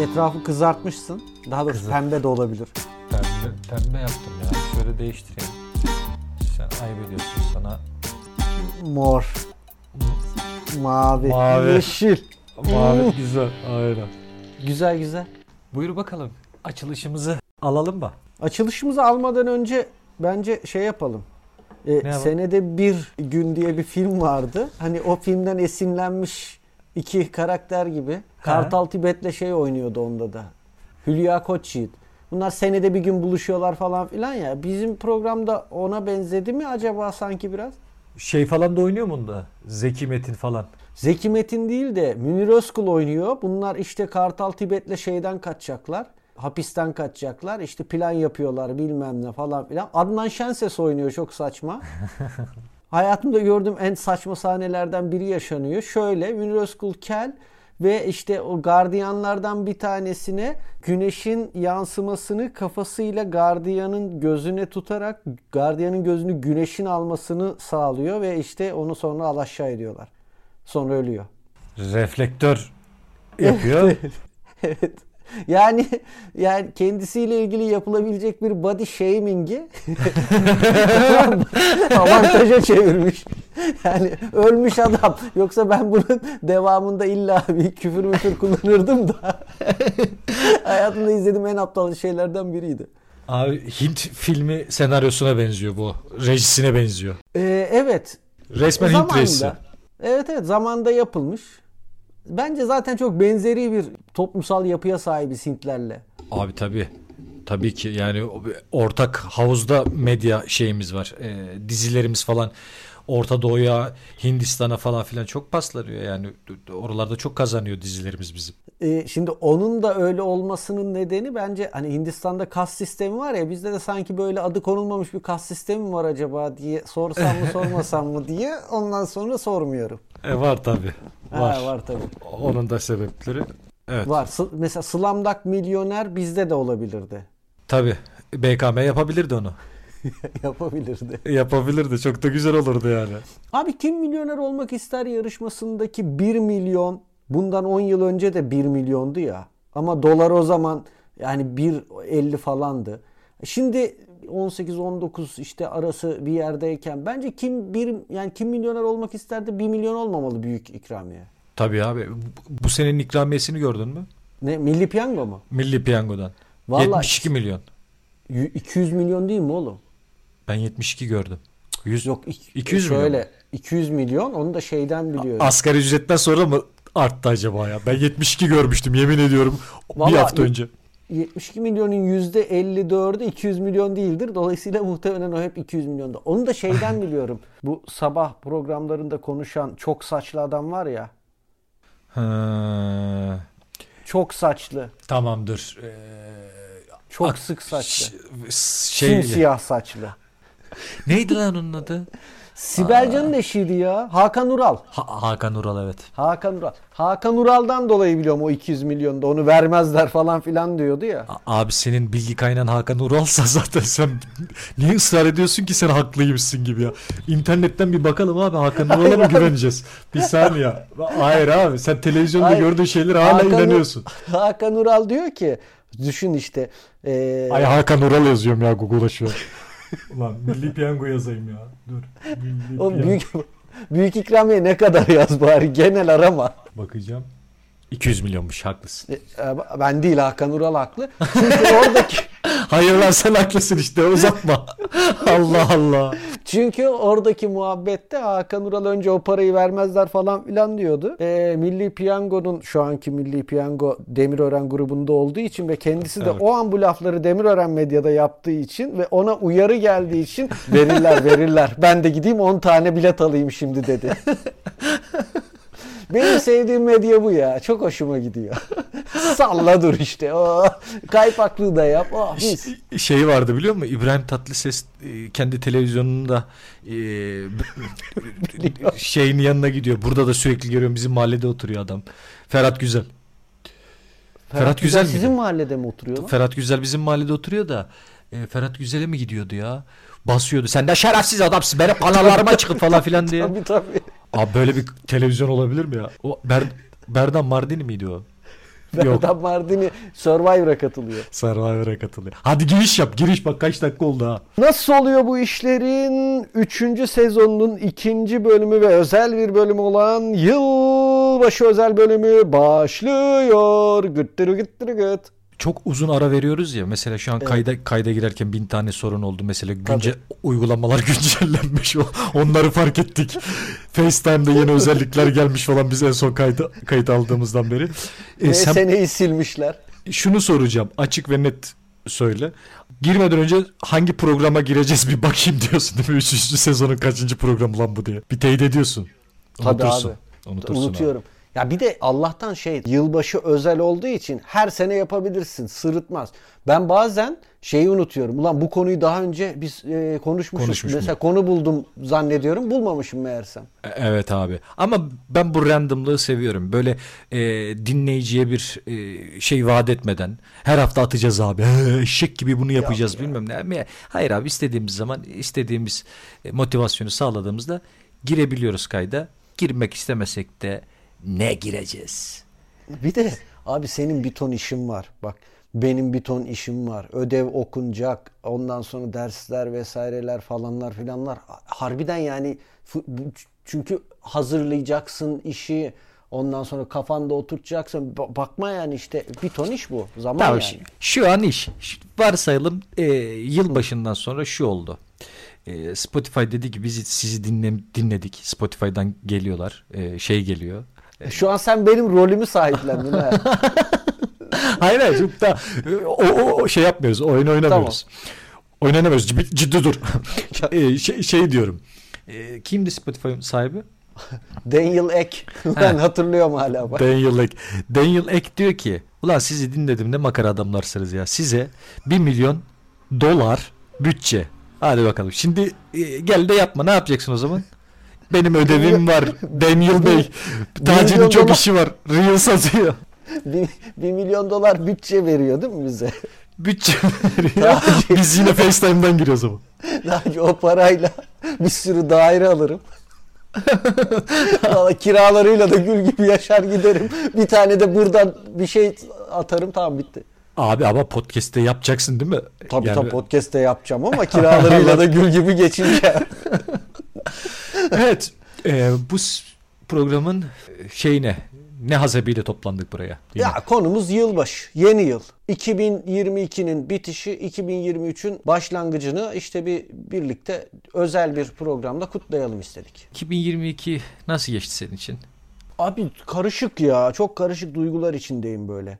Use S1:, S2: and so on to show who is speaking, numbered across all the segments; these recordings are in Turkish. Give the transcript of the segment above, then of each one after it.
S1: Etrafı kızartmışsın. Daha doğrusu pembe de olabilir.
S2: Pembe, pembe yaptım ya. Şöyle değiştireyim. Sen ayıp ediyorsun sana.
S1: Mor. Mavi.
S2: Mavi.
S1: Yeşil.
S2: Mavi güzel. Aynen.
S1: Güzel güzel.
S2: Buyur bakalım. Açılışımızı alalım mı?
S1: Açılışımızı almadan önce bence şey yapalım. Ee,
S2: yapalım?
S1: senede bir gün diye bir film vardı. Hani o filmden esinlenmiş iki karakter gibi. Kartal Tibet'le şey oynuyordu onda da. Hülya Koçyiğit. Bunlar senede bir gün buluşuyorlar falan filan ya. Bizim programda ona benzedi mi acaba sanki biraz?
S2: Şey falan da oynuyor mu bunda? Zeki Metin falan.
S1: Zeki Metin değil de Münir Özkul oynuyor. Bunlar işte Kartal Tibet'le şeyden kaçacaklar. Hapisten kaçacaklar. İşte plan yapıyorlar bilmem ne falan filan. Adnan Şenses oynuyor çok saçma. Hayatımda gördüğüm en saçma sahnelerden biri yaşanıyor. Şöyle Münir Özkul kel ve işte o gardiyanlardan bir tanesine güneşin yansımasını kafasıyla gardiyanın gözüne tutarak gardiyanın gözünü güneşin almasını sağlıyor ve işte onu sonra alaşağı ediyorlar. Sonra ölüyor.
S2: Reflektör yapıyor.
S1: Evet. Yani yani kendisiyle ilgili yapılabilecek bir body shaming'i avantaja çevirmiş. Yani ölmüş adam. Yoksa ben bunun devamında illa bir küfür müfür kullanırdım da. Hayatımda izlediğim en aptal şeylerden biriydi.
S2: Abi Hint filmi senaryosuna benziyor bu. Rejisine benziyor.
S1: Ee, evet.
S2: Resmen Hint rejisi.
S1: Zamanında. Evet evet zamanda yapılmış. Bence zaten çok benzeri bir toplumsal yapıya sahibiz Hintlerle.
S2: Abi tabii. Tabii ki yani o bir ortak havuzda medya şeyimiz var. Ee, dizilerimiz falan Orta Doğu'ya, Hindistan'a falan filan çok paslanıyor yani. Oralarda çok kazanıyor dizilerimiz bizim.
S1: E, şimdi onun da öyle olmasının nedeni bence hani Hindistan'da kas sistemi var ya bizde de sanki böyle adı konulmamış bir kas sistemi mi var acaba diye sorsam mı sormasam mı diye ondan sonra sormuyorum.
S2: E, var tabii.
S1: Ha,
S2: Var.
S1: var tabii.
S2: Onun da sebepleri. Evet.
S1: Var. Sı- mesela Slamdak milyoner bizde de olabilirdi.
S2: Tabii. BKM yapabilirdi onu.
S1: Yapabilirdi.
S2: E, Yapabilirdi. Çok da güzel olurdu yani.
S1: Abi kim milyoner olmak ister yarışmasındaki 1 milyon bundan 10 yıl önce de 1 milyondu ya. Ama dolar o zaman yani 1.50 falandı. Şimdi 18-19 işte arası bir yerdeyken bence kim bir yani kim milyoner olmak isterdi 1 milyon olmamalı büyük ikramiye.
S2: Tabii abi. Bu- Bu senenin ikramiyesini gördün mü?
S1: Ne Milli Piyango mu?
S2: Milli Piyango'dan.
S1: Vallahi-
S2: 72 milyon.
S1: Y- 200 milyon değil mi oğlum?
S2: Ben 72 gördüm. 100
S1: Yok ik-
S2: 200 milyon.
S1: şöyle 200 milyon onu da şeyden biliyorum.
S2: Asgari ücretten sonra mı arttı acaba ya? Ben 72 görmüştüm yemin ediyorum
S1: Vallahi-
S2: bir hafta önce.
S1: 72 milyonun %54'ü 200 milyon değildir. Dolayısıyla muhtemelen o hep 200 milyonda. Onu da şeyden biliyorum. Bu sabah programlarında konuşan çok saçlı adam var ya.
S2: Ha,
S1: Çok saçlı.
S2: tamamdır. Ee,
S1: Çok
S2: Ak-
S1: sık saçlı.
S2: ş- şey,
S1: Simsiyah saçlı.
S2: neydi lan onun adı?
S1: Sibel Can'ın eşiydi ya. Hakan Ural.
S2: Ha- Hakan Ural evet.
S1: Hakan Ural. Hakan Ural'dan dolayı biliyorum o 200 milyonda. Onu vermezler falan filan diyordu ya.
S2: A- Abi senin bilgi kaynağın Hakan Ural'sa zaten sen niye ısrar ediyorsun ki sen haklıymışsın gibi ya. İnternetten bir bakalım abi Hakan Ural'a mı güveneceğiz? Bir saniye. Hayır abi sen televizyonda
S1: Hayır.
S2: gördüğün şeylere hala
S1: Hakan,
S2: inanıyorsun.
S1: Hakan Ural diyor ki düşün işte. eee,
S2: Ay Hakan Ural yazıyorum ya Google'a şu an. Ulan Milli Piyango yazayım ya. Dur. Milli
S1: o
S2: Piyango.
S1: büyük büyük ikramiye ne kadar yaz bari genel arama.
S2: Bakacağım. 200 milyonmuş haklısın.
S1: E, e, Ben değil Hakan Ural haklı. Çünkü oradaki
S2: Hayır lan sen haklısın işte uzatma. Allah Allah.
S1: çünkü oradaki muhabbette Hakan Ural önce o parayı vermezler falan filan diyordu. E, Milli Piyango'nun şu anki Milli Piyango Demirören grubunda olduğu için ve kendisi de
S2: Evet.
S1: o an bu lafları Demirören medyada yaptığı için ve ona uyarı geldiği için verirler verirler. Ben de gideyim 10 tane bilet alayım şimdi dedi. Benim sevdiğim medya bu ya. Çok hoşuma gidiyor. Salla dur işte. o Kaypaklığı da yap. Oh, mis.
S2: Ş- Şey vardı biliyor musun? İbrahim Tatlıses e, kendi televizyonunda e, b- şeyin yanına gidiyor. Burada da sürekli görüyorum bizim mahallede oturuyor adam. Ferhat Güzel. Ferhat, Güzel, miydi?
S1: sizin mahallede mi oturuyor lan?
S2: Ferhat Güzel bizim mahallede oturuyor da e, Ferhat Güzel'e mi gidiyordu ya? Basıyordu. Sen de şerefsiz adamsın. Benim kanallarıma çıkın falan filan diye.
S1: Tabii tabii.
S2: Abi böyle bir televizyon olabilir mi ya? O Ber- Berdan Mardini miydi o? Yok.
S1: Adam Mardini Survivor'a katılıyor.
S2: Survivor'a katılıyor. Hadi giriş yap. Giriş bak kaç dakika oldu ha.
S1: Nasıl oluyor bu işlerin 3. sezonunun 2. bölümü ve özel bir bölümü olan yılbaşı özel bölümü başlıyor. Güttürü güttürü güt.
S2: Çok uzun ara veriyoruz ya. Mesela şu an kayda kayda girerken bin tane sorun oldu. Mesela günce uygulamalar güncellenmiş. O- Onları fark ettik. FaceTime'da yeni özellikler gelmiş falan biz en son kayda, kayıt aldığımızdan beri. E,
S1: Ve
S2: sen
S1: seneyi silmişler.
S2: şunu soracağım. Açık ve net söyle. Girmeden önce hangi programa gireceğiz bir bakayım diyorsun değil mi? Üçüncü sezonun kaçıncı programı lan bu diye. Bir teyit ediyorsun.
S1: Tabii
S2: Unutursun.
S1: abi.
S2: Unutursun abi.
S1: Unutuyorum. Ya bir de Allah'tan şey yılbaşı özel olduğu için her sene yapabilirsin. Sırıtmaz. Ben bazen şeyi unutuyorum. Ulan bu konuyu daha önce biz e, konuşmuşuz.
S2: Konuşmuş
S1: Mesela konu buldum zannediyorum. Bulmamışım meğersem.
S2: E- Evet abi ama ben bu randomlığı seviyorum böyle e, dinleyiciye bir e, şey vaat etmeden her hafta atacağız abi "Ee, eşek gibi bunu yapacağız bilmem ne Ama ya- hayır abi istediğimiz zaman istediğimiz e, motivasyonu sağladığımızda girebiliyoruz kayda girmek istemesek de ne gireceğiz
S1: Bir de abi senin bir ton işin var. Bak benim bir ton işim var. Ödev okunacak. Ondan sonra dersler vesaireler falanlar filanlar. Harbiden yani fu- bu- çünkü hazırlayacaksın işi. Ondan sonra kafanda oturtacaksın. Ba- Bakma yani işte bir ton iş bu. Zaman
S2: tamam
S1: yani.
S2: şu, şu an iş Şu- varsayalım e, yılbaşından sonra şu oldu E, Spotify dedi ki biz sizi dinle, dinledik Spotify'dan geliyorlar E, şey geliyor
S1: Şu an sen benim rolümü sahiplendin ha.
S2: Hayır hayır çok da o, o- o şey yapmıyoruz. Oyun oynamıyoruz. Oynanamıyoruz. Ciddi, ciddi dur. Ee, şey, şey diyorum. Ee, kimdi Spotify'ın sahibi?
S1: Daniel Ek. Ben hatırlıyorum hala bak.
S2: Daniel Ek. Daniel Ek diyor ki ulan sizi dinledim ne makara adamlarsınız ya. Size 1 milyon dolar bütçe. Hadi bakalım. Şimdi e, gel de yapma. Ne yapacaksın o zaman? Benim ödevim var. Daniel Bey. Taci'nin
S1: milyon
S2: çok
S1: dolar-
S2: işi var. Reels atıyor.
S1: Bir, bir milyon dolar bütçe veriyor değil mi bize?
S2: Bütçe veriyor.
S1: Taci.
S2: Biz yine FaceTime'dan giriyoruz ama.
S1: Daha önce o parayla bir sürü daire alırım. Valla kiralarıyla da gül gibi yaşar giderim. Bir tane de buradan bir şey atarım tamam bitti.
S2: Abi ama podcast'te yapacaksın değil mi?
S1: Tabii
S2: Yani-
S1: tabii podcast'te yapacağım ama kiralarıyla da gül gibi geçince.
S2: evet. e, bu s- programın e, şeyine ne hasebiyle toplandık buraya. Yine.
S1: ya konumuz yılbaşı, yeni yıl. 2022'nin bitişi, 2023'ün başlangıcını işte bir birlikte özel bir programda kutlayalım istedik.
S2: 2022 nasıl geçti senin için?
S1: Abi karışık ya, çok karışık duygular içindeyim böyle.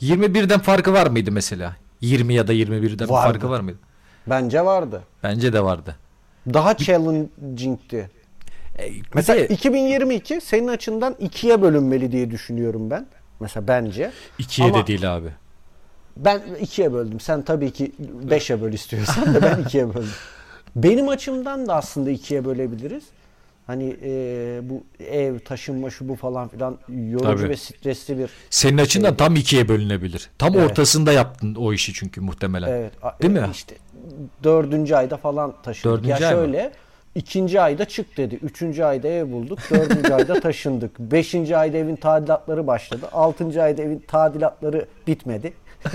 S2: 21'den farkı var mıydı mesela? 20 ya da 21'den bir
S1: Vardı.
S2: farkı var mıydı?
S1: Bence vardı.
S2: Bence de vardı.
S1: Daha challenging'ti.
S2: E,
S1: Mesela
S2: bir de
S1: 2022 senin açından ikiye bölünmeli diye düşünüyorum ben. Mesela bence.
S2: ikiye
S1: Ama-
S2: de değil abi.
S1: Ben ikiye böldüm. Sen tabii ki beşe böl istiyorsan da ben ikiye böldüm. Benim açımdan da aslında ikiye bölebiliriz. Hani e, bu ev, taşınma şu bu falan filan yorucu
S2: Tabii.
S1: ve stresli bir
S2: Senin açından tam ikiye bölünebilir. Tam
S1: Evet.
S2: ortasında yaptın o işi çünkü muhtemelen.
S1: Evet. a-
S2: Değil
S1: e,
S2: mi?
S1: İşte dördüncü ayda falan taşındık.
S2: Dördüncü
S1: ya
S2: ay mı?
S1: şöyle ikinci ayda çık dedi. Üçüncü ayda ev bulduk. Dördüncü ayda taşındık. Beşinci ayda evin tadilatları başladı. Altıncı ayda evin tadilatları bitmedi.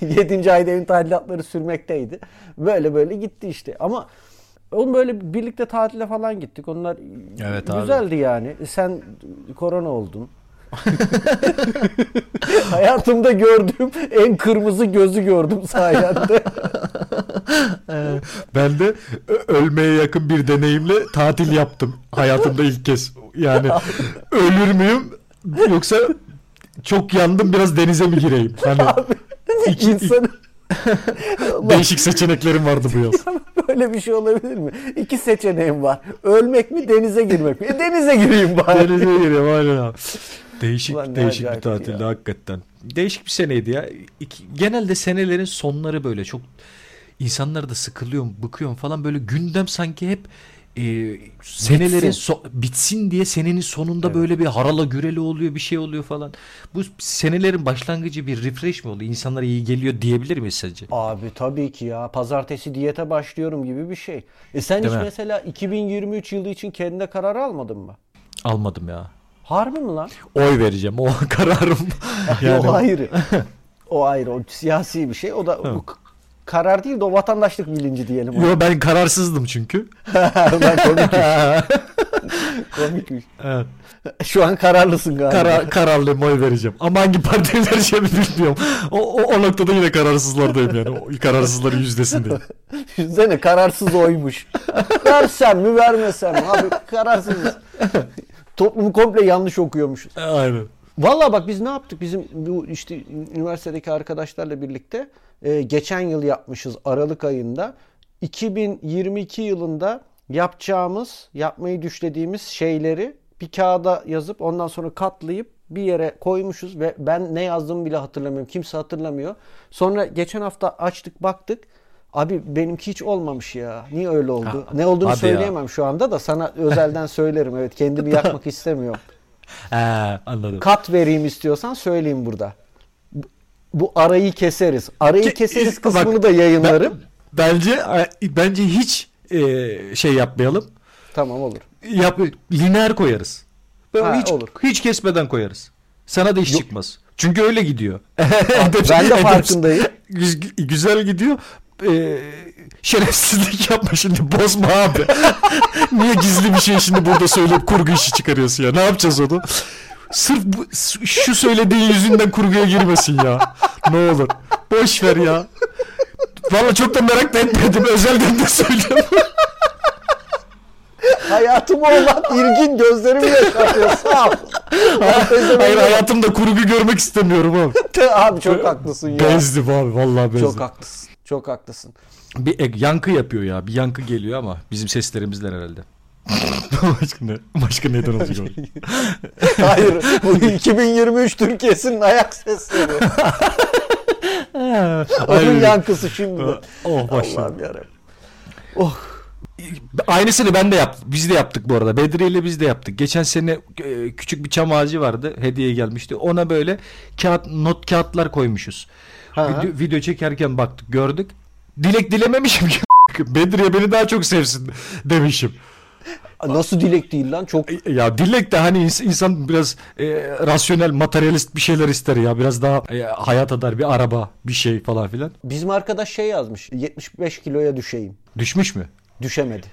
S1: Yedinci ayda evin tadilatları sürmekteydi. Böyle böyle gitti işte. Ama oğlum böyle birlikte tatile falan gittik. Onlar
S2: Evet abi.
S1: güzeldi yani. Sen korona oldun. Hayatımda gördüğüm en kırmızı gözü gördüm sayende.
S2: Ben de ö- ölmeye yakın bir deneyimle tatil yaptım hayatımda ilk kez. Yani ölür müyüm yoksa çok yandım biraz denize mi gireyim? Hani
S1: İnsanın
S2: değişik seçeneklerim vardı bu yaz.
S1: böyle bir şey olabilir mi? İki seçeneğim var. Ölmek mi denize girmek mi? E, denize gireyim bari.
S2: denize gireyim aynen abi. Değişik
S1: Ulan ne
S2: değişik bir
S1: acayip
S2: tatildi
S1: ya.
S2: hakikaten. Değişik bir seneydi ya. İki- genelde senelerin sonları böyle çok insanlar da sıkılıyor, bıkıyor falan böyle gündem sanki hep e, senelerin
S1: Bitsin.
S2: so- bitsin diye senenin sonunda böyle bir harala güreli oluyor, bir şey oluyor falan. Bu senelerin başlangıcı bir refresh mi oluyor? İnsanlara iyi geliyor diyebilir miyiz sence?
S1: Abi tabii ki ya. Pazartesi diyete başlıyorum gibi bir şey. E sen
S2: Değil
S1: hiç
S2: mi?
S1: mesela 2023 yılı için kendine karar almadın mı?
S2: Almadım ya.
S1: Harbi mi lan?
S2: Oy vereceğim. O kararım.
S1: o ayrı. o ayrı. O siyasi bir şey. O da bu k- karar değil de o vatandaşlık bilinci diyelim. ona.
S2: Yo ben kararsızdım çünkü.
S1: Lan komikmiş. komikmiş.
S2: Evet.
S1: Şu an kararlısın galiba.
S2: Kara, kararlıyım oy vereceğim. Ama hangi partiye vereceğimi bilmiyorum. O, o, o noktada yine kararsızlardayım yani. O kararsızların yüzdesindeyim.
S1: Düşünsene kararsız oymuş. Versem mi vermesem mi? Abi kararsızız. Toplumu komple yanlış okuyormuşuz.
S2: Aynen.
S1: Valla bak biz ne yaptık? Bizim bu işte üniversitedeki arkadaşlarla birlikte e, geçen yıl yapmışız Aralık ayında. 2022 yılında yapacağımız, yapmayı düşlediğimiz şeyleri bir kağıda yazıp ondan sonra katlayıp bir yere koymuşuz ve ben ne yazdığımı bile hatırlamıyorum. Kimse hatırlamıyor. Sonra geçen hafta açtık baktık. Abi benimki hiç olmamış ya. Niye öyle oldu?
S2: Ha,
S1: Ne olduğunu
S2: hadi ya.
S1: söyleyemem şu anda da sana özelden söylerim. Evet kendimi yakmak istemiyorum.
S2: He, anladım.
S1: Kat vereyim istiyorsan söyleyeyim burada. Bu- Bu arayı keseriz. Arayı
S2: Ki-
S1: keseriz
S2: bak,
S1: kısmını da yayınlarım.
S2: Bence bence hiç e, şey yapmayalım.
S1: Tamam olur.
S2: Yap, lineer koyarız. Böyle
S1: Ha,
S2: hiç,
S1: olur.
S2: hiç kesmeden koyarız. Sana da iş çıkmaz. Çünkü öyle gidiyor. Edepsiz-
S1: ben de
S2: edepsiz-
S1: farkındayım.
S2: Güz- güzel gidiyor. Ee, şerefsizlik yapma şimdi bozma abi. Niye gizli bir şey şimdi burada söyleyip kurgu işi çıkarıyorsun ya? Ne yapacağız onu? Sırf bu, şu söylediğin yüzünden kurguya girmesin ya. Ne olur. Boş ver ya. Valla çok da merak da etmedim. Özelden de söylüyorum.
S1: Hayatımı olan ilgin gözlerimi yaşatıyor. Sağ ol. Ben
S2: Hayır
S1: tezemeyim.
S2: hayatımda kurgu görmek istemiyorum abi.
S1: Abi çok haklısın ya.
S2: Bezdim abi vallahi bezdim.
S1: Çok haklısın. Çok haklısın.
S2: Bir ek- yankı yapıyor ya. Bir yankı geliyor ama bizim seslerimizden herhalde. başka ne? Başka neden olacak? o?
S1: Hayır. Bu 2023 Türkiye'sinin ayak sesleri. Onun
S2: Aynen.
S1: yankısı şimdi.
S2: Oh başladı.
S1: Allah'ım yarabbim.
S2: Aynısını ben de yaptım. Biz de yaptık bu arada. Bedri ile biz de yaptık. Geçen sene e, küçük bir çam ağacı vardı. Hediye gelmişti. Ona böyle kağıt not kağıtlar koymuşuz.
S1: Ha.
S2: Video, video çekerken baktık, gördük. Dilek dilememişim ki. Bedriye beni daha çok sevsin demişim.
S1: Nasıl dilek değil lan? Çok
S2: Ya dilek de hani ins- insan biraz e, rasyonel, materyalist bir şeyler ister ya. Biraz daha e, hayat adar bir araba, bir şey falan filan.
S1: Bizim arkadaş şey yazmış. 75 kiloya düşeyim.
S2: Düşmüş mü?
S1: Düşemedi.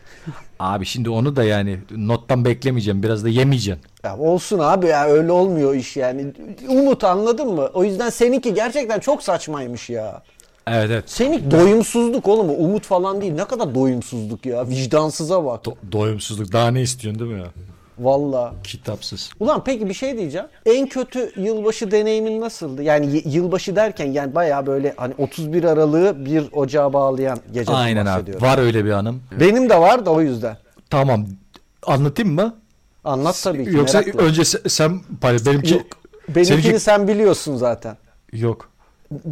S2: Abi şimdi onu da yani nottan beklemeyeceğim. Biraz da yemeyeceğim.
S1: Ya olsun abi ya öyle olmuyor iş yani. Umut anladın mı? O yüzden seninki gerçekten çok saçmaymış ya.
S2: Evet evet.
S1: Seninki doyumsuzluk oğlum. o Umut falan değil. Ne kadar doyumsuzluk ya. Vicdansıza bak.
S2: Do- doyumsuzluk. Daha ne istiyorsun değil mi ya?
S1: Valla.
S2: Kitapsız.
S1: Ulan peki bir şey diyeceğim. En kötü yılbaşı deneyimin nasıldı? Yani y- yılbaşı derken yani bayağı böyle hani 31 Aralık'ı 1 Ocağa bağlayan gece
S2: Aynen abi.
S1: bahsediyorum.
S2: Var öyle bir anım.
S1: Benim de var da o yüzden.
S2: Tamam. Anlatayım mı?
S1: Anlat tabii ki
S2: Yoksa
S1: merakla.
S2: önce se- sen paylaş. Benimki
S1: Yok. Benimkini
S2: Seninki-
S1: sen biliyorsun zaten.
S2: yok.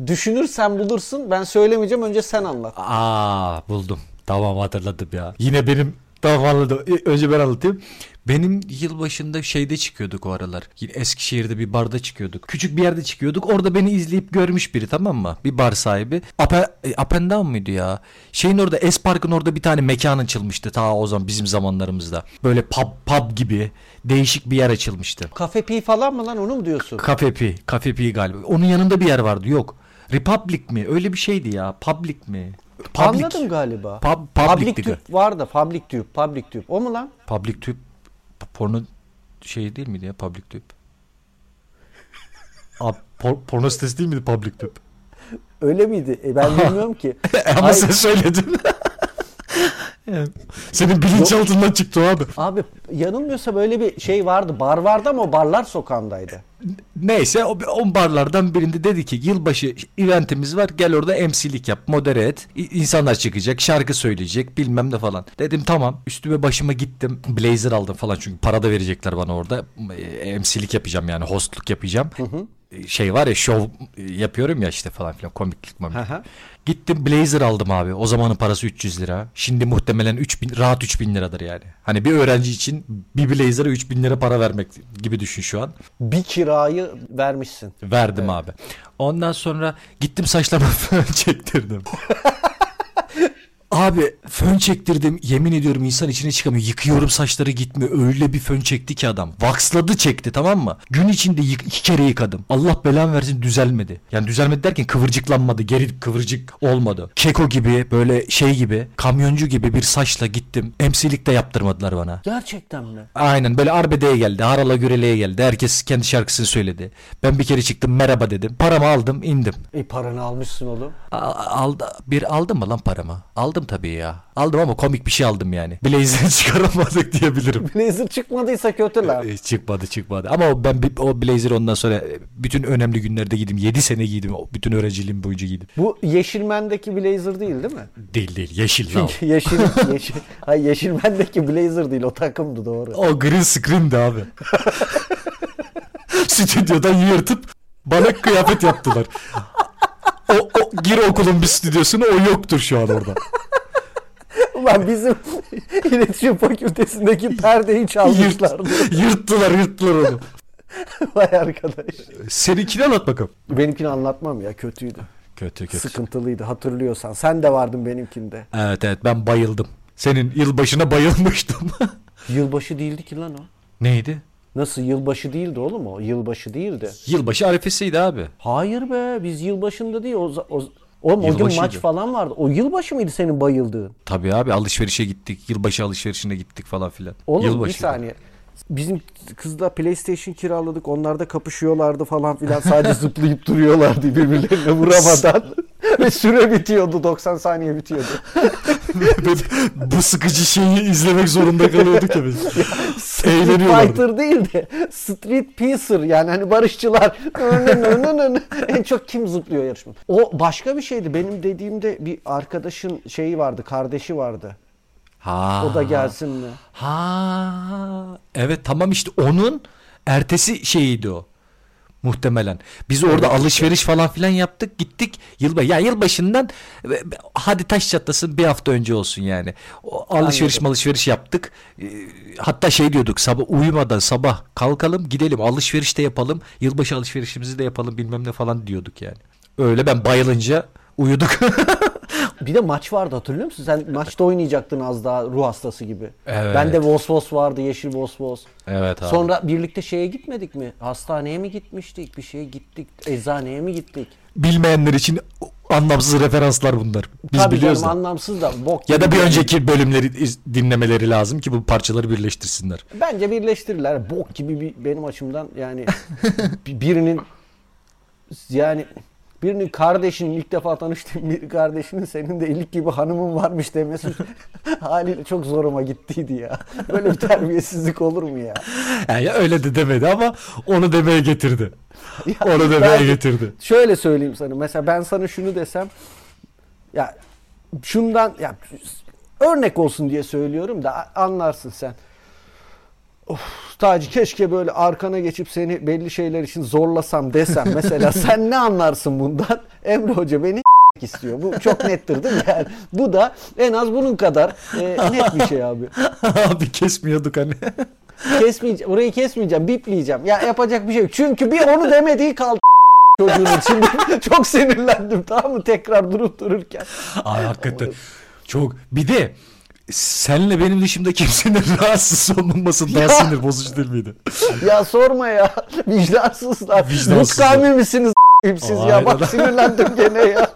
S1: Düşünürsen bulursun. Ben söylemeyeceğim. Önce sen anlat.
S2: Aa buldum. Tamam hatırladım ya. Yine benim tamam anladım. E, Önce ben anlatayım. Benim yılbaşında şeyde çıkıyorduk o aralar. Yine Eskişehir'de bir barda çıkıyorduk. Küçük bir yerde çıkıyorduk. Orada beni izleyip görmüş biri tamam mı? Bir bar sahibi. Up, e, up and down muydu ya? Şeyin orada S Park'ın orada bir tane mekan açılmıştı. Ta o zaman bizim zamanlarımızda. Böyle pub, pub gibi değişik bir yer açılmıştı.
S1: Kafe pi falan mı lan onu mu diyorsun?
S2: Kafe Pi. Kafe Pi galiba. Onun yanında bir yer vardı. Yok. Republic mi? Öyle bir şeydi ya. Public mi? Public.
S1: Anladım galiba.
S2: Pub-
S1: public
S2: public'ti
S1: tüp var da public tüp, public tüp. O mu lan?
S2: Public tüp porno şey değil miydi ya public tüp? Abi, por- porno sitesi değil miydi public tüp?
S1: Öyle miydi? E, ben bilmiyorum ki.
S2: Ama
S1: Ay,
S2: sen söyledin. Yani Senin bilinçaltından çıktı o abi.
S1: Abi yanılmıyorsa böyle bir şey vardı. Bar vardı ama o barlar sokağındaydı.
S2: Neyse o, o barlardan birinde dedi ki yılbaşı eventimiz var gel orada emsilik yap modere et İ- insanlar çıkacak şarkı söyleyecek bilmem ne falan. Dedim tamam üstüme başıma gittim blazer aldım falan çünkü para da verecekler bana orada E, emsilik yapacağım yani hostluk yapacağım. E, Şey var ya şov e, yapıyorum ya işte falan filan komiklik mamiklik.
S1: Aha.
S2: Gittim blazer aldım abi. O zamanın parası 300 lira. Şimdi muhtemelen 3000 rahat 3000 liradır yani. Hani bir öğrenci için bir blazer'a 3000 lira para vermek gibi düşün şu an.
S1: Bir kirayı vermişsin.
S2: Verdim abi. Ondan sonra gittim saçlarımı fön çektirdim. Abi fön çektirdim yemin ediyorum insan içine çıkamıyor. Yıkıyorum saçları gitmiyor. Öyle bir fön çekti ki adam. Vaksladı çekti tamam mı? Gün içinde yık- iki kere yıkadım. Allah belamı versin düzelmedi. Yani düzelmedi derken kıvırcıklanmadı. Geri kıvırcık olmadı. Keko gibi böyle şey gibi kamyoncu gibi bir saçla gittim. Emsilik de yaptırmadılar bana.
S1: Gerçekten mi?
S2: Aynen böyle arbedeye geldi. Harala güreleye geldi. Herkes kendi şarkısını söyledi. Ben bir kere çıktım merhaba dedim. Paramı aldım indim.
S1: E paranı almışsın oğlum.
S2: A- Aldı, bir aldım mı lan paramı? Aldım tabii ya. Aldım ama komik bir şey aldım yani. Blazer'ı çıkaramadık diyebilirim.
S1: Blazer çıkmadıysa kötü lan.
S2: E, çıkmadı çıkmadı. Ama o, ben bir- o blazer ondan sonra e, bütün önemli günlerde giydim. 7 sene giydim. O Bütün öğrenciliğim boyunca giydim.
S1: Bu Yeşilmen'deki Blazer değil değil mi?
S2: Değil değil yeşil lan. o.
S1: Çünkü Yeşil, yeşil, hayır, Yeşilmen'deki Blazer değil o takımdı doğru.
S2: O green screen'di abi. Stüdyodan yırtıp bana kıyafet yaptılar. O, o gir okulun bir stüdyosuna o yoktur şu an orada.
S1: Ulan bizim iletişim fakültesindeki perdeyi çalmışlardı.
S2: Yırt- yırttılar yırttılar onu.
S1: Vay arkadaş.
S2: Seninkini anlat bakalım.
S1: Benimkini anlatmam ya kötüydü.
S2: Kötü kötü.
S1: Sıkıntılıydı hatırlıyorsan. Sen de vardın benimkinde.
S2: Evet evet ben bayıldım. Senin yılbaşına bayılmıştım.
S1: Yılbaşı değildi ki lan o.
S2: Neydi?
S1: Nasıl yılbaşı değildi oğlum o? Yılbaşı değildi.
S2: Yılbaşı arifesiydi abi. Hayır
S1: Hayır be biz yılbaşında değil. O, za- o, oğlum o gün
S2: Yılbaşıydı.
S1: maç falan vardı. O yılbaşı mıydı senin bayıldığın?
S2: Tabii abi alışverişe gittik. Yılbaşı alışverişine gittik falan filan.
S1: Oğlum
S2: Yılbaşı.
S1: bir saniye. Bizim kızla PlayStation kiraladık. Onlar da kapışıyorlardı falan filan. Sadece zıplayıp duruyorlardı birbirlerine vuramadan. Ve süre bitiyordu. 90 saniye bitiyordu.
S2: Bu sıkıcı şeyi izlemek zorunda kalıyorduk ya biz.
S1: Street
S2: Eğleniyorlardı.
S1: Fighter değil de Street Pacer yani hani barışçılar en çok kim zıplıyor yarışma. O başka bir şeydi. Benim dediğimde bir arkadaşın şeyi vardı, kardeşi vardı.
S2: Ha.
S1: O da gelsin mi?
S2: Ha. Evet tamam işte onun ertesi şeyiydi o. Muhtemelen. Biz orada alışveriş falan filan yaptık. Gittik yılba ya yılbaşından e, e, hadi taş çatlasın bir hafta önce olsun yani. O alışveriş
S1: Anladım.
S2: alışveriş yaptık. E, Hatta şey diyorduk sabah uyumadan sabah kalkalım gidelim alışveriş de yapalım. Yılbaşı alışverişimizi de yapalım bilmem ne falan diyorduk yani. Öyle ben bayılınca uyuduk.
S1: Bir de maç vardı hatırlıyor musun? Sen maçta oynayacaktın az daha ruh hastası gibi.
S2: Evet.
S1: Ben de Vos Vos vardı, yeşil Vos Vos.
S2: evet
S1: Sonra birlikte şeye gitmedik mi? Hastaneye mi gitmiştik? Bir şeye gittik. Eczaneye mi gittik?
S2: bilmeyenler için anlamsız referanslar bunlar. Biz
S1: Tabii
S2: biliyoruz
S1: canım
S2: da.
S1: anlamsız da bok
S2: Ya da
S1: gibi
S2: bir
S1: yani.
S2: önceki bölümleri iz- dinlemeleri lazım ki bu parçaları birleştirsinler.
S1: Bence birleştirirler. Bok gibi bir, benim açımdan yani bi- birinin yani birinin kardeşinin ilk defa tanıştığın bir kardeşinin senin de ilik gibi hanımın varmış demesi haliyle çok zoruma gittiydi ya. Böyle bir terbiyesizlik olur mu ya?
S2: Yani ya öyle de demedi ama onu demeye getirdi.
S1: Ya
S2: onu demeye
S1: ben-
S2: getirdi.
S1: Şöyle söyleyeyim sana. Mesela ben sana şunu desem ya şundan ya örnek olsun diye söylüyorum da a- anlarsın sen. Of Taci keşke böyle arkana geçip seni belli şeyler için zorlasam desem mesela sen ne anlarsın bundan? Emre Hoca beni istiyor. Bu çok nettir değil mi? Yani bu da en az bunun kadar e, net bir şey abi.
S2: Abi kesmiyorduk hani.
S1: Kesmeyeceğim. Orayı kesmeyeceğim. Bipleyeceğim. Ya yapacak bir şey yok. Çünkü bir onu demediği kaldı çocuğun içinde. Çok sinirlendim tamam mı? Tekrar durup dururken.
S2: Abi hakikaten çok. Bir de senle benim dışımda kimsenin rahatsız olmaması daha
S1: Ya.
S2: sinir bozucu değil miydi?
S1: Ya sorma ya. Vicdansızlar.
S2: Vicdansızlar.
S1: Vicdansızlar. kavmi misiniz siz ya?
S2: Aynen.
S1: Bak sinirlendim gene ya.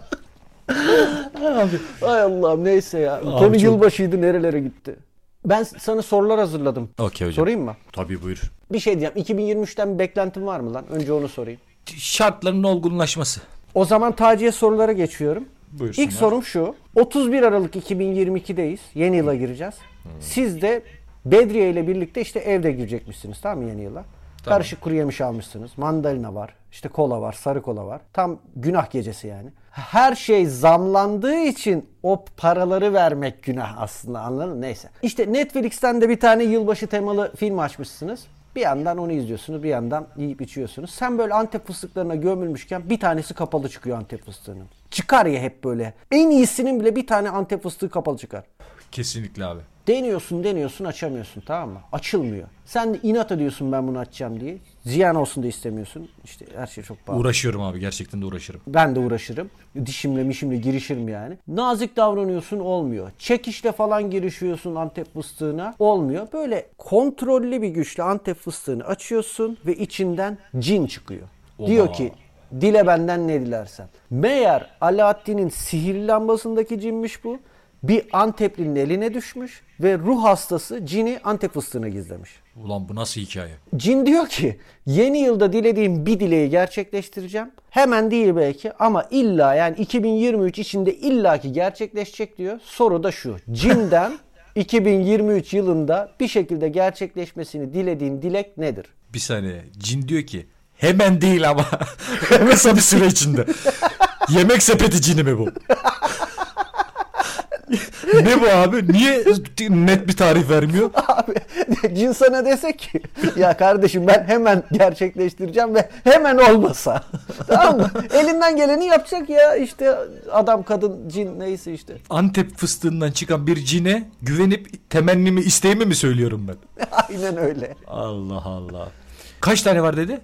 S1: Ay Allah'ım neyse ya. Bu Konu
S2: çok-
S1: yılbaşıydı nerelere gitti. Ben sana sorular hazırladım.
S2: Okey hocam.
S1: Sorayım mı?
S2: Tabii buyur.
S1: Bir şey diyeceğim. 2023'ten bir beklentin var mı lan? Önce onu sorayım.
S2: Şartların olgunlaşması.
S1: O zaman Taci'ye sorulara geçiyorum.
S2: Buyursunlar.
S1: İlk sorum şu. 31 Aralık 2022'deyiz. Yeni yıla gireceğiz. Siz de Bedriye ile birlikte işte evde girecekmişsiniz tamam mı yeni yıla? Karışık kuru yemiş almışsınız. Mandalina var. işte kola var. Sarı kola var. Tam günah gecesi yani. Her şey zamlandığı için o paraları vermek günah aslında anladın mı? Neyse. İşte Netflix'ten de bir tane yılbaşı temalı film açmışsınız. Bir yandan onu izliyorsunuz, bir yandan yiyip içiyorsunuz. Sen böyle Antep fıstıklarına gömülmüşken bir tanesi kapalı çıkıyor Antep fıstığının. Çıkar ya hep böyle. En iyisinin bile bir tane Antep fıstığı kapalı çıkar.
S2: Kesinlikle abi.
S1: Deniyorsun deniyorsun açamıyorsun tamam mı? Açılmıyor. Sen de inat ediyorsun ben bunu açacağım diye. Ziyan olsun da istemiyorsun. İşte her şey çok pahalı.
S2: Uğraşıyorum abi gerçekten de uğraşırım.
S1: Ben de uğraşırım. Dişimle mişimle girişirim yani. Nazik davranıyorsun olmuyor. Çekişle falan girişiyorsun Antep fıstığına olmuyor. Böyle kontrollü bir güçle Antep fıstığını açıyorsun ve içinden cin çıkıyor.
S2: Oba.
S1: Diyor ki dile benden ne dilersen. Meğer Alaaddin'in sihirli lambasındaki cinmiş bu. Bir Anteplinin eline düşmüş ve ruh hastası cini Antep fıstığına gizlemiş.
S2: Ulan bu nasıl hikaye?
S1: Cin diyor ki yeni yılda dilediğim bir dileği gerçekleştireceğim. Hemen değil belki ama illa yani 2023 içinde illaki gerçekleşecek diyor. Soru da şu. Cinden 2023 yılında bir şekilde gerçekleşmesini dilediğin dilek nedir?
S2: Bir saniye. Cin diyor ki hemen değil ama kısa bir süre içinde. Yemek sepeti cini mi bu? ne bu abi? Niye net bir tarih vermiyor?
S1: Abi cin sana dese ki ya kardeşim ben hemen gerçekleştireceğim ve hemen olmasa. tamam mı? Elinden geleni yapacak ya işte adam kadın cin neyse işte.
S2: Antep fıstığından çıkan bir cine güvenip temennimi isteğimi mi söylüyorum ben?
S1: Aynen öyle.
S2: Allah Allah. Kaç tane var dedi?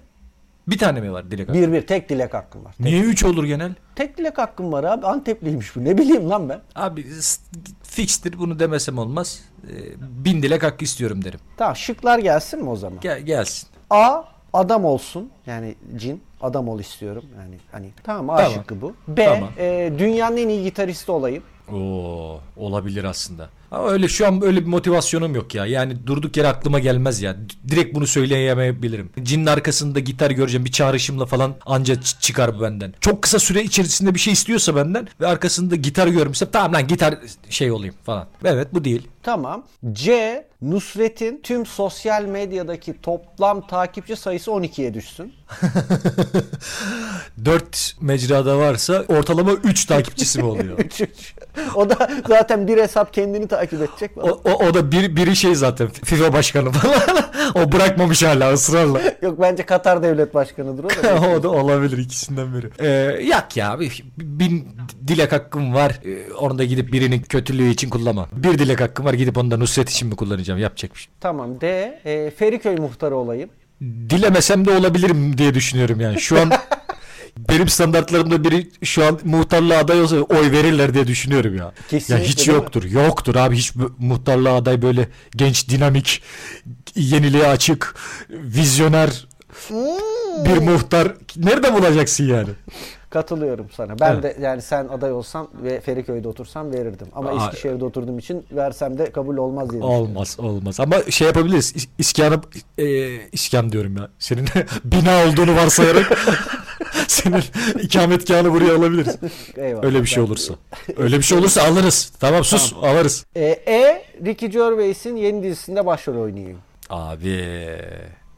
S2: Bir tane mi var Dilek abi?
S1: Bir bir tek dilek hakkım var.
S2: Niye 3 olur genel?
S1: Tek dilek hakkım var abi. Antepliymiş bu. Ne bileyim lan ben.
S2: Abi s- fixtir bunu demesem olmaz. Ee, bin dilek hakkı istiyorum derim.
S1: Tamam şıklar gelsin mi o zaman?
S2: Gel gelsin.
S1: A. Adam olsun. Yani cin. Adam ol istiyorum. Yani hani tamam A
S2: Tamam.
S1: şıkkı bu. B.
S2: Tamam.
S1: e, dünyanın en iyi gitaristi olayım.
S2: Oo, olabilir aslında. Ama öyle şu an öyle bir motivasyonum yok ya. Yani durduk yere aklıma gelmez ya. D- Direkt bunu söyleyemeyebilirim. Cinin arkasında gitar göreceğim bir çağrışımla falan anca ç- çıkar bu benden. Çok kısa süre içerisinde bir şey istiyorsa benden ve arkasında gitar görmüşse tamam lan gitar şey olayım falan. Evet bu değil.
S1: Tamam. C. Nusret'in tüm sosyal medyadaki toplam takipçi sayısı 12'ye düşsün.
S2: 4 mecrada varsa ortalama 3 takipçisi mi oluyor?
S1: Üç, üç. o da zaten bir hesap kendini takip edecek.
S2: O, o, o da bir, biri şey zaten FIFA başkanı falan. o bırakmamış hala ısrarla.
S1: Yok bence Katar devlet başkanıdır o da.
S2: o da olabilir ikisinden biri. Ee, yak ya bir- bin dilek hakkım var. Ee, onu da gidip birinin kötülüğü için kullanma. Bir dilek hakkım var gidip onu da Nusret için mi kullanacağım yapacak bir şey.
S1: tamam. D. E, Feriköy muhtarı olayım.
S2: Dilemesem de olabilirim diye düşünüyorum yani. Şu an benim standartlarımda biri şu an muhtarlığa aday olsa oy verirler diye düşünüyorum ya.
S1: Kesinlikle,
S2: ya hiç
S1: değil mi?
S2: yoktur. Yoktur abi hiç bu- muhtarlığa aday böyle genç, dinamik, yeniliğe açık, vizyoner
S1: Hmm.
S2: bir muhtar nerede bulacaksın yani?
S1: Katılıyorum sana. Ben
S2: Evet.
S1: de yani sen aday olsam ve Feriköy'de otursam verirdim. Ama
S2: Aa.
S1: Eskişehir'de oturduğum için versem de kabul olmaz diye düşünüyorum.
S2: Olmaz olmaz ama şey yapabiliriz is- iskanı e, iskan diyorum ya senin bina olduğunu varsayarak senin ikametgahını buraya alabiliriz.
S1: Eyvallah.
S2: Öyle bir şey olursa. Öyle bir şey olursa alırız. Tamam sus alırız.
S1: Ee, e, Ricky Gervais'in yeni dizisinde başrol oynayayım.
S2: Abi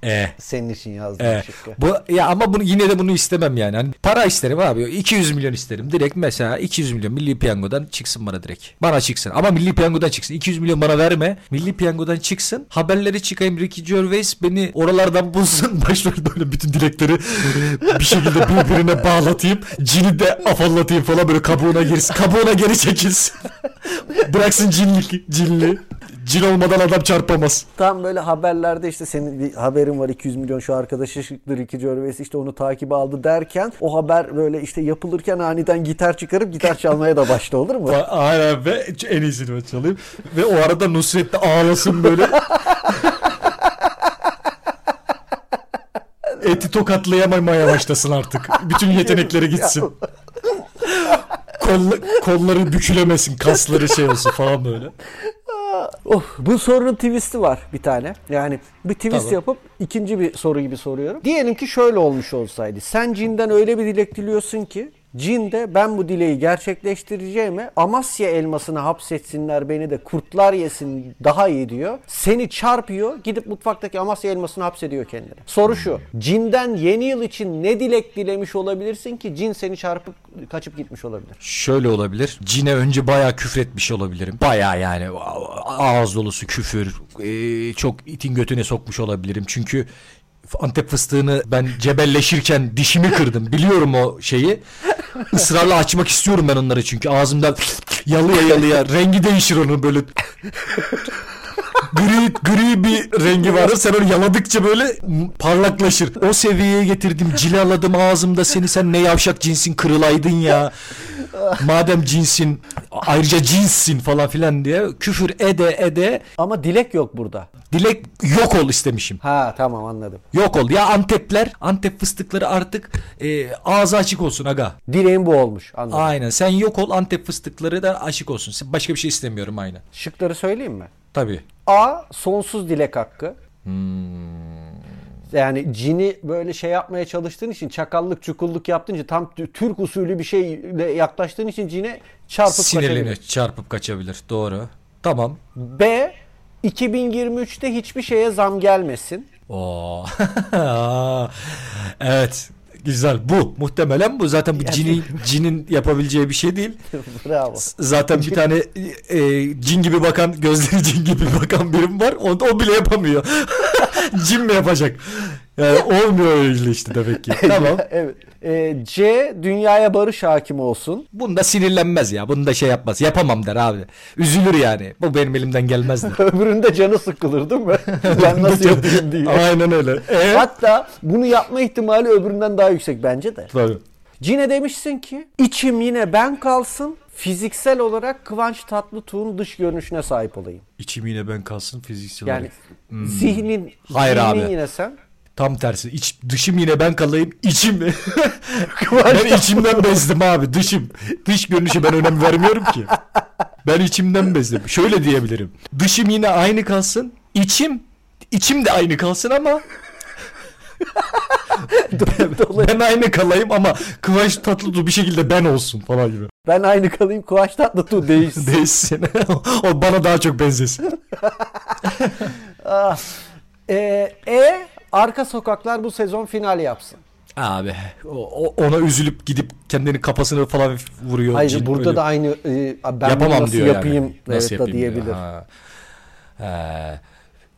S2: e
S1: Senin için yazdım
S2: e.
S1: şıkkı.
S2: Bu ya ama bunu yine de bunu istemem yani. Hani para isterim abi. 200 milyon isterim. Direkt mesela 200 milyon Milli Piyango'dan çıksın bana direkt. Bana çıksın. Ama Milli Piyango'dan çıksın. 200 milyon bana verme. Milli Piyango'dan çıksın. Haberleri çıkayım. Ricky Gervais beni oralardan bulsun. Başrolde böyle bütün dilekleri bir şekilde birbirine bağlatayım. Cini de afallatayım falan böyle kabuğuna girsin. Kabuğuna geri çekilsin. Bıraksın cinlik, cinli. Cin olmadan adam çarpamaz.
S1: Tam böyle haberlerde işte senin bir haberin var 200 milyon şu arkadaşı çıktı Ricky Gervais işte onu takibe aldı derken o haber böyle işte yapılırken aniden gitar çıkarıp gitar çalmaya da başla olur mu?
S2: A- Aynen ve en iyisini ben çalayım. Ve o arada Nusret de ağlasın böyle. Eti tokatlayamamaya başlasın artık. Bütün yetenekleri gitsin. Kolla- kolları bükülemesin, kasları şey olsun falan böyle.
S1: Of, bu sorunun twist'i var bir tane. Yani bir twist
S2: Tamam.
S1: yapıp ikinci bir soru gibi soruyorum. Diyelim ki şöyle olmuş olsaydı. Sen cinden öyle bir dilek diliyorsun ki cin de ben bu dileği gerçekleştireceğime Amasya elmasını hapsetsinler beni de kurtlar yesin daha iyi diyor. Seni çarpıyor gidip mutfaktaki Amasya elmasını hapsediyor kendine. Soru şu cinden yeni yıl için ne dilek dilemiş olabilirsin ki cin seni çarpıp kaçıp gitmiş olabilir?
S2: Şöyle olabilir. Cine önce bayağı küfretmiş olabilirim. Bayağı yani a- ağız dolusu küfür. e, çok itin götüne sokmuş olabilirim. Çünkü Antep fıstığını ben cebelleşirken dişimi kırdım. Biliyorum o şeyi. Israrla açmak istiyorum ben onları çünkü. Ağzımdan yalıya yalıya rengi değişir onun böyle. gri gri bir rengi vardır. Sen onu yaladıkça böyle parlaklaşır. O seviyeye getirdim. Cilaladım ağzımda seni. Sen ne yavşak cinsin kırılaydın ya. Madem cinsin ayrıca cinssin falan filan diye küfür ede ede
S1: Ama dilek yok burada.
S2: dilek yok ol istemişim.
S1: Ha tamam anladım.
S2: Yok ol. Ya Antepler Antep fıstıkları artık e, ağzı açık olsun aga.
S1: Dileğim bu olmuş. Anladım.
S2: Aynen. Sen yok ol Antep fıstıkları da aşık olsun. Sen- Başka bir şey istemiyorum aynen.
S1: Şıkları söyleyeyim mi?
S2: Tabii.
S1: A. Sonsuz dilek hakkı. Yani cini böyle şey yapmaya çalıştığın için çakallık çukulluk yaptığın için tam tü- Türk usulü bir şeyle yaklaştığın için cine çarpıp
S2: Sinirlenir,
S1: kaçabilir.
S2: çarpıp kaçabilir. Doğru. Tamam.
S1: B. 2023'te hiçbir şeye zam gelmesin.
S2: Oo. evet. Güzel. Bu muhtemelen bu. Zaten bu cinin cinin yapabileceği bir şey değil.
S1: Bravo.
S2: Zaten bir tane e, e, cin gibi bakan, gözleri cin gibi bakan birim var. O, o bile yapamıyor. cin mi yapacak? Yani olmuyor öyle işte demek ki. Tamam.
S1: evet. Ee, C. Dünyaya barış hakim olsun.
S2: Bunda sinirlenmez ya. Bunda şey yapmaz. Yapamam der abi. Üzülür yani. Bu benim elimden gelmez der.
S1: Öbüründe canı sıkılır değil mi? ben nasıl yapayım diye.
S2: Aynen öyle. E?
S1: Hatta bunu yapma ihtimali öbüründen daha yüksek bence de.
S2: Tabii.
S1: Cine demişsin ki içim yine ben kalsın fiziksel olarak Kıvanç Tatlıtuğ'un dış görünüşüne sahip olayım.
S2: İçim yine ben kalsın fiziksel
S1: Yani
S2: olarak.
S1: zihnin,
S2: Hmm. Hayır
S1: zihnin
S2: abi.
S1: yine sen.
S2: Tam tersi. İç, dışım yine ben kalayım. İçim. ben içimden bezdim abi. Dışım. Dış görünüşe ben önem vermiyorum ki. Ben içimden bezdim. Şöyle diyebilirim. Dışım yine aynı kalsın. İçim. içim de aynı kalsın ama ben aynı kalayım ama Kıvanç Tatlıtuğ bir şekilde ben olsun falan gibi.
S1: Ben aynı kalayım Kıvanç Tatlıtuğ değişsin.
S2: Değişsin. o bana daha çok benzesin.
S1: Ee, Ah. e arka sokaklar bu sezon final yapsın.
S2: Abi o- o- ona üzülüp gidip kendini kafasını falan vuruyor.
S1: Hayır
S2: Cin
S1: burada
S2: öyle-
S1: da aynı e, ben bunu
S2: yapamam
S1: nasıl
S2: diyor
S1: yapayım
S2: yani.
S1: evet, da
S2: diyor.
S1: diyebilir.
S2: Ha. Ee,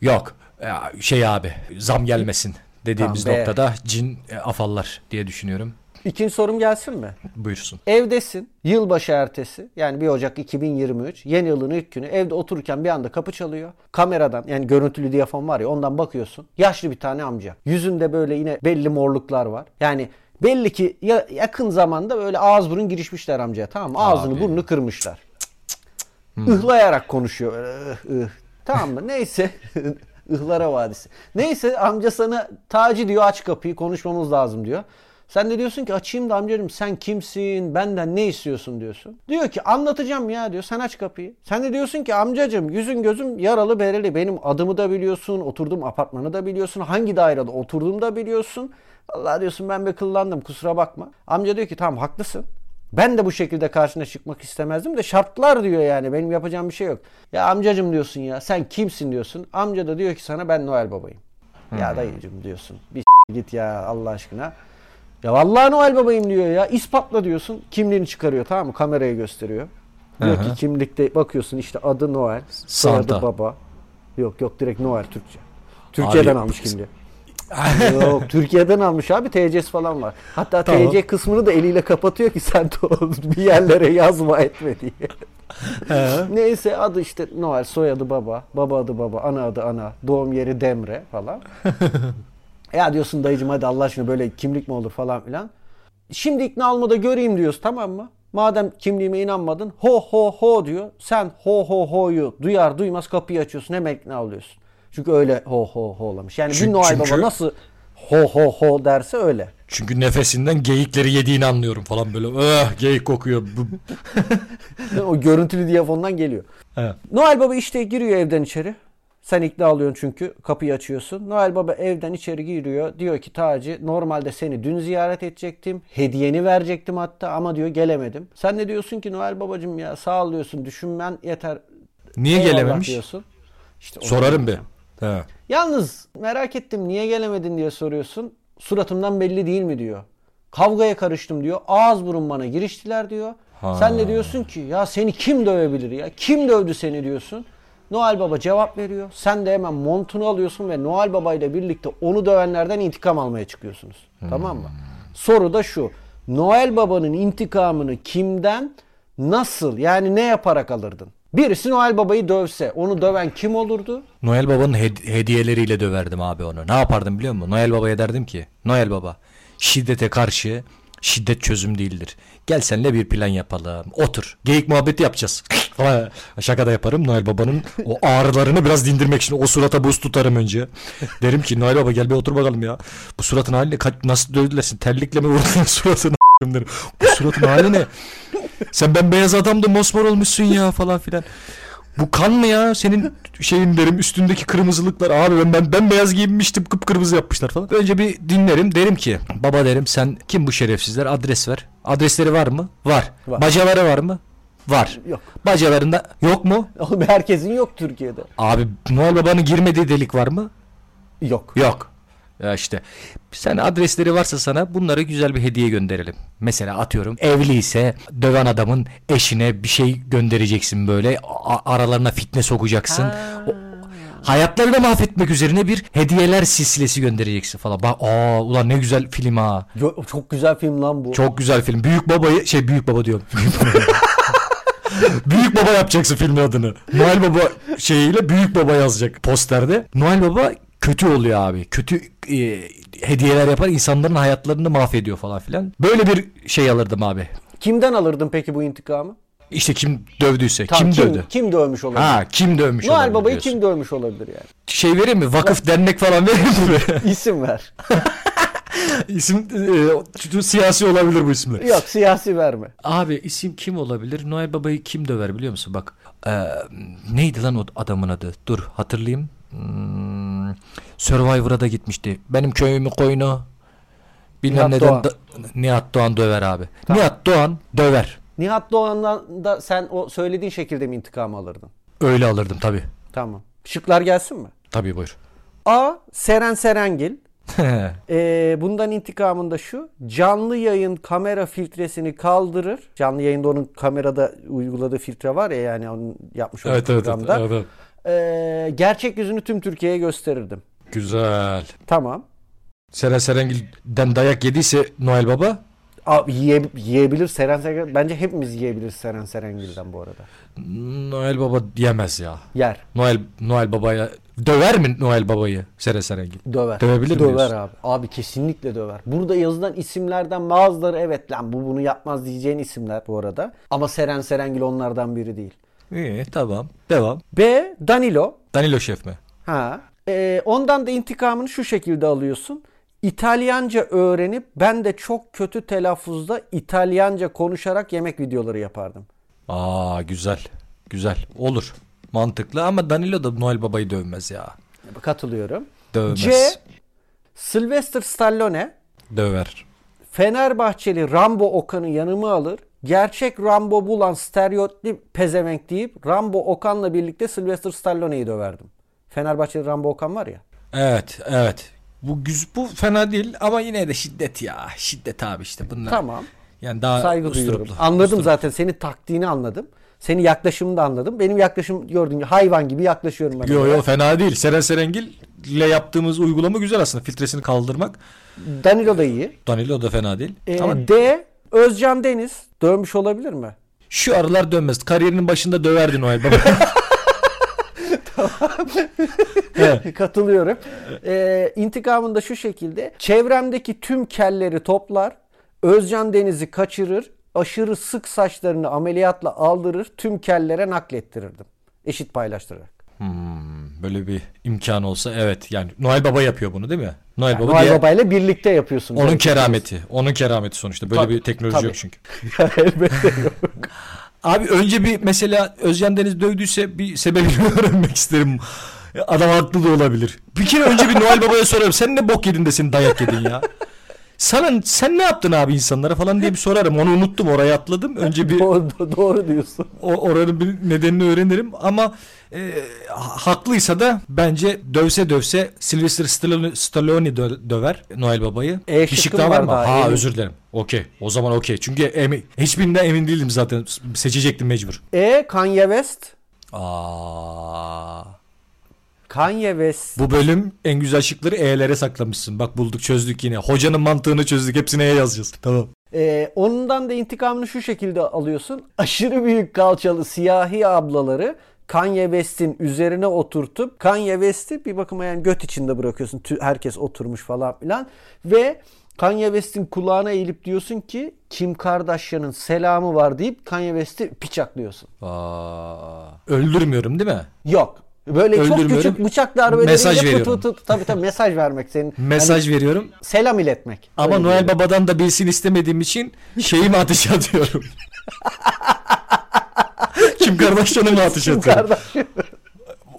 S2: yok Ya şey abi zam gelmesin dediğimiz
S1: Tamam, be.
S2: noktada cin e, afallar diye düşünüyorum.
S1: İkinci sorum gelsin mi?
S2: Buyursun.
S1: Evdesin. Yılbaşı ertesi. Yani 1 Ocak 2023. Yeni yılın ilk günü. Evde otururken bir anda kapı çalıyor. Kameradan yani görüntülü diyafon var ya ondan bakıyorsun. Yaşlı bir tane amca. Yüzünde böyle yine belli morluklar var. Yani belli ki ya, yakın zamanda böyle ağız burun girişmişler amcaya tamam mı? Ağzını
S2: Abi.
S1: burnunu kırmışlar. Ihlayarak konuşuyor. böyle, ıh, ıh. Tamam mı? Neyse. Ihlara Vadisi. Neyse amca sana Taci diyor aç kapıyı konuşmamız lazım diyor. Sen de diyorsun ki açayım da amcacığım sen kimsin benden ne istiyorsun diyorsun. Diyor ki anlatacağım ya diyor sen aç kapıyı. Sen de diyorsun ki amcacığım yüzün gözüm yaralı bereli benim adımı da biliyorsun oturduğum apartmanı da biliyorsun hangi dairede oturduğumu da biliyorsun. Vallahi diyorsun ben bir kıllandım kusura bakma. Amca diyor ki tamam haklısın. Ben de bu şekilde karşına çıkmak istemezdim de şartlar diyor yani benim yapacağım bir şey yok. Ya amcacım diyorsun ya sen kimsin diyorsun. Amca da diyor ki sana ben Noel babayım. Ya dayıcım diyorsun bir s- git ya Allah aşkına. Ya vallahi Noel babayım diyor ya ispatla diyorsun. Kimliğini çıkarıyor tamam mı kameraya gösteriyor. Diyor ki kimlikte bakıyorsun işte adı Noel, soyadı
S2: Santa.
S1: baba. Yok yok direkt Noel Türkçe. Türkiye'den
S2: Abi-
S1: almış kimliği. Yok Türkiye'den almış abi TC'si falan var. Hatta
S2: Tamam.
S1: TC kısmını da eliyle kapatıyor ki sen de o bir yerlere yazma etme diye. Neyse adı işte Noel, soyadı baba, baba adı baba, ana adı ana, doğum yeri Demre falan. E, ya diyorsun dayıcım hadi Allah aşkına böyle kimlik mi olur falan filan. Şimdi ikna olma da göreyim diyoruz tamam mı? Madem kimliğime inanmadın ho ho ho diyor. Sen ho ho ho'yu duyar duymaz kapıyı açıyorsun hemen ikna oluyorsun. Çünkü öyle ho ho ho'lamış. Yani
S2: Çünkü-
S1: bir Noel
S2: çünkü-
S1: Baba nasıl ho ho ho derse öyle.
S2: Çünkü nefesinden geyikleri yediğini anlıyorum falan böyle. "Ah, geyik kokuyor. Bu-
S1: o görüntülü diyafondan geliyor.
S2: Evet.
S1: Noel Baba işte giriyor evden içeri. Sen ikna alıyorsun çünkü kapıyı açıyorsun. Noel Baba evden içeri giriyor. Diyor ki Taci normalde seni dün ziyaret edecektim. Hediyeni verecektim hatta ama diyor gelemedim. Sen de diyorsun ki Noel Babacım ya sağ ol diyorsun düşünmen yeter.
S2: Niye
S1: Eyvallah
S2: gelememiş?
S1: Diyorsun. İşte o-
S2: Sorarım bir. He.
S1: Yalnız merak ettim niye gelemedin diye soruyorsun. Suratımdan belli değil mi diyor. Kavgaya karıştım diyor. Ağız burun bana giriştiler diyor. Sen de diyorsun ki ya seni kim dövebilir ya? Kim dövdü seni diyorsun. Noel Baba cevap veriyor. Sen de hemen montunu alıyorsun ve Noel Baba ile birlikte onu dövenlerden intikam almaya çıkıyorsunuz. Tamam mı? Soru da şu. Noel Baba'nın intikamını kimden, nasıl yani ne yaparak alırdın? Birisi Noel Baba'yı dövse onu döven kim olurdu?
S2: Noel Baba'nın hed- hediyeleriyle döverdim abi onu. Ne yapardım biliyor musun? Noel Baba'ya derdim ki Noel Baba şiddete karşı şiddet çözüm değildir. Gel senle bir plan yapalım. Otur. Geyik muhabbeti yapacağız. Falan. Şaka da yaparım. Noel Baba'nın o ağrılarını biraz dindirmek için. O surata buz tutarım önce. Derim ki Noel Baba gel bir otur bakalım ya. Bu suratın haline nasıl dövdülesin? Terlikle mi vurdun suratını? derim. Bu suratın hali ne? Sen bembeyaz adamda mosmor olmuşsun ya falan filan. Bu kan mı ya? Senin şeyin derim üstündeki kırmızılıklar abi ben ben bembeyaz giyinmiştim kıpkırmızı yapmışlar falan. Önce bir dinlerim derim ki baba derim sen kim bu şerefsizler adres ver. Adresleri var mı? Var.
S1: Var.
S2: Bacaları var mı? Var.
S1: Yok.
S2: Bacalarında yok mu?
S1: Oğlum herkesin yok Türkiye'de.
S2: Abi Noel Baba'nın girmediği delik var mı?
S1: Yok.
S2: Yok. Ya işte sen adresleri varsa sana bunlara güzel bir hediye gönderelim. Mesela atıyorum evli ise döven adamın eşine bir şey göndereceksin böyle A- aralarına fitne sokacaksın. O- hayatlarını mahvetmek üzerine bir hediyeler silsilesi göndereceksin falan. Bak aa ulan ne güzel film ha.
S1: Yo- Çok güzel film lan bu.
S2: Çok güzel film. Büyük babayı şey büyük baba diyorum. Büyük baba. büyük baba yapacaksın filmin adını. Noel Baba şeyiyle büyük baba yazacak posterde. Noel Baba kötü oluyor abi. Kötü e, hediyeler yapar insanların hayatlarını mahvediyor falan filan. Böyle bir şey alırdım abi.
S1: Kimden alırdın peki bu intikamı?
S2: İşte kim dövdüyse,
S1: Tam
S2: kim, dövdü?
S1: Kim dövmüş olabilir?
S2: Ha kim dövmüş
S1: Noel
S2: olabilir
S1: Baba'yı
S2: diyorsun.
S1: kim dövmüş olabilir yani?
S2: Şey vereyim mi? Vakıf dernek falan vereyim mi?
S1: İsim ver.
S3: İsim e, siyasi olabilir bu isimler.
S1: Yok siyasi verme.
S2: Abi isim kim olabilir? Noel Baba'yı kim döver biliyor musun? Bak eee, neydi lan o adamın adı? Dur hatırlayayım. Hmm, Survivor'a da gitmişti. Benim köyümü koyunu bilmem
S1: Nihat
S2: neden
S1: Doğan.
S2: da- Nihat Doğan döver abi. Nihat Doğan döver.
S1: Nihat Doğan'dan da sen o söylediğin şekilde mi intikamı alırdın?
S2: Öyle alırdım tabii.
S1: Tamam. Şıklar gelsin mi?
S2: Tabii buyur.
S1: A. Seren Serengil. Ee, bundan intikamında şu. Canlı yayın kamera filtresini kaldırır. Canlı yayında onun kamerada uyguladığı filtre var ya yani onun yapmış olduğu
S3: Evet evet, evet,
S1: programda.
S3: evet, evet.
S1: Ee, gerçek yüzünü tüm Türkiye'ye gösterirdim.
S3: Güzel.
S1: Tamam.
S2: Seren Serengil'den dayak yediyse Noel Baba
S1: Abi yiye- yiyebilir Seren Serengil. Bence hepimiz yiyebiliriz Seren Serengil'den bu arada.
S2: Noel Baba yemez ya.
S1: Yer.
S2: Noel Noel Baba'ya döver mi Noel Baba'yı Seren Serengil?
S1: Döver.
S2: Dövebilir mi
S1: Döver
S2: diyorsun?
S1: abi. Abi kesinlikle döver. Burada yazılan isimlerden bazıları evet lan bu bunu yapmaz diyeceğin isimler bu arada. Ama Seren Serengil onlardan biri değil.
S2: İyi tamam. Devam.
S1: B. Danilo.
S2: Danilo Şef mi?
S1: Ha. Ee, ondan da intikamını şu şekilde alıyorsun. İtalyanca öğrenip ben de çok kötü telaffuzda İtalyanca konuşarak yemek videoları yapardım.
S2: Aa güzel. Güzel. Olur. Mantıklı ama Danilo da Noel Baba'yı dövmez ya.
S1: Katılıyorum.
S2: Dövmez.
S1: C. Sylvester Stallone
S2: Döver.
S1: Fenerbahçeli Rambo Okan'ı yanıma alır. Gerçek Rambo bulan stereotip pezevenk deyip Rambo Okan'la birlikte Sylvester Stallone'yi döverdim. Fenerbahçeli Rambo Okan var ya.
S2: Evet, evet. Bu güz bu fena değil ama yine de şiddet ya. Şiddet abi işte bunlar.
S1: Tamam.
S2: Yani daha
S1: Saygı
S2: usturuplu.
S1: duyuyorum. Anladım zaten senin taktiğini anladım. Senin yaklaşımını da anladım. Benim yaklaşım gördüğün gibi hayvan gibi yaklaşıyorum ben.
S3: Yo
S1: oraya.
S3: yo fena değil. Seren Serengil ile yaptığımız uygulama güzel aslında. Filtresini kaldırmak.
S1: Danilo da iyi.
S2: Danilo da fena değil.
S1: Ee,
S2: Ama
S1: D. Özcan Deniz dövmüş olabilir mi?
S2: şu aralar dönmez. Kariyerinin başında döverdin Noel Baba.
S1: Katılıyorum. Ee, intikamın da şu şekilde. Çevremdeki tüm kelleri toplar. Özcan Deniz'i kaçırır. Aşırı sık saçlarını ameliyatla aldırır. Tüm kellere naklettirirdim. Eşit paylaştırarak.
S2: Hmm, böyle bir imkan olsa evet. Yani Noel Baba yapıyor bunu değil mi? Noel Baba
S1: Noel
S2: diğer-
S1: Baba ile birlikte yapıyorsun.
S2: onun kerameti. Onun kerameti sonuçta. Böyle
S1: Tabii,
S2: bir teknoloji
S1: tabii.
S2: yok çünkü.
S1: Elbette yok.
S2: Abi önce bir mesela Özcan Deniz dövdüyse bir sebebini öğrenmek isterim.
S3: Adam haklı da olabilir.
S2: Bir kere önce bir Noel Baba'ya sorarım. Sen ne bok yedin de seni dayak yedin ya. Sana sen ne yaptın abi insanlara falan diye bir sorarım. Onu unuttum oraya atladım. Önce bir
S1: doğru, doğru diyorsun.
S2: o, oranın bir nedenini öğrenirim ama e, ha- haklıysa da bence dövse dövse Sylvester Stallone, Stallone dö- döver Noel Baba'yı.
S1: E
S2: bir
S1: şıkkım
S2: şık daha var
S1: var
S2: mı?
S1: daha,
S2: ha
S1: emin.
S2: özür dilerim. Okey. O zaman okey. Çünkü emin, hiçbirinden emin değildim zaten. Seçecektim mecbur.
S1: E. Kanye West.
S2: Aa.
S1: Kanye West.
S2: Bu bölüm en güzel şıkları E'lere saklamışsın. Bak bulduk çözdük yine. Hocanın mantığını çözdük. Hepsini E yazacağız. Tamam.
S1: Ee, ondan da intikamını şu şekilde alıyorsun. Aşırı büyük kalçalı siyahi ablaları Kanye West'in üzerine oturtup Kanye West'i bir bakıma yani göt içinde bırakıyorsun. Tü- Herkes oturmuş falan filan. Ve Kanye West'in kulağına eğilip diyorsun ki Kim Kardashian'ın selamı var deyip Kanye West'i piçaklıyorsun.
S2: Aa, öldürmüyorum değil mi?
S1: Yok. Böyle çok
S2: Öldürmüyorum.
S1: küçük bıçak darbeleriyle
S2: Mesaj
S1: pıt
S2: veriyorum.
S1: pıt pıt- tabii tabii mesaj vermek senin. Hani
S2: Mesaj veriyorum.
S1: Selam iletmek.
S2: Ama
S1: Öyle
S2: Noel Baba'dan da bilsin istemediğim için şeyimi ateşe atıyorum.
S3: Kim Kardashian'ı mı ateş etti?
S1: Kardashian.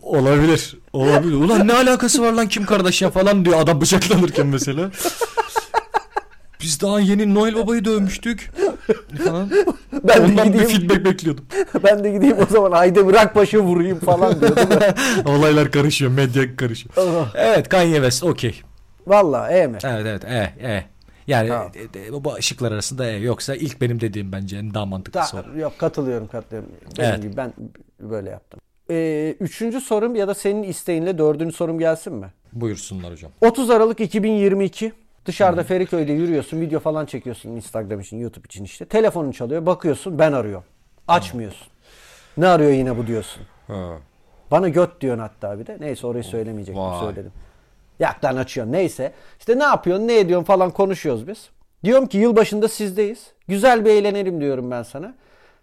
S3: Olabilir. Olabilir. Ulan ne alakası var lan Kim Kardashian falan diyor adam bıçaklanırken mesela. Biz daha yeni Noel Baba'yı dövmüştük. Falan.
S1: Ben de
S3: Ondan bir
S1: gideyim.
S3: feedback bekliyordum.
S1: Ben de gideyim o zaman Haydi bırak başı vurayım falan diyordum.
S3: Olaylar karışıyor, medya karışıyor.
S1: Oh.
S2: evet Kanye West okey.
S1: Valla evet.
S2: Evet evet e
S3: eh,
S2: e. Yani
S1: Tamam.
S2: e, e, bu şıklar arasında e yoksa ilk benim dediğim bence en daha mantıklı
S1: Da-
S2: soru.
S1: yok katılıyorum katılıyorum. Dediğim
S2: Evet.
S1: gibi ben böyle yaptım. Ee, üçüncü sorum ya da senin isteğinle dördüncü sorum gelsin mi?
S2: Buyursunlar hocam.
S1: 30 Aralık 2022 dışarıda Feriköy'de yürüyorsun video falan çekiyorsun Instagram için YouTube için işte. Telefonun çalıyor bakıyorsun ben arıyorum. Açmıyorsun. Ne arıyor yine bu diyorsun. Bana göt diyorsun hatta bir de. Neyse orayı söylemeyecektim
S2: Vay.
S1: söyledim. Yaktan açıyorsun neyse. İşte ne yapıyorsun ne ediyorsun falan konuşuyoruz biz. Diyorum ki yılbaşında sizdeyiz. Güzel bir eğlenelim diyorum ben sana.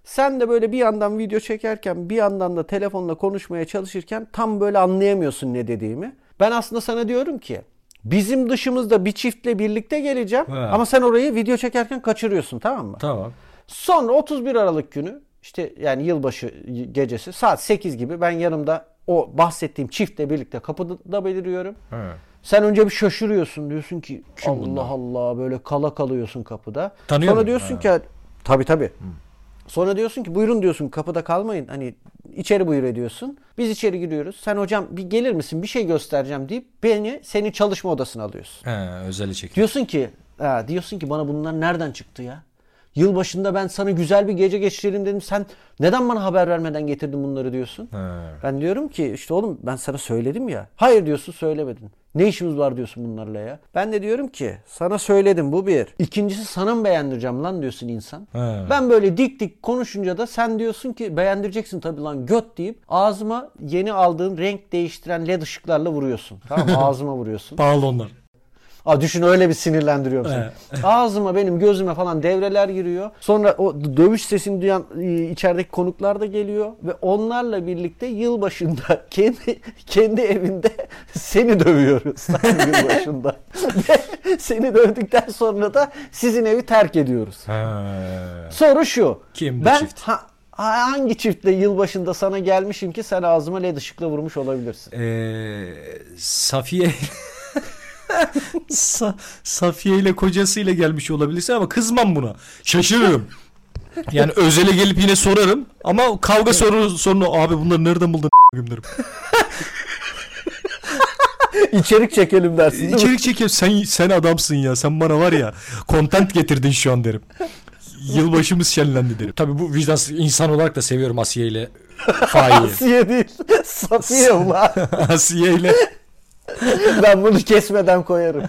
S1: Sen de böyle bir yandan video çekerken bir yandan da telefonla konuşmaya çalışırken tam böyle anlayamıyorsun ne dediğimi. Ben aslında sana diyorum ki bizim dışımızda bir çiftle birlikte geleceğim
S2: He.
S1: ama sen orayı video çekerken kaçırıyorsun tamam mı?
S2: Tamam.
S1: Sonra 31 Aralık günü işte yani yılbaşı gecesi saat 8 gibi ben yanımda o bahsettiğim çiftle birlikte kapıda beliriyorum. Sen önce bir şaşırıyorsun diyorsun ki Allah Allah böyle kala kalıyorsun kapıda.
S2: Tanıyor
S1: Sonra
S2: mu?
S1: diyorsun ki tabi tabi. Sonra diyorsun ki buyurun diyorsun kapıda kalmayın hani içeri buyur ediyorsun. Biz içeri giriyoruz. Sen hocam bir gelir misin bir şey göstereceğim deyip beni senin çalışma odasına alıyorsun.
S2: He, özeli çekiyor.
S1: Diyorsun ki, ha, diyorsun ki bana bunlar nereden çıktı ya? Yılbaşında ben sana güzel bir gece geçirelim dedim. Sen neden bana haber vermeden getirdin bunları diyorsun. Ben diyorum ki işte oğlum ben sana söyledim ya. Hayır diyorsun söylemedin. Ne işimiz var diyorsun bunlarla ya. Ben de diyorum ki sana söyledim bu bir. İkincisi sana mı beğendireceğim lan diyorsun insan.
S2: He.
S1: Ben böyle dik dik konuşunca da sen diyorsun ki beğendireceksin tabii lan göt deyip ağzıma yeni aldığın renk değiştiren led ışıklarla vuruyorsun. Tamam mı? ağzıma vuruyorsun.
S2: Pahalı onlar.
S1: Aa, düşün öyle bir sinirlendiriyorum seni. Ağzıma benim gözüme falan devreler giriyor. Sonra o d- dövüş sesini duyan e, içerideki konuklar da geliyor. Ve onlarla birlikte yılbaşında kendi kendi evinde seni dövüyoruz. yılbaşında. Ve seni dövdükten sonra da sizin evi terk ediyoruz. Soru şu.
S2: Kim bu
S1: ben
S2: çift?
S1: ha- ha- hangi çiftle yılbaşında sana gelmişim ki sen ağzıma led ışıkla vurmuş olabilirsin?
S2: Ee, Safiye Sa- Safiye ile kocasıyla gelmiş olabilirsin ama kızmam buna. Şaşırırım. Yani özele gelip yine sorarım ama kavga soru sorunu abi bunları nereden buldun a**ım derim.
S1: İçerik çekelim dersin değil mi?
S3: İçerik çekiyorum. Sen sen adamsın ya. Sen bana var ya content getirdin şu an derim. Yılbaşımız şenlendi derim.
S2: Tabii bu vicdansız insan olarak da seviyorum Asiye ile Faik'i.
S1: Asiye değil. Safiye ulan.
S3: Asiye ile
S1: Ben bunu kesmeden koyarım.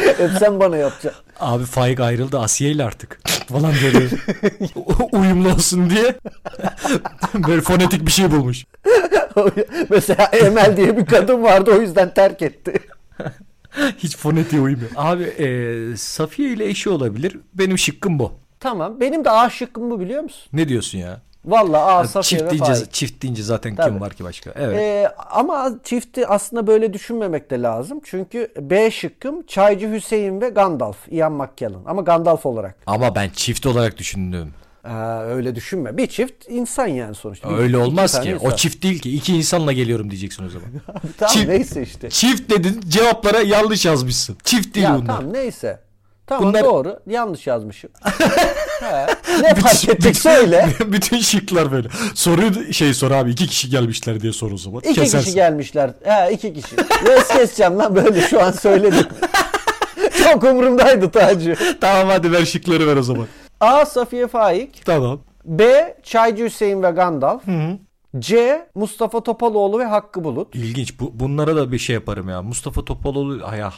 S1: Hep sen bana yapacaksın.
S2: Abi Faik ayrıldı Asiye ile artık falan böyle uyumlu olsun diye
S3: böyle fonetik bir şey bulmuş.
S1: Mesela Emel diye bir kadın vardı o yüzden terk etti.
S3: Hiç fonetiğe uymuyor.
S2: Abi e, Safiye ile eşi olabilir. Benim şıkkım bu.
S1: Tamam. Benim de A şıkkım bu biliyor musun?
S2: Ne diyorsun ya?
S1: Vallahi A Safiye
S2: çift
S1: ve
S2: deyince,
S1: Faik.
S2: çift deyince zaten
S1: Tabii.
S2: kim var ki başka? Evet.
S1: Ee, ama çifti aslında böyle düşünmemek de lazım. Çünkü B şıkkım Çaycı Hüseyin ve Gandalf. Ian McKellen. Ama Gandalf olarak.
S2: Ama ben çift olarak düşündüm.
S1: Ee, öyle düşünme. Bir çift insan yani sonuçta. Bir-
S2: Öyle
S1: iki
S2: olmaz
S1: tane
S2: ki.
S1: insan.
S2: O çift değil ki. İki insanla geliyorum diyeceksin o zaman.
S1: Tamam
S3: çift-
S1: neyse işte.
S3: Çift dedin cevaplara yanlış yazmışsın. Çift değil
S1: Ya
S3: bunlar.
S1: tamam neyse. Tamam
S3: Bunlar-
S1: doğru. Yanlış yazmışım. He, ne fark ettik söyle.
S3: Bütün şıklar böyle. Soruyu şey sor abi iki kişi gelmişler diye sor o zaman.
S1: İki
S3: Kesersin.
S1: kişi gelmişler. He iki kişi. Yes keseceğim lan böyle şu an söyledim. Çok umurumdaydı Taci.
S3: Tamam hadi ver şıkları ver o zaman.
S1: A. Safiye Faik.
S3: Tamam.
S1: B. Çaycı Hüseyin ve Gandalf. C. Mustafa Topaloğlu ve Hakkı Bulut.
S2: İlginç. Bu, bunlara da bir şey yaparım ya. Mustafa Topaloğlu. Ay ah.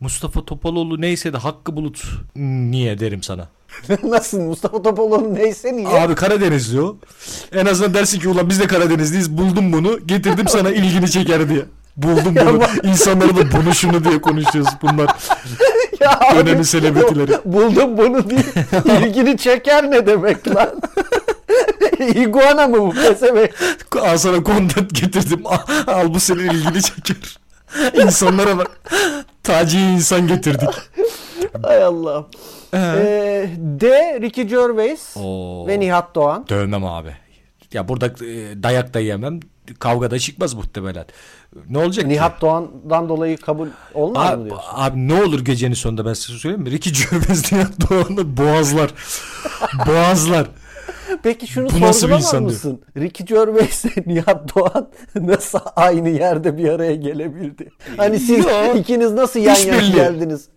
S2: Mustafa Topaloğlu neyse de Hakkı Bulut niye derim sana.
S1: Nasıl Mustafa Topaloğlu neyse niye?
S3: Abi Karadenizli o. En azından dersin ki ulan biz de Karadenizliyiz. Buldum bunu. Getirdim sana ilgini çeker diye. Buldum bunu. İnsanlara da bunu şunu diye konuşuyoruz. Bunlar
S1: ya abi,
S3: dönemin selebritileri.
S1: Buldum bunu diye ilgini çeker ne demek lan? İguana mı bu pesebe?
S3: Al sana content getirdim. Al, al bu senin ilgini çeker. İnsanlara bak. Taciye insan getirdik.
S1: Hay Allah. Ee, D. Ricky Gervais
S2: Oo.
S1: ve Nihat Doğan.
S2: Dövmem abi. Ya burada e, dayak da yemem. Kavga da çıkmaz muhtemelen. Ne olacak ki?
S1: Nihat Doğan'dan dolayı kabul olmaz mı
S2: Abi,
S1: diyorsun?
S2: abi ne olur gecenin sonunda ben size söyleyeyim mi? Ricky Gervais Nihat Doğan'ı boğazlar. boğazlar.
S1: Peki şunu
S3: bu nasıl bir
S1: sorgulamaz
S3: insan diyor.
S1: mısın? Ricky Gervais ile Nihat Doğan nasıl aynı yerde bir araya gelebildi? Hani siz
S3: Yo.
S1: ikiniz nasıl yan yana
S3: İşbirliği.
S1: geldiniz?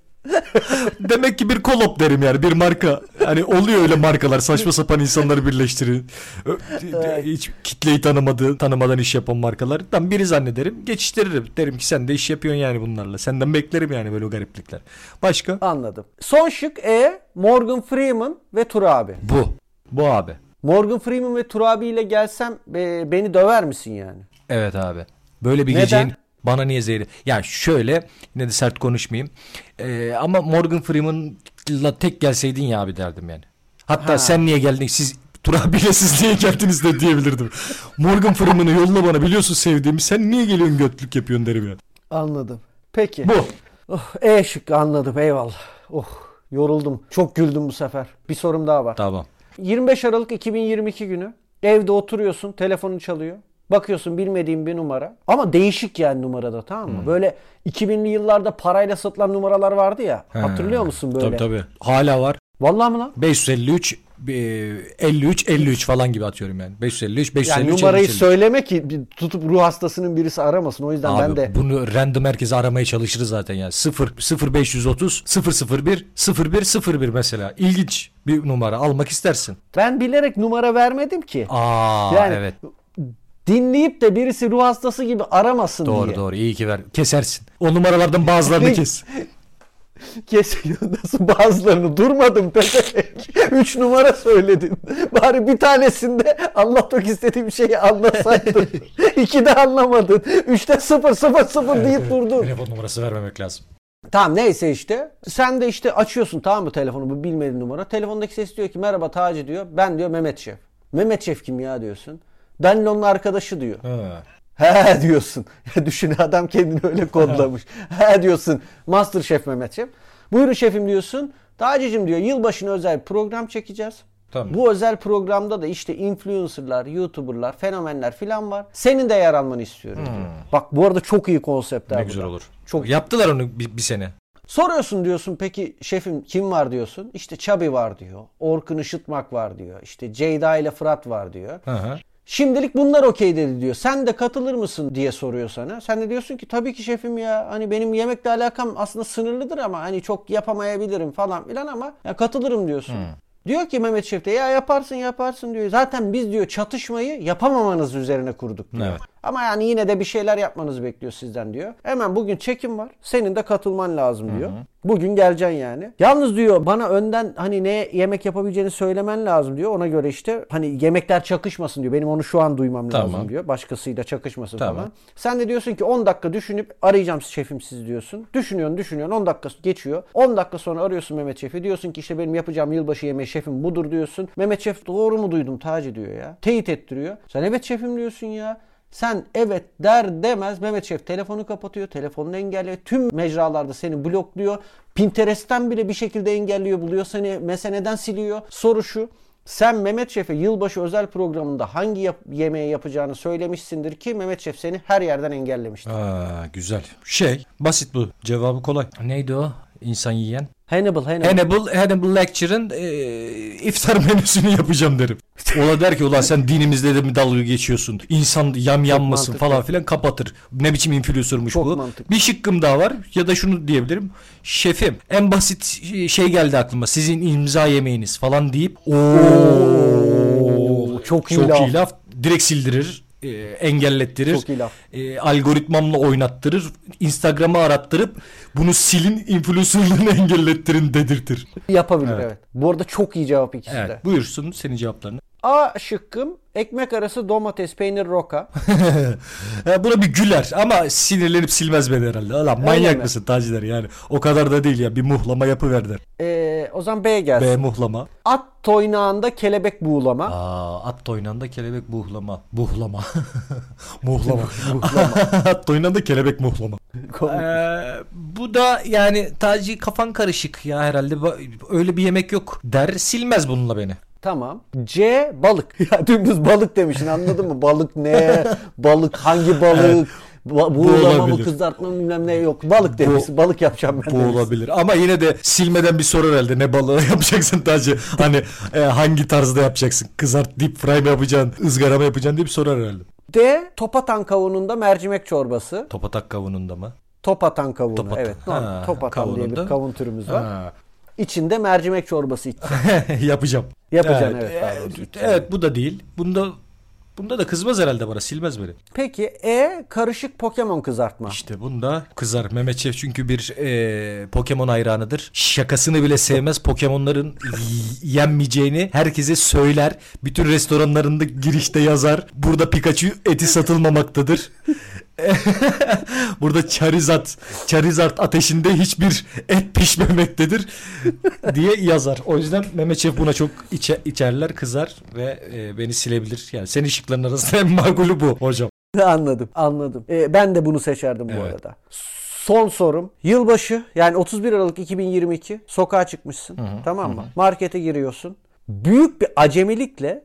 S3: Demek ki bir kolop derim yani bir marka. Hani oluyor öyle markalar saçma sapan insanları birleştirir. Ö- Hiç kitleyi tanımadığı, tanımadan iş yapan markalardan biri zannederim. Geçiştiririm. Derim ki sen de iş yapıyorsun yani bunlarla. Senden beklerim yani böyle gariplikler. Başka?
S1: Anladım. Son şık E. Morgan Freeman ve Tur abi.
S2: Bu. Bu abi.
S1: Morgan Freeman ve Tur abiyle gelsem e, beni döver misin yani?
S2: Evet abi. Böyle bir
S1: Neden?
S2: gecenin bana niye zehri? Yani şöyle yine de sert konuşmayayım. Ee, ama Morgan Freeman'la tek gelseydin ya abi derdim yani. Hatta sen niye geldin? Siz
S3: Tur abiyle siz niye geldiniz de diyebilirdim. Morgan Freeman'ı yolla bana biliyorsun sevdiğimi. Sen niye geliyorsun götlük yapıyorsun derim yani.
S1: Anladım. Peki.
S3: Bu.
S1: Oh, e şıkkı anladım eyvallah. Oh yoruldum. Çok güldüm bu sefer. Bir sorum daha var.
S2: tamam.
S1: 25 Aralık 2022 günü evde oturuyorsun telefonun çalıyor. Bakıyorsun bilmediğin bir numara. Ama değişik yani numarada tamam mı?
S2: Hmm.
S1: Böyle 2000'li yıllarda parayla satılan numaralar vardı ya. Hatırlıyor musun böyle?
S2: Tabii tabii. Hala var.
S1: Vallahi mi lan?
S2: 553 e, 53 53 falan gibi atıyorum yani. 553 553.
S1: Yani numarayı
S2: 53.
S1: söyleme ki bir tutup ruh hastasının birisi aramasın. O yüzden
S2: Abi
S1: ben de
S2: bunu random herkese aramaya çalışırız zaten yani. 0 0530 001 01 01 mesela. İlginç bir numara almak istersin.
S1: ben bilerek numara vermedim ki.
S2: Aa
S1: yani
S2: evet.
S1: dinleyip de birisi ruh hastası gibi aramasın
S2: Doğru
S1: diye.
S2: doğru iyi ki ver. Kesersin. O numaralardan bazılarını kes.
S1: Kesiyor nasıl bazılarını durmadım pezevenk. Üç numara söyledin. Bari bir tanesinde anlatmak istediğim şeyi anlasaydın. İki de anlamadın. Üçte sıfır sıfır sıfır deyip durdun.
S2: Telefon numarası vermemek lazım.
S1: Tamam neyse işte. Sen de işte açıyorsun tamam mı telefonu bu bilmediğin numara. Telefondaki ses diyor ki merhaba Taci diyor. Ben diyor Mehmet Şef. Mehmet Şef kim ya diyorsun. Danilo'nun arkadaşı diyor.
S2: Ha.
S1: He diyorsun. Ya düşün adam kendini öyle kodlamış. He diyorsun. Master Şef Mehmet Şef. Buyurun şefim diyorsun. Taci'cim diyor yılbaşına özel bir program çekeceğiz.
S2: Tamam.
S1: Bu özel programda da işte influencerlar, youtuberlar, fenomenler filan var. Senin de yer almanı istiyoruz diyor. Bak bu arada çok iyi konseptler.
S2: Hmm. Ne
S1: bu
S2: güzel
S1: da.
S2: olur.
S1: Çok
S2: Yaptılar onu bir, bir sene.
S1: Soruyorsun diyorsun peki şefim kim var diyorsun. İşte Çabi var diyor. Orkun Işıtmak var diyor. İşte Ceyda ile Fırat var diyor.
S2: Hı hı.
S1: Şimdilik bunlar okey dedi diyor. Sen de katılır mısın diye soruyor sana. Sen de diyorsun ki tabii ki şefim ya. Hani benim yemekle alakam aslında sınırlıdır ama hani çok yapamayabilirim falan filan ama ya katılırım diyorsun. Diyor ki Mehmet Şef de ya yaparsın yaparsın diyor. Zaten biz diyor çatışmayı yapamamanız üzerine kurduk diyor.
S2: Evet.
S1: Ama yani yine de bir şeyler yapmanızı bekliyor sizden diyor. Hemen bugün çekim var. Senin de katılman lazım diyor. Bugün geleceksin yani. Yalnız diyor bana önden hani ne yemek yapabileceğini söylemen lazım diyor. Ona göre işte hani yemekler çakışmasın diyor. Benim onu şu an duymam lazım
S2: Tamam.
S1: diyor. Başkasıyla çakışmasın
S2: Tamam.
S1: falan. Sen de diyorsun ki 10 dakika düşünüp arayacağım şefim siz diyorsun. Düşünüyorsun düşünüyorsun 10 dakika geçiyor. 10 dakika sonra arıyorsun Mehmet Şef'i. Diyorsun ki işte benim yapacağım yılbaşı yemeği şefim budur diyorsun. Mehmet Şef doğru mu duydum Taci diyor ya. Teyit ettiriyor. Sen evet şefim diyorsun ya. Sen evet der demez Mehmet Şef telefonu kapatıyor, telefonunu engelliyor. Tüm mecralarda seni blokluyor. Pinterest'ten bile bir şekilde engelliyor, buluyor seni. Meseneden siliyor. Soru şu. Sen Mehmet Şef'e yılbaşı özel programında hangi yap- yemeği yapacağını söylemişsindir ki Mehmet Şef seni her yerden engellemiştir.
S2: Aa, güzel. Şey basit bu. Cevabı kolay. Neydi o? İnsan yiyen.
S1: Hannibal, Hannibal.
S2: Hannibal, Hannibal Lecture'ın e, iftar menüsünü yapacağım derim. Ola der ki ulan sen dinimizle de mi dalga geçiyorsun? İnsan yam yanmasın
S1: mantıklı.
S2: falan filan kapatır. Ne biçim influencer'mış
S1: Çok
S2: bu?
S1: mantıklı.
S2: Bir şıkkım daha var ya da şunu diyebilirim. Şefim en basit şey geldi aklıma. Sizin imza yemeğiniz falan deyip ooo
S1: çok iyi
S2: çok
S1: laf.
S2: iyi laf direkt sildirir. e, engellettirir.
S1: Çok iyi laf.
S2: E, algoritmamla oynattırır. Instagram'a arattırıp bunu silin influencerlığını engellettirin dedirtir.
S1: Yapabilir evet. Bu arada çok iyi cevap ikisi
S2: Evet.
S1: de.
S2: Buyursun senin cevaplarını.
S1: A şıkkım ekmek arası domates, peynir, roka.
S2: Ha, buna bir güler ama sinirlenip silmez beni herhalde. Lan
S1: mi?
S2: manyak mısın Taciler yani. O kadar da değil ya. Bir muhlama yapıver der.
S1: Ee, o zaman B gelsin.
S2: B muhlama.
S1: At toynağında kelebek buğulama.
S2: Aa, at toynanda kelebek buhlama. Buhlama. muhlama. at toynanda kelebek muhlama. Ee, bu da yani Taci kafan karışık ya herhalde. Ba- Öyle bir yemek yok der silmez bununla beni.
S1: Tamam. C balık. Ya dümdüz balık demişsin anladın mı? Balık ne? Balık hangi balık? Ba- buğulama mı
S2: olabilir.
S1: kızartma mı bilmem ne yok. Balık demişsin. Balık yapacağım ben
S2: Bu
S1: demişsin.
S2: olabilir ama yine de silmeden bir soru herhalde ne balığı yapacaksın Taci hani e, hangi tarzda yapacaksın kızart deep fry mı yapacaksın ızgara mı yapacaksın diye bir soru herhalde.
S1: D topatan kavununda mercimek çorbası.
S2: Topatak kavununda mı?
S1: Topatan kavunu.
S2: Topatan.
S1: Evet. normal.
S2: Ha,
S1: topatan diye
S2: kavununda.
S1: bir kavun türümüz var.
S2: Ha.
S1: İçinde mercimek çorbası iç.
S2: Yapacağım.
S1: Yapacaksın, evet, daha
S2: Evet, evet, bu da değil. Bunda bunda da kızmaz herhalde bana silmez beni.
S1: Peki E karışık Pokemon kızartma.
S2: İşte bunda kızar. Mehmet Şef çünkü bir e, Pokemon hayranıdır. Şakasını bile sevmez. Pokemon'ların yenmeyeceğini herkese söyler. Bütün restoranlarında girişte yazar. Burada Pikachu eti satılmamaktadır. Burada Charizard, Charizard ateşinde hiçbir et pişmemektedir diye yazar. O yüzden Mehmet Şef buna çok içe, içerler, kızar ve e, beni silebilir. Yani senin şıkların arasında en makulü bu hocam.
S1: anladım. Anladım. E, ben de bunu seçerdim bu
S2: Evet.
S1: arada. Son sorum. Yılbaşı yani 31 Aralık 2022 sokağa çıkmışsın. tamam mı? Markete giriyorsun. Büyük bir acemilikle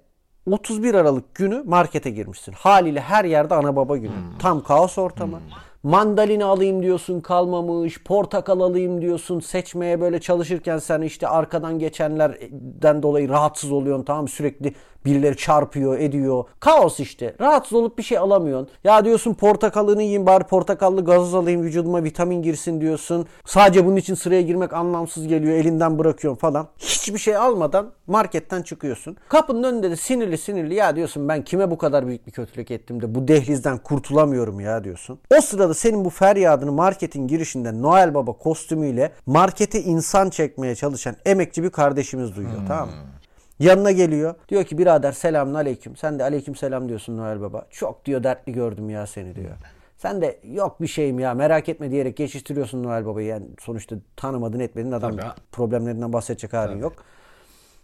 S1: 31 Aralık günü markete girmişsin. Haliyle her yerde ana baba günü. Tam kaos ortamı. Mandalina alayım diyorsun kalmamış. Portakal alayım diyorsun. Seçmeye böyle çalışırken sen işte arkadan geçenlerden dolayı rahatsız oluyorsun. Tamam mı? sürekli birileri çarpıyor ediyor. Kaos işte. Rahatsız olup bir şey alamıyorsun. Ya diyorsun portakalını yiyeyim bari portakallı gazoz alayım vücuduma vitamin girsin diyorsun. Sadece bunun için sıraya girmek anlamsız geliyor. Elinden bırakıyorsun falan. Hiçbir şey almadan marketten çıkıyorsun. Kapının önünde de sinirli sinirli ya diyorsun ben kime bu kadar büyük bir kötülük ettim de bu dehlizden kurtulamıyorum ya diyorsun. O sırada senin bu feryadını marketin girişinde Noel Baba kostümüyle markete insan çekmeye çalışan emekçi bir kardeşimiz duyuyor tamam mı? Yanına geliyor. Diyor ki birader selamun aleyküm. Sen de aleyküm selam diyorsun Noel Baba. Çok diyor dertli gördüm ya seni diyor. Sen de yok bir şeyim ya merak etme diyerek geçiştiriyorsun Noel Baba'yı. Yani sonuçta tanımadın etmedin adam problemlerinden bahsedecek halin yok.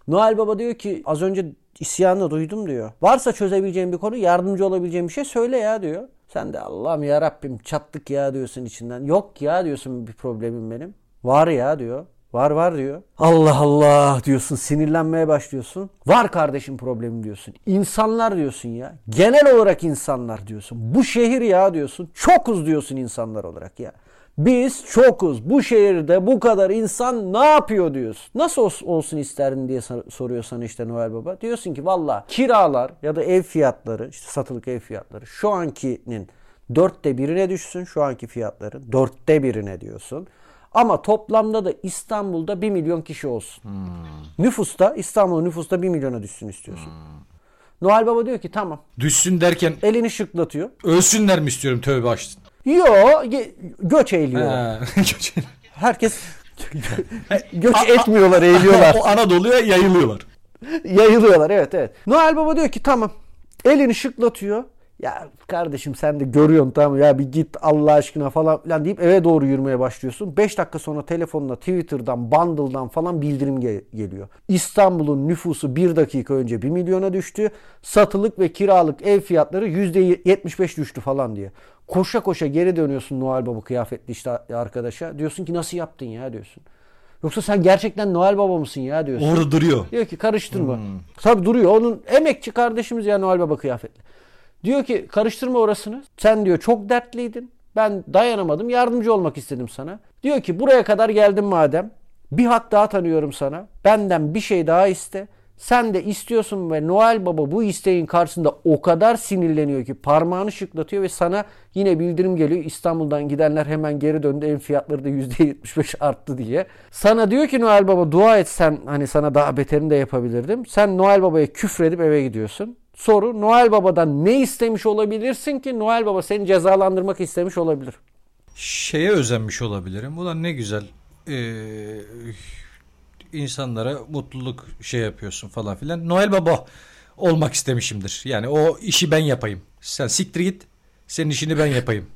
S1: Noel Baba diyor ki az önce isyanı duydum diyor. Varsa çözebileceğim bir konu yardımcı olabileceğim bir şey söyle ya diyor. Sen de Allah'ım ya Rabbim çattık ya diyorsun içinden. Yok ya diyorsun bir problemim benim. Var ya diyor. Var var diyor. Allah Allah diyorsun sinirlenmeye başlıyorsun. Var kardeşim problemi diyorsun. İnsanlar diyorsun ya. Genel olarak insanlar diyorsun. Bu şehir ya diyorsun. Çokuz diyorsun insanlar olarak ya. Biz çokuz. Bu şehirde bu kadar insan ne yapıyor diyorsun. Nasıl ol- olsun isterdin diye sor- soruyor sana işte Noel Baba. Diyorsun ki valla kiralar ya da ev fiyatları, işte satılık ev fiyatları şu ankinin dörtte birine düşsün şu anki fiyatların. Dörtte birine diyorsun. Ama toplamda da İstanbul'da 1 milyon kişi olsun. Nüfusta İstanbul'un nüfusta 1 milyona düşsün istiyorsun. Noel Baba diyor ki tamam.
S2: Düşsün derken
S1: Elini şıklatıyor.
S2: ölsünler mi istiyorum tövbe açtın.
S1: Yo ge- göç eğiliyor. Herkes göç etmiyorlar, eğiliyorlar.
S2: o Anadolu'ya yayılıyorlar.
S1: Yayılıyorlar evet evet. Noel Baba diyor ki tamam. Elini şıklatıyor. Ya kardeşim sen de görüyorsun tamam ya bir git Allah aşkına falan filan deyip eve doğru yürümeye başlıyorsun. 5 dakika sonra telefonuna Twitter'dan, Bundle'dan falan bildirim ge- geliyor. İstanbul'un nüfusu 1 dakika önce 1 milyona düştü. Satılık ve kiralık ev fiyatları %75 düştü falan diye. Koşa koşa geri dönüyorsun Noel Baba kıyafetli işte arkadaşa. Diyorsun ki nasıl yaptın ya diyorsun. Yoksa sen gerçekten Noel Baba mısın ya diyorsun.
S2: Orada duruyor.
S1: Diyor ki karıştırma. Tabii duruyor. Onun emekçi kardeşimiz ya Noel Baba kıyafetli. Diyor ki karıştırma orasını. Sen diyor çok dertliydin. Ben dayanamadım. Yardımcı olmak istedim sana. Diyor ki buraya kadar geldim madem. Bir hak daha tanıyorum sana. Benden bir şey daha iste. Sen de istiyorsun ve Noel Baba bu isteğin karşısında o kadar sinirleniyor ki parmağını şıklatıyor ve sana yine bildirim geliyor. İstanbul'dan gidenler hemen geri döndü. Ev fiyatları da %75 arttı diye. Sana diyor ki Noel Baba dua et sen hani sana daha beterini de yapabilirdim. Sen Noel Baba'ya küfredip eve gidiyorsun. Soru Noel Baba'dan ne istemiş olabilirsin ki Noel Baba seni cezalandırmak istemiş olabilir?
S2: Şeye özenmiş olabilirim. Ulan ne güzel ee, insanlara mutluluk şey yapıyorsun falan filan. Noel Baba olmak istemişimdir. Yani o işi ben yapayım. Sen siktir git. Senin işini ben yapayım.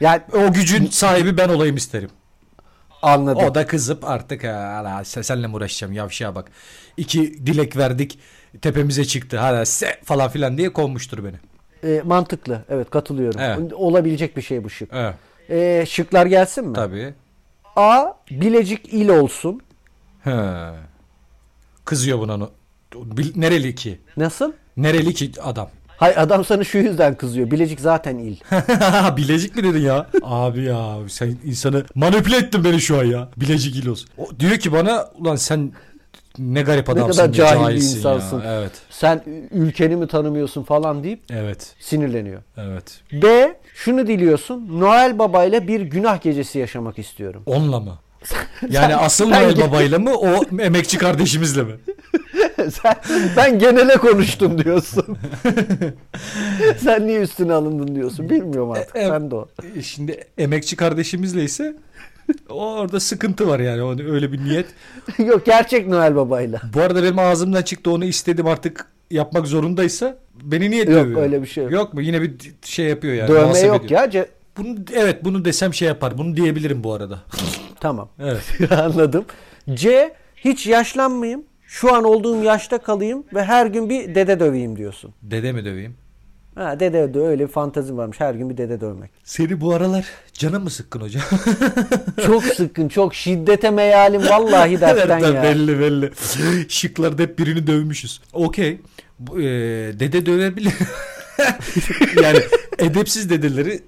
S1: Yani
S2: O gücün sahibi ben olayım isterim.
S1: anladım.
S2: O da kızıp artık "Ha, hala sen- senle mi uğraşacağım yavşağa bak. İki dilek verdik tepemize çıktı hala se falan filan diye konmuştur beni.
S1: E, mantıklı. Evet katılıyorum.
S2: Evet.
S1: Olabilecek bir şey bu şık.
S2: Evet
S1: E, şıklar gelsin mi?
S2: tabii.
S1: A. Bilecik il olsun.
S2: He. Kızıyor buna. no- Bil- Nereli ki?
S1: Nasıl?
S2: Nereli ki adam?
S1: Hay adam sana şu yüzden kızıyor. Bilecik zaten il.
S3: Bilecik mi dedin ya? Abi ya sen insanı manipüle ettin beni şu an ya. Bilecik ilos.
S2: O diyor ki bana ulan sen ne garip adamsın.
S1: kadar
S2: be,
S1: cahil bir
S2: cahilsin ya."
S1: insansın.
S2: Evet.
S1: Sen ülkeni mi tanımıyorsun falan deyip
S2: Evet.
S1: sinirleniyor.
S2: Evet.
S1: B. Şunu diliyorsun. Noel Baba ile bir günah gecesi yaşamak istiyorum.
S2: Onunla mı? Yani asıl
S1: sen
S2: Noel
S1: gel-
S2: babayla mı o emekçi kardeşimizle mi?
S1: Sen, ben genele konuştum diyorsun. Sen niye üstüne alındın diyorsun. Bilmiyorum artık.
S2: E, e,
S1: Sen de o.
S2: E, Şimdi emekçi kardeşimizle ise o orada sıkıntı var yani o- hani öyle bir niyet.
S1: Yok gerçek Noel babayla.
S2: Bu arada benim ağzımdan çıktı onu istedim artık yapmak zorundaysa beni niye
S1: Yok,
S2: dövüyor?
S1: öyle bir şey yok.
S2: mu? Yine bir d- şey yapıyor yani.
S1: Dövme
S2: muhasebe
S1: yok
S2: ediyor.
S1: ya. Ce-
S2: Bunu, evet bunu desem şey yapar. Bunu diyebilirim bu arada.
S1: tamam.
S2: Evet.
S1: Anladım. C. Hiç yaşlanmayayım. Şu an olduğum yaşta kalayım ve her gün bir dede döveyim diyorsun.
S2: Dede mi döveyim?
S1: Ha dede de öyle bir fantezi varmış. Her gün bir dede dövmek.
S2: Seni bu aralar canın mı sıkkın hocam?
S1: Çok sıkkın, çok şiddete meyalim vallahi dertten
S2: Nereden
S1: ya.
S2: belli belli. Şıklarda hep birini dövmüşüz. Okey. Bu, e, dede dövebilir. yani edepsiz dedeleri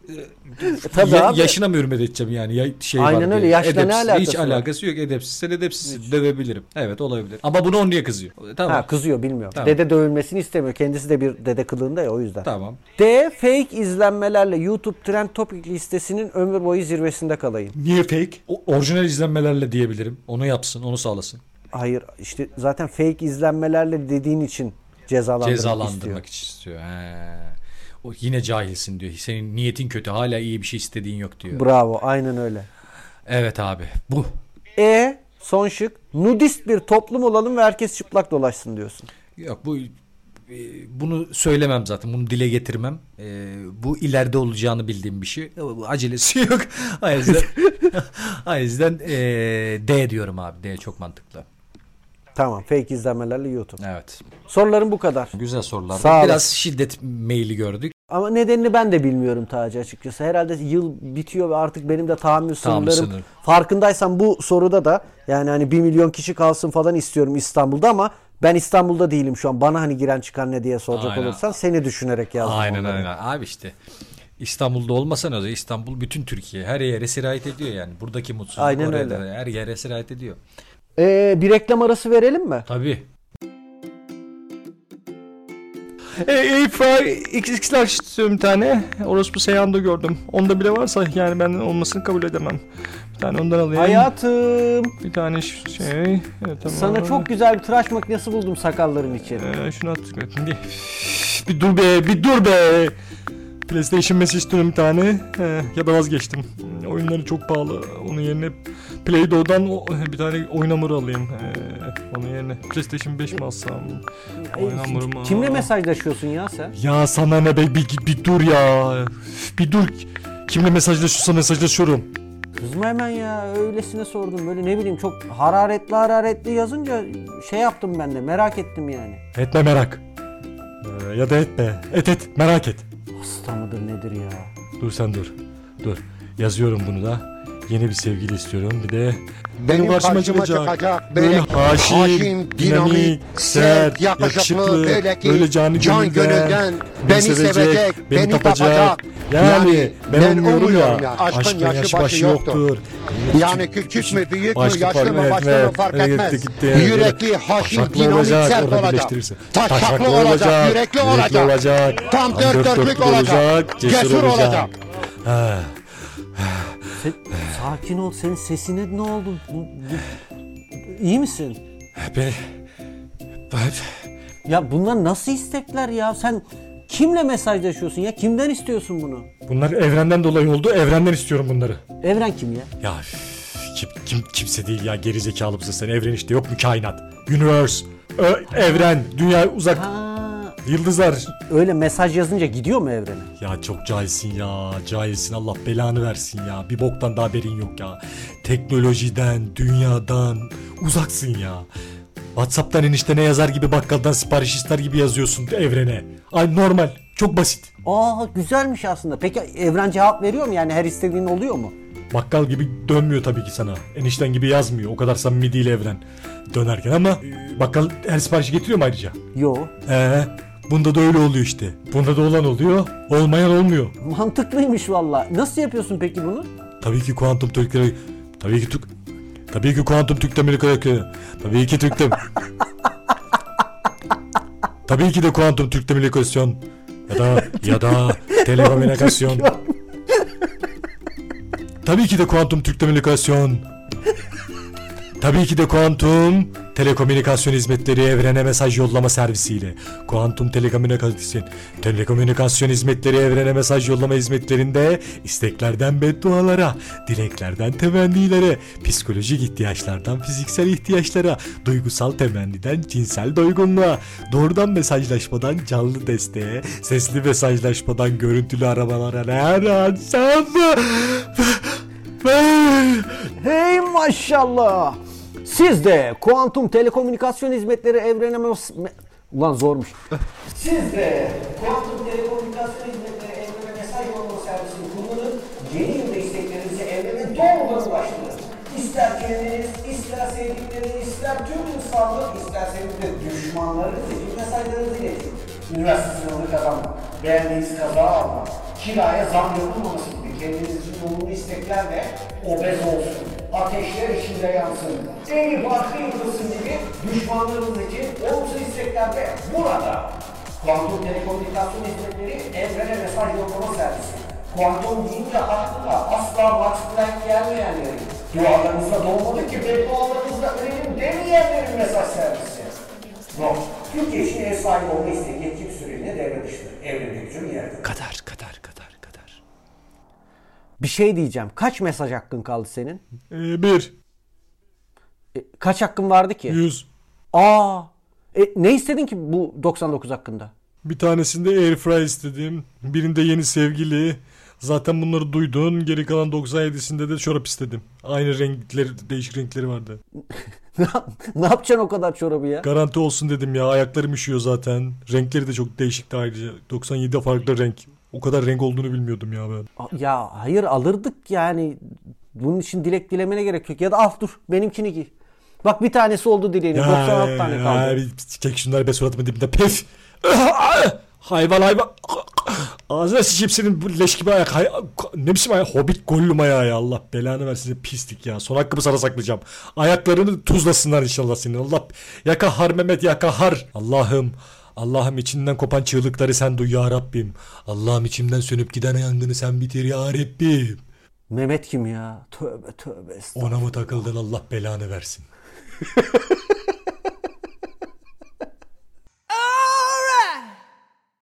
S2: e,
S1: tabii
S2: ya-
S1: abi.
S2: yaşına mı hürmet edeceğim yani ya, şey
S1: Aynen
S2: var diye.
S1: öyle, yaşla ne
S2: Edepsiz-
S1: alakası
S2: Hiç
S1: var?
S2: alakası yok edepsizsen edepsizsin dövebilirim. Evet olabilir. Ama bunu on diye kızıyor. E, Tamam.
S1: Ha kızıyor bilmiyor.
S2: Tamam.
S1: Dede dövülmesini istemiyor. Kendisi de bir dede kılığında ya o yüzden.
S2: Tamam.
S1: D. Fake izlenmelerle YouTube Trend Topic listesinin ömür boyu zirvesinde kalayım.
S2: Niye fake? O- orijinal izlenmelerle diyebilirim. Onu yapsın, onu sağlasın.
S1: Hayır işte zaten fake izlenmelerle dediğin için cezalandırmak, istiyor.
S2: Cezalandırmak için istiyor. He. O yine cahilsin diyor. Senin niyetin kötü. Hala iyi bir şey istediğin yok diyor.
S1: Bravo aynen öyle.
S2: Evet abi. Bu.
S1: E son şık nudist bir toplum olalım ve herkes çıplak dolaşsın diyorsun.
S2: Yok bu e, bunu söylemem zaten. Bunu dile getirmem. E, bu ileride olacağını bildiğim bir şey. Ama bu Acelesi yok. o yüzden, o yüzden e, D diyorum abi. D çok mantıklı.
S1: Tamam fake izlenmelerle YouTube.
S2: Evet.
S1: Sorularım bu kadar.
S2: Güzel sorular.
S1: Sağ olasın.
S2: Biraz şiddet maili gördük.
S1: Ama nedenini ben de bilmiyorum Taci açıkçası. Herhalde yıl bitiyor ve artık benim de tahammül
S2: Tahammül
S1: sınırlarım.
S2: sınırı.
S1: Farkındaysan bu soruda da yani hani 1 milyon kişi kalsın falan istiyorum İstanbul'da ama ben İstanbul'da değilim şu an. Bana hani giren çıkan ne diye soracak
S2: Aynen.
S1: olursan seni düşünerek yazdım.
S2: Aynen
S1: onları.
S2: aynen. Abi işte İstanbul'da olmasa ne olacak? İstanbul bütün Türkiye her yere sirayet ediyor yani. Buradaki mutsuzluk
S1: Aynen
S2: oraya
S1: öyle.
S2: da her yere sirayet ediyor.
S1: Ee, bir reklam arası verelim mi?
S2: Tabii.
S3: Ey fry XX large istiyorum bir tane. Orospu Seyhan'da gördüm. Onda bile varsa yani benden olmasını kabul edemem. Bir tane ondan alayım.
S1: Hayatım
S3: Bir tane ş- şey. Evet, tamam.
S1: sana çok güzel bir tıraş makinesi buldum sakalların içeri.
S3: Ee, şunu attık. Bir, bir dur be, bir dur be. PlayStation mesaj istiyorum bir tane. Ee, ya da vazgeçtim. Oyunları çok pahalı. Onun yerine Play Doh'dan o- bir tane oyun hamuru alayım. Ee, onun yerine PlayStation 5 mi alsam? Oyun
S1: Ee,
S3: hamuru mu?
S1: Kimle mesajlaşıyorsun ya sen?
S3: Ya sana ne be bir, bir dur ya. Üf, Bir dur. Kimle mesajlaşıyorsa mesajlaşıyorum.
S1: Kızma hemen ya öylesine sordum böyle ne bileyim çok hararetli hararetli yazınca şey yaptım ben de merak ettim yani.
S3: Etme merak. Ee, ya da etme. Et et merak et.
S1: Hasta mıdır nedir ya?
S3: Dur sen dur. Dur. Yazıyorum bunu da. Yeni bir sevgili istiyorum. Bir de
S4: Benim
S3: karşıma
S4: karşıma çıkacak böyle
S3: haşin,
S4: haşin,
S3: dinamik,
S4: dinamik,
S3: sert,
S4: sert,
S3: yakışıklı,
S4: yakışıklı, böyle ki
S3: böyle canı
S4: can
S3: gönülden
S4: gönülden
S3: beni
S4: beni
S3: sevecek,
S4: sevecek,
S3: beni
S4: beni
S3: tapacak.
S4: tapacak.
S3: Yani ben olmuyorum
S4: olmuyorum
S3: ya.
S4: Aşkın,
S3: Aşkın
S4: yaşı,
S3: yaşı
S4: başı,
S3: başı
S4: yoktur.
S3: yoktur.
S4: Yani küçük mü, büyük mü,
S3: Başka
S4: yaşlı
S3: fark
S4: mı, başlı mı
S3: etmez.
S4: fark
S3: Öyle
S4: etmez.
S3: gitti gitti yani.
S4: Yürekli, haşin,
S3: Taşaklı
S4: dinamik,
S3: olacak,
S4: sert
S3: orada
S4: olacak.
S3: birleştirirse.
S4: Taşaklı olacak, yürekli olacak. Tam dört dörtlük olacak, cesur olacak.
S1: Se- sakin ol senin sesine ne oldu? Bu- bu- İyi misin?
S2: Ben, ben
S1: Ya bunlar nasıl istekler ya? Sen kimle mesajlaşıyorsun ya? Kimden istiyorsun bunu?
S3: Bunlar evrenden dolayı oldu. Evrenden istiyorum bunları.
S1: Evren kim ya?
S3: Ya üf, kim, kim kimse değil ya geri zekalı mısın sen? Evren işte yok mu kainat? Universe. Ö- evren, dünya uzak,
S1: Ha,
S3: yıldızlar.
S1: öyle mesaj yazınca gidiyor mu evrene?
S3: Ya çok cahilsin ya. Cahilsin Allah belanı versin ya. Bir boktan da haberin yok ya. Teknolojiden, dünyadan uzaksın ya. Whatsapp'tan eniştene yazar gibi bakkaldan sipariş ister gibi yazıyorsun evrene. Ay normal. Çok basit.
S1: Aa güzelmiş aslında. Peki evren cevap veriyor mu? Yani her istediğin oluyor mu?
S3: Bakkal gibi dönmüyor tabii ki sana. Enişten gibi yazmıyor. O kadar samimi değil evren. Dönerken ama e, bakkal her siparişi getiriyor mu ayrıca?
S1: Yo.
S3: Ee, bunda da öyle oluyor işte. Bunda da olan oluyor, olmayan olmuyor.
S1: Mantıklıymış valla. Nasıl yapıyorsun peki bunu?
S3: Tabii ki kuantum Türkleri... Tabii ki Türk... Tabii ki kuantum Türk demiri karakteri. Tabii ki Türk dem... Tabii ki de kuantum Türk demirikasyon. Ya da ya da telekomünikasyon. Tabii ki de kuantum Türk demirikasyon. Tabii ki de kuantum telekomünikasyon hizmetleri evrene mesaj yollama servisiyle. Kuantum telekomünikasyon telekomünikasyon hizmetleri evrene mesaj yollama hizmetlerinde isteklerden beddualara, dileklerden temennilere, psikolojik ihtiyaçlardan fiziksel ihtiyaçlara, duygusal temenniden cinsel doygunluğa, doğrudan mesajlaşmadan canlı desteğe, sesli mesajlaşmadan görüntülü aramalara her an sen
S1: Hey maşallah. Siz de kuantum telekomünikasyon hizmetleri evrene mes- me- Ulan zormuş. Siz de kuantum telekomünikasyon hizmetleri evrene mesaj yollama servisini kullanın. Yeni yılda isteklerinizi evrene doğrudan ulaştırın. İster kendiniz, ister sevdikleriniz, ister tüm insanlık, isterseniz de düşmanlarınız için mesajlarınızı iletin. Üniversite sınavını kazanmak, beğendiğiniz kazağı almak, kiraya zam yapılmaması gibi kendiniz için olumlu isteklerle obez olsun, ateşler içinde yansın, en farklı yıkılsın gibi düşmanlarınız için olumsuz isteklerle burada Kuantum Telekomünikasyon Hizmetleri evrene mesaj yollama servisi. Kuantum deyince aklına asla Max gelmeyen yeri. Dualarınızda dolmadı ki beddualarınızda ölelim demeyenlerin mesaj servisi. Yok. Türkiye için ev sahibi olma isteği yetki süreliğine devre dışıdır. Evrende gücün yerde.
S3: Kadar kadar kadar kadar.
S1: Bir şey diyeceğim. Kaç mesaj hakkın kaldı senin?
S3: Ee, bir,
S1: E, kaç hakkın vardı ki?
S3: yüz.
S1: Aa. E, ne istedin ki bu 99 hakkında?
S3: Bir tanesinde air fry istedim. Birinde yeni sevgili. Zaten bunları duydun. Geri kalan 97'sinde de çorap istedim. Aynı renkleri, değişik renkleri vardı.
S1: ne yap- ne yapacaksın o kadar çorabı ya?
S3: Garanti olsun dedim ya. Ayaklarım üşüyor zaten. Renkleri de çok değişikti ayrıca. 97 farklı renk. O kadar renk olduğunu bilmiyordum ya ben.
S1: A- Ya hayır alırdık yani. Bunun için dilek dilemene gerek yok. Ya da al dur benimkini giy. Bak bir tanesi oldu dileğinin. 96 tane
S3: Ya,
S1: kaldı.
S3: bir çek şunları be suratımın dibinde. Pef. hayvan hayvan. Ağzına sıçayım senin bu leş gibi ayak. Hay- ne biçim ayak? Hobbit gollum ayağı ya. Allah belanı versin size pislik ya. Son hakkımı sana saklayacağım. Ayaklarını tuzlasınlar inşallah senin. Allah yaka har Mehmet yaka har. Allah'ım. Allah'ım içinden kopan çığlıkları sen duy ya Rabbim. Allah'ım içimden sönüp giden yangını sen bitir ya Rabbim.
S1: Mehmet kim ya? Tövbe tövbe. estağfurullah.
S3: Ona mı takıldın Allah belanı versin.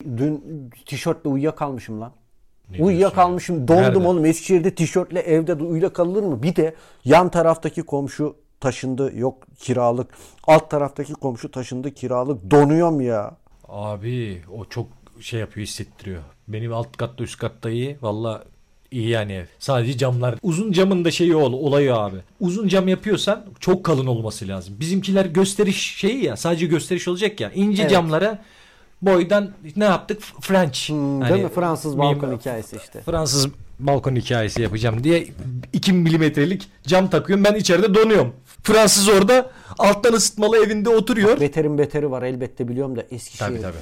S1: Dün tişörtle uyuyakalmışım lan. Uyuyakalmışım dondum
S2: Nerede?
S1: oğlum Eskişehir'de tişörtle evde de uyuyakalır mı? Bir de yan taraftaki komşu taşındı yok kiralık. Alt taraftaki komşu taşındı kiralık. Donuyorum ya.
S2: Abi o çok şey yapıyor hissettiriyor. Benim alt katta üst katta iyi. Valla iyi yani ev. Sadece camlar. Uzun camın da şeyi ol, olayı abi. Uzun cam yapıyorsan çok kalın olması lazım. Bizimkiler gösteriş şeyi ya. Sadece gösteriş olacak ya. İnce
S1: Evet.
S2: camlara boydan ne yaptık? French. Hani
S1: Hmm, Değil mi? Fransız balkon
S2: mim-
S1: hikayesi işte.
S2: Fransız balkon hikayesi yapacağım diye 2 milimetrelik cam takıyorum. Ben içeride donuyorum. Fransız orada alttan ısıtmalı evinde oturuyor.
S1: Beterin beteri var elbette biliyorum da Eskişehir.
S2: Tabii tabii.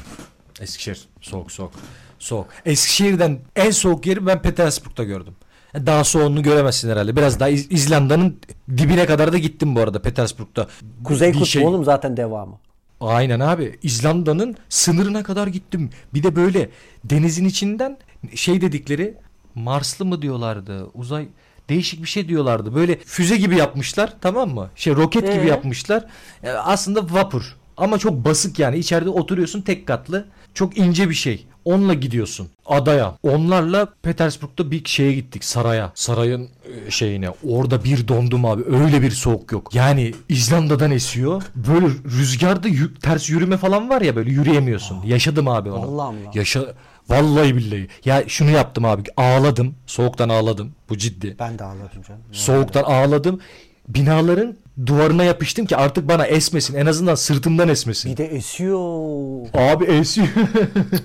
S2: Eskişehir soğuk soğuk. Soğuk. Eskişehir'den en soğuk yeri ben Petersburg'da gördüm. E, Daha soğuğunu göremezsin herhalde. Biraz daha İz- İzlanda'nın dibine kadar da gittim bu arada Petersburg'da.
S1: Kuzey
S2: Bir
S1: Kutbu
S2: şey-
S1: oğlum zaten devamı.
S2: Aynen abi. İzlanda'nın sınırına kadar gittim. Bir de böyle denizin içinden şey dedikleri Marslı mı diyorlardı? Uzay değişik bir şey diyorlardı. Böyle füze gibi yapmışlar tamam mı? Şey roket gibi
S1: Ee?
S2: yapmışlar. E, Aslında vapur. Ama çok basık yani. İçeride oturuyorsun tek katlı. Çok ince bir şey. Onunla gidiyorsun adaya. Onlarla Petersburg'da bir şeye gittik saraya. Sarayın e, şeyine. Orada bir dondum abi. Öyle bir soğuk yok. Yani İzlanda'dan esiyor. Böyle rüzgarda yü- ters yürüme falan var ya böyle yürüyemiyorsun. Yaşadım abi onu.
S1: Ah, Allah Allah.
S2: Yaşa Vallahi billahi. Ya şunu yaptım abi. Ağladım. Soğuktan ağladım. Bu ciddi.
S1: Ben de ağlarım canım.
S2: Soğuktan ağladım. Binaların duvarına yapıştım ki artık bana esmesin. En azından sırtımdan esmesin.
S1: Bir de esiyor.
S2: Abi esiyor.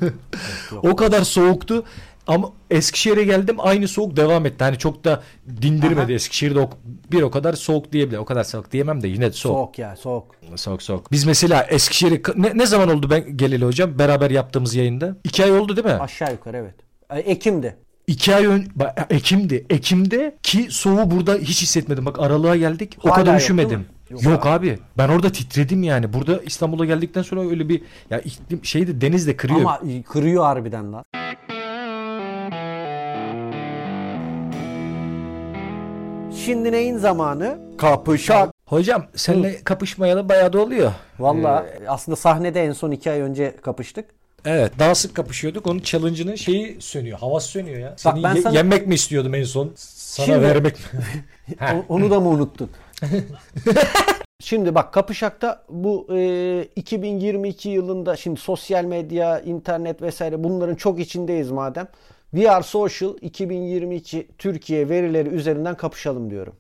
S2: o kadar soğuktu. Ama Eskişehir'e geldim aynı soğuk devam etti. Hani çok da dindirmedi. Eskişehir'de o- bir o kadar soğuk diyebilir. O kadar soğuk diyemem de yine de soğuk.
S1: Soğuk ya soğuk.
S2: Soğuk soğuk. Biz mesela Eskişehir'e ne, ne zaman oldu ben geleli hocam? Beraber yaptığımız yayında. İki ay oldu değil mi?
S1: Aşağı yukarı evet. E, Ekim'de.
S2: İki ay ön Ba- e, Ekim'di. Ekim'de ki soğuğu burada hiç hissetmedim. Bak aralığa geldik. O
S1: Hala
S2: kadar
S1: yok değil
S2: üşümedim.
S1: mi?
S2: Yok, abi. Ben orada titredim yani. Burada İstanbul'a geldikten sonra öyle bir ya iklim şeydi deniz de kırıyor.
S1: Ama kırıyor harbiden lan. Şimdi neyin zamanı? Kapışak.
S2: Hocam seninle kapışmayalı bayağı da oluyor.
S1: Valla aslında sahnede en son iki ay önce kapıştık.
S2: Evet. Daha sık kapışıyorduk. Onun challenge'ının şeyi sönüyor. Havası sönüyor ya. Seni
S1: ben
S2: ye-
S1: sana-
S2: yenmek mi istiyordum en son? Sana
S1: Şimdi-
S2: vermek mi? Ha.
S1: O- onu da mı unuttun? Şimdi bak Kapışak'ta bu e, 2022 yılında şimdi sosyal medya, internet vesaire bunların çok içindeyiz madem. We are social 2022 Türkiye verileri üzerinden kapışalım diyorum.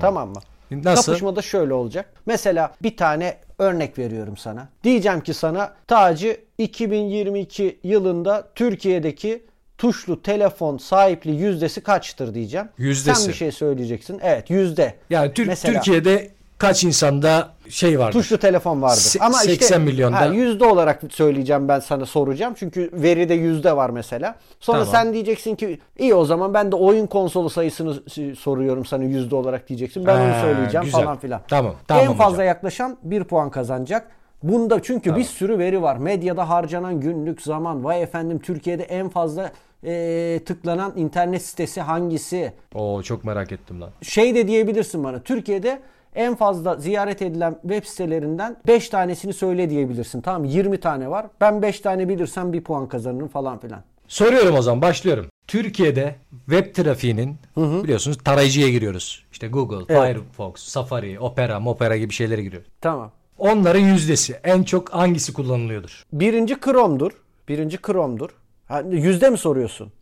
S1: Tamam mı?
S2: Hmm. Nasıl?
S1: Kapışmada şöyle olacak. Mesela bir tane örnek veriyorum sana. Diyeceğim ki sana Taci 2022 yılında Türkiye'deki tuşlu telefon sahipliği yüzdesi kaçtır diyeceğim.
S2: Yüzdesi.
S1: Sen bir şey söyleyeceksin. Evet yüzde.
S2: Yani Türk
S1: Mesela
S2: Türkiye'de kaç insanda şey vardı?
S1: tuşlu telefon vardır.
S2: Se-
S1: Ama işte
S2: 80 milyonda-
S1: ha, yüzde olarak söyleyeceğim ben sana soracağım. Çünkü veride yüzde var mesela. Sonra
S2: Tamam.
S1: sen diyeceksin ki iyi o zaman ben de oyun konsolu sayısını s- soruyorum sana yüzde olarak diyeceksin. Ben onu
S2: Ha,
S1: söyleyeceğim
S2: güzel.
S1: falan filan.
S2: Tamam, tamam
S1: en fazla
S2: hocam.
S1: yaklaşan bir puan kazanacak. Bunda çünkü bir sürü veri var. Medyada harcanan günlük zaman. Vay efendim Türkiye'de en fazla e, tıklanan internet sitesi hangisi?
S2: Oo çok merak ettim lan.
S1: şey de diyebilirsin bana. Türkiye'de en fazla ziyaret edilen web sitelerinden 5 tanesini söyle diyebilirsin. Tamam mı? 20 tane var. Ben 5 tane bilirsem bir puan kazanırım falan filan.
S2: Soruyorum o zaman başlıyorum. Türkiye'de web trafiğinin biliyorsunuz tarayıcıya giriyoruz. İşte Google,
S1: Evet.
S2: Firefox, Safari, Opera, Mopera gibi şeylere giriyoruz.
S1: Tamam.
S2: Onların yüzdesi en çok hangisi kullanılıyordur?
S1: Birinci Chrome'dur. Birinci Chrome'dur. Ha, yüzde mi soruyorsun?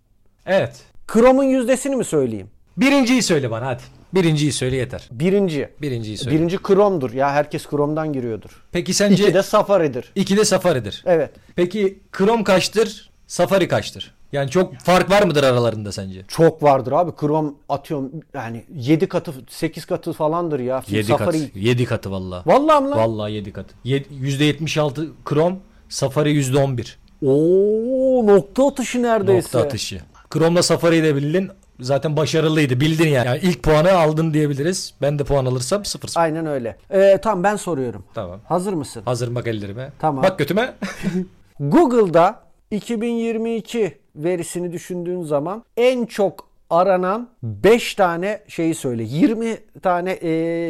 S2: Evet.
S1: Chrome'un yüzdesini mi söyleyeyim?
S2: Birinciyi söyle bana hadi. Birinciyi söyle yeter.
S1: Birinci.
S2: Birinciyi söyle.
S1: Birinci Chrome'dur. Ya herkes Chrome'dan giriyordur.
S2: Peki
S1: İki
S2: sence
S1: de Safari'dir.
S2: iki de Safari'dir.
S1: Evet.
S2: Peki Chrome kaçtır? Safari kaçtır? Yani çok fark var mıdır aralarında sence?
S1: Çok vardır abi. Chrome atıyorum yani 7 katı 8 katı falandır ya.
S2: 7
S1: Safari.
S2: katı. 7 katı valla.
S1: Vallahi mi lan?
S2: Vallahi 7 katı. Yed- %76 Chrome, Safari %11.
S1: Oo nokta atışı neredeyse.
S2: Nokta atışı. Chrome'la Safari'yi de bildin. Zaten başarılıydı. Bildin yani. yani. ilk puanı aldın diyebiliriz. Ben de puan alırsam 0
S1: Aynen öyle. Ee, tamam ben soruyorum.
S2: Tamam.
S1: Hazır mısın?
S2: Hazırım bak ellerime.
S1: Tamam.
S2: Bak götüme.
S1: Google'da 2022 verisini düşündüğün zaman en çok aranan 5 tane şeyi söyle. 20 tane e,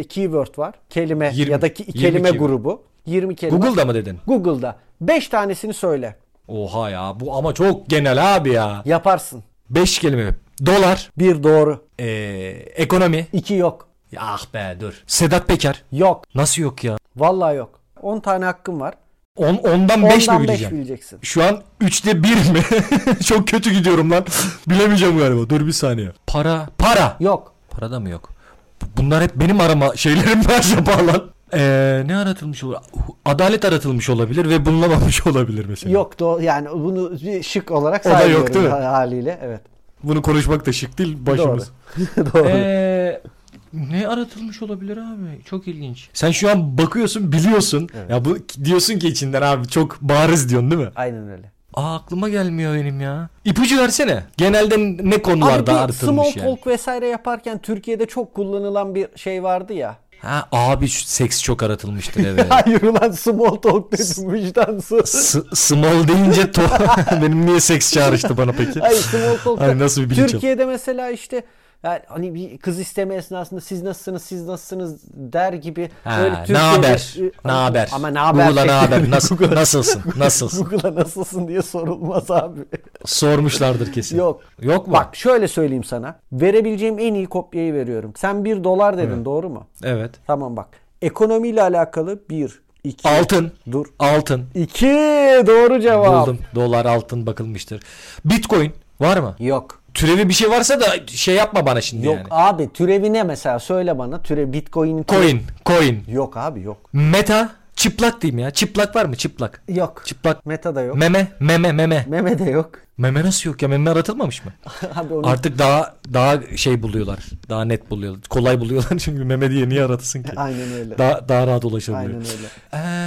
S1: keyword var. Kelime
S2: 20,
S1: ya da ki-
S2: 20
S1: kelime
S2: keyword.
S1: grubu. 20 kelime.
S2: Google'da mı dedin?
S1: Google'da 5 tanesini söyle.
S2: Oha ya bu ama çok genel abi ya.
S1: Yaparsın.
S2: 5 kelime. Dolar.
S1: Bir doğru,
S2: Ee, ekonomi.
S1: iki yok.
S2: Ya Ah be dur. Sedat Peker.
S1: Yok.
S2: Nasıl yok ya?
S1: Vallahi yok. 10 tane hakkım var.
S2: On, ondan 5 mi
S1: Ondan 5
S2: bileceğim?
S1: bileceksin.
S3: Şu an 3'te 1 mi? Çok kötü gidiyorum lan. Bilemeyeceğim galiba. Dur bir saniye.
S2: Para. Para.
S1: Yok.
S2: Para da mı yok? Bu- Bunlar hep benim arama şeylerim mi acaba lan? Ee, ne aratılmış olur? Adalet aratılmış olabilir ve bulunamamış olabilir mesela.
S1: Yok do yani bunu bir şık olarak
S3: O da yok,
S1: saymıyorum
S3: değil mi?
S1: haliyle. Evet.
S3: Bunu konuşmak da şık değil başımız.
S1: Doğru.
S2: Ee, ne aratılmış olabilir abi? Çok ilginç.
S3: Sen şu an bakıyorsun biliyorsun. Ya bu diyorsun ki içinden abi çok bariz diyorsun değil mi?
S1: Aynen öyle.
S2: Aa aklıma gelmiyor benim ya. İpucu versene. Genelde ne konularda
S1: Abi bir small
S2: aratılmış
S1: talk
S2: yani?
S1: vesaire yaparken Türkiye'de çok kullanılan bir şey vardı ya.
S2: Ha abi şu seks çok aratılmıştır evet.
S1: Hayır ulan small talk dedim vicdansız.
S3: S- small deyince to benim niye seks çağrıştı bana peki?
S1: Hayır small talk.
S3: Ay, nasıl bir bilinç yok.
S1: Türkiye'de mesela işte yani hani bir kız isteme esnasında siz nasılsınız siz nasılsınız der gibi
S2: Ha,
S1: böyle
S2: ne
S1: Türkiye'de-
S2: haber? Ne
S1: Ama-
S2: haber?
S1: Ama ne haber?
S2: Google'a ne haber? Nasıl,
S1: Google'a-
S2: nasılsın? Nasılsın?
S1: Google'a nasılsın diye sorulmaz abi.
S2: Sormuşlardır kesin.
S1: Yok.
S2: Yok mu?
S1: Bak şöyle söyleyeyim sana. Verebileceğim en iyi kopyayı veriyorum. Sen 1 dolar dedin doğru mu?
S2: Evet.
S1: Tamam bak. Ekonomiyle alakalı 1, 2,
S2: Altın.
S1: Dur.
S2: Altın.
S1: 2 doğru cevap.
S2: Buldum. Dolar altın bakılmıştır. Bitcoin var mı?
S1: Yok.
S2: Türevi bir şey varsa da şey yapma bana şimdi
S1: Yok
S2: yani.
S1: abi türevi ne mesela söyle bana. Türe Bitcoin'in türevi-
S2: Coin. Coin.
S1: Yok abi yok.
S2: Meta. Çıplak diyeyim ya. Çıplak var mı? Çıplak.
S1: Yok.
S2: Çıplak.
S1: Meta da yok.
S2: Meme. Meme. Meme.
S1: Meme de yok.
S2: Meme nasıl yok ya? Meme aratılmamış mı?
S1: abi onu
S2: Artık daha daha şey buluyorlar. Daha net buluyorlar. Kolay buluyorlar çünkü meme diye niye aratılsın ki?
S1: Aynen öyle.
S2: Daha, daha rahat ulaşabiliyor.
S1: Aynen öyle.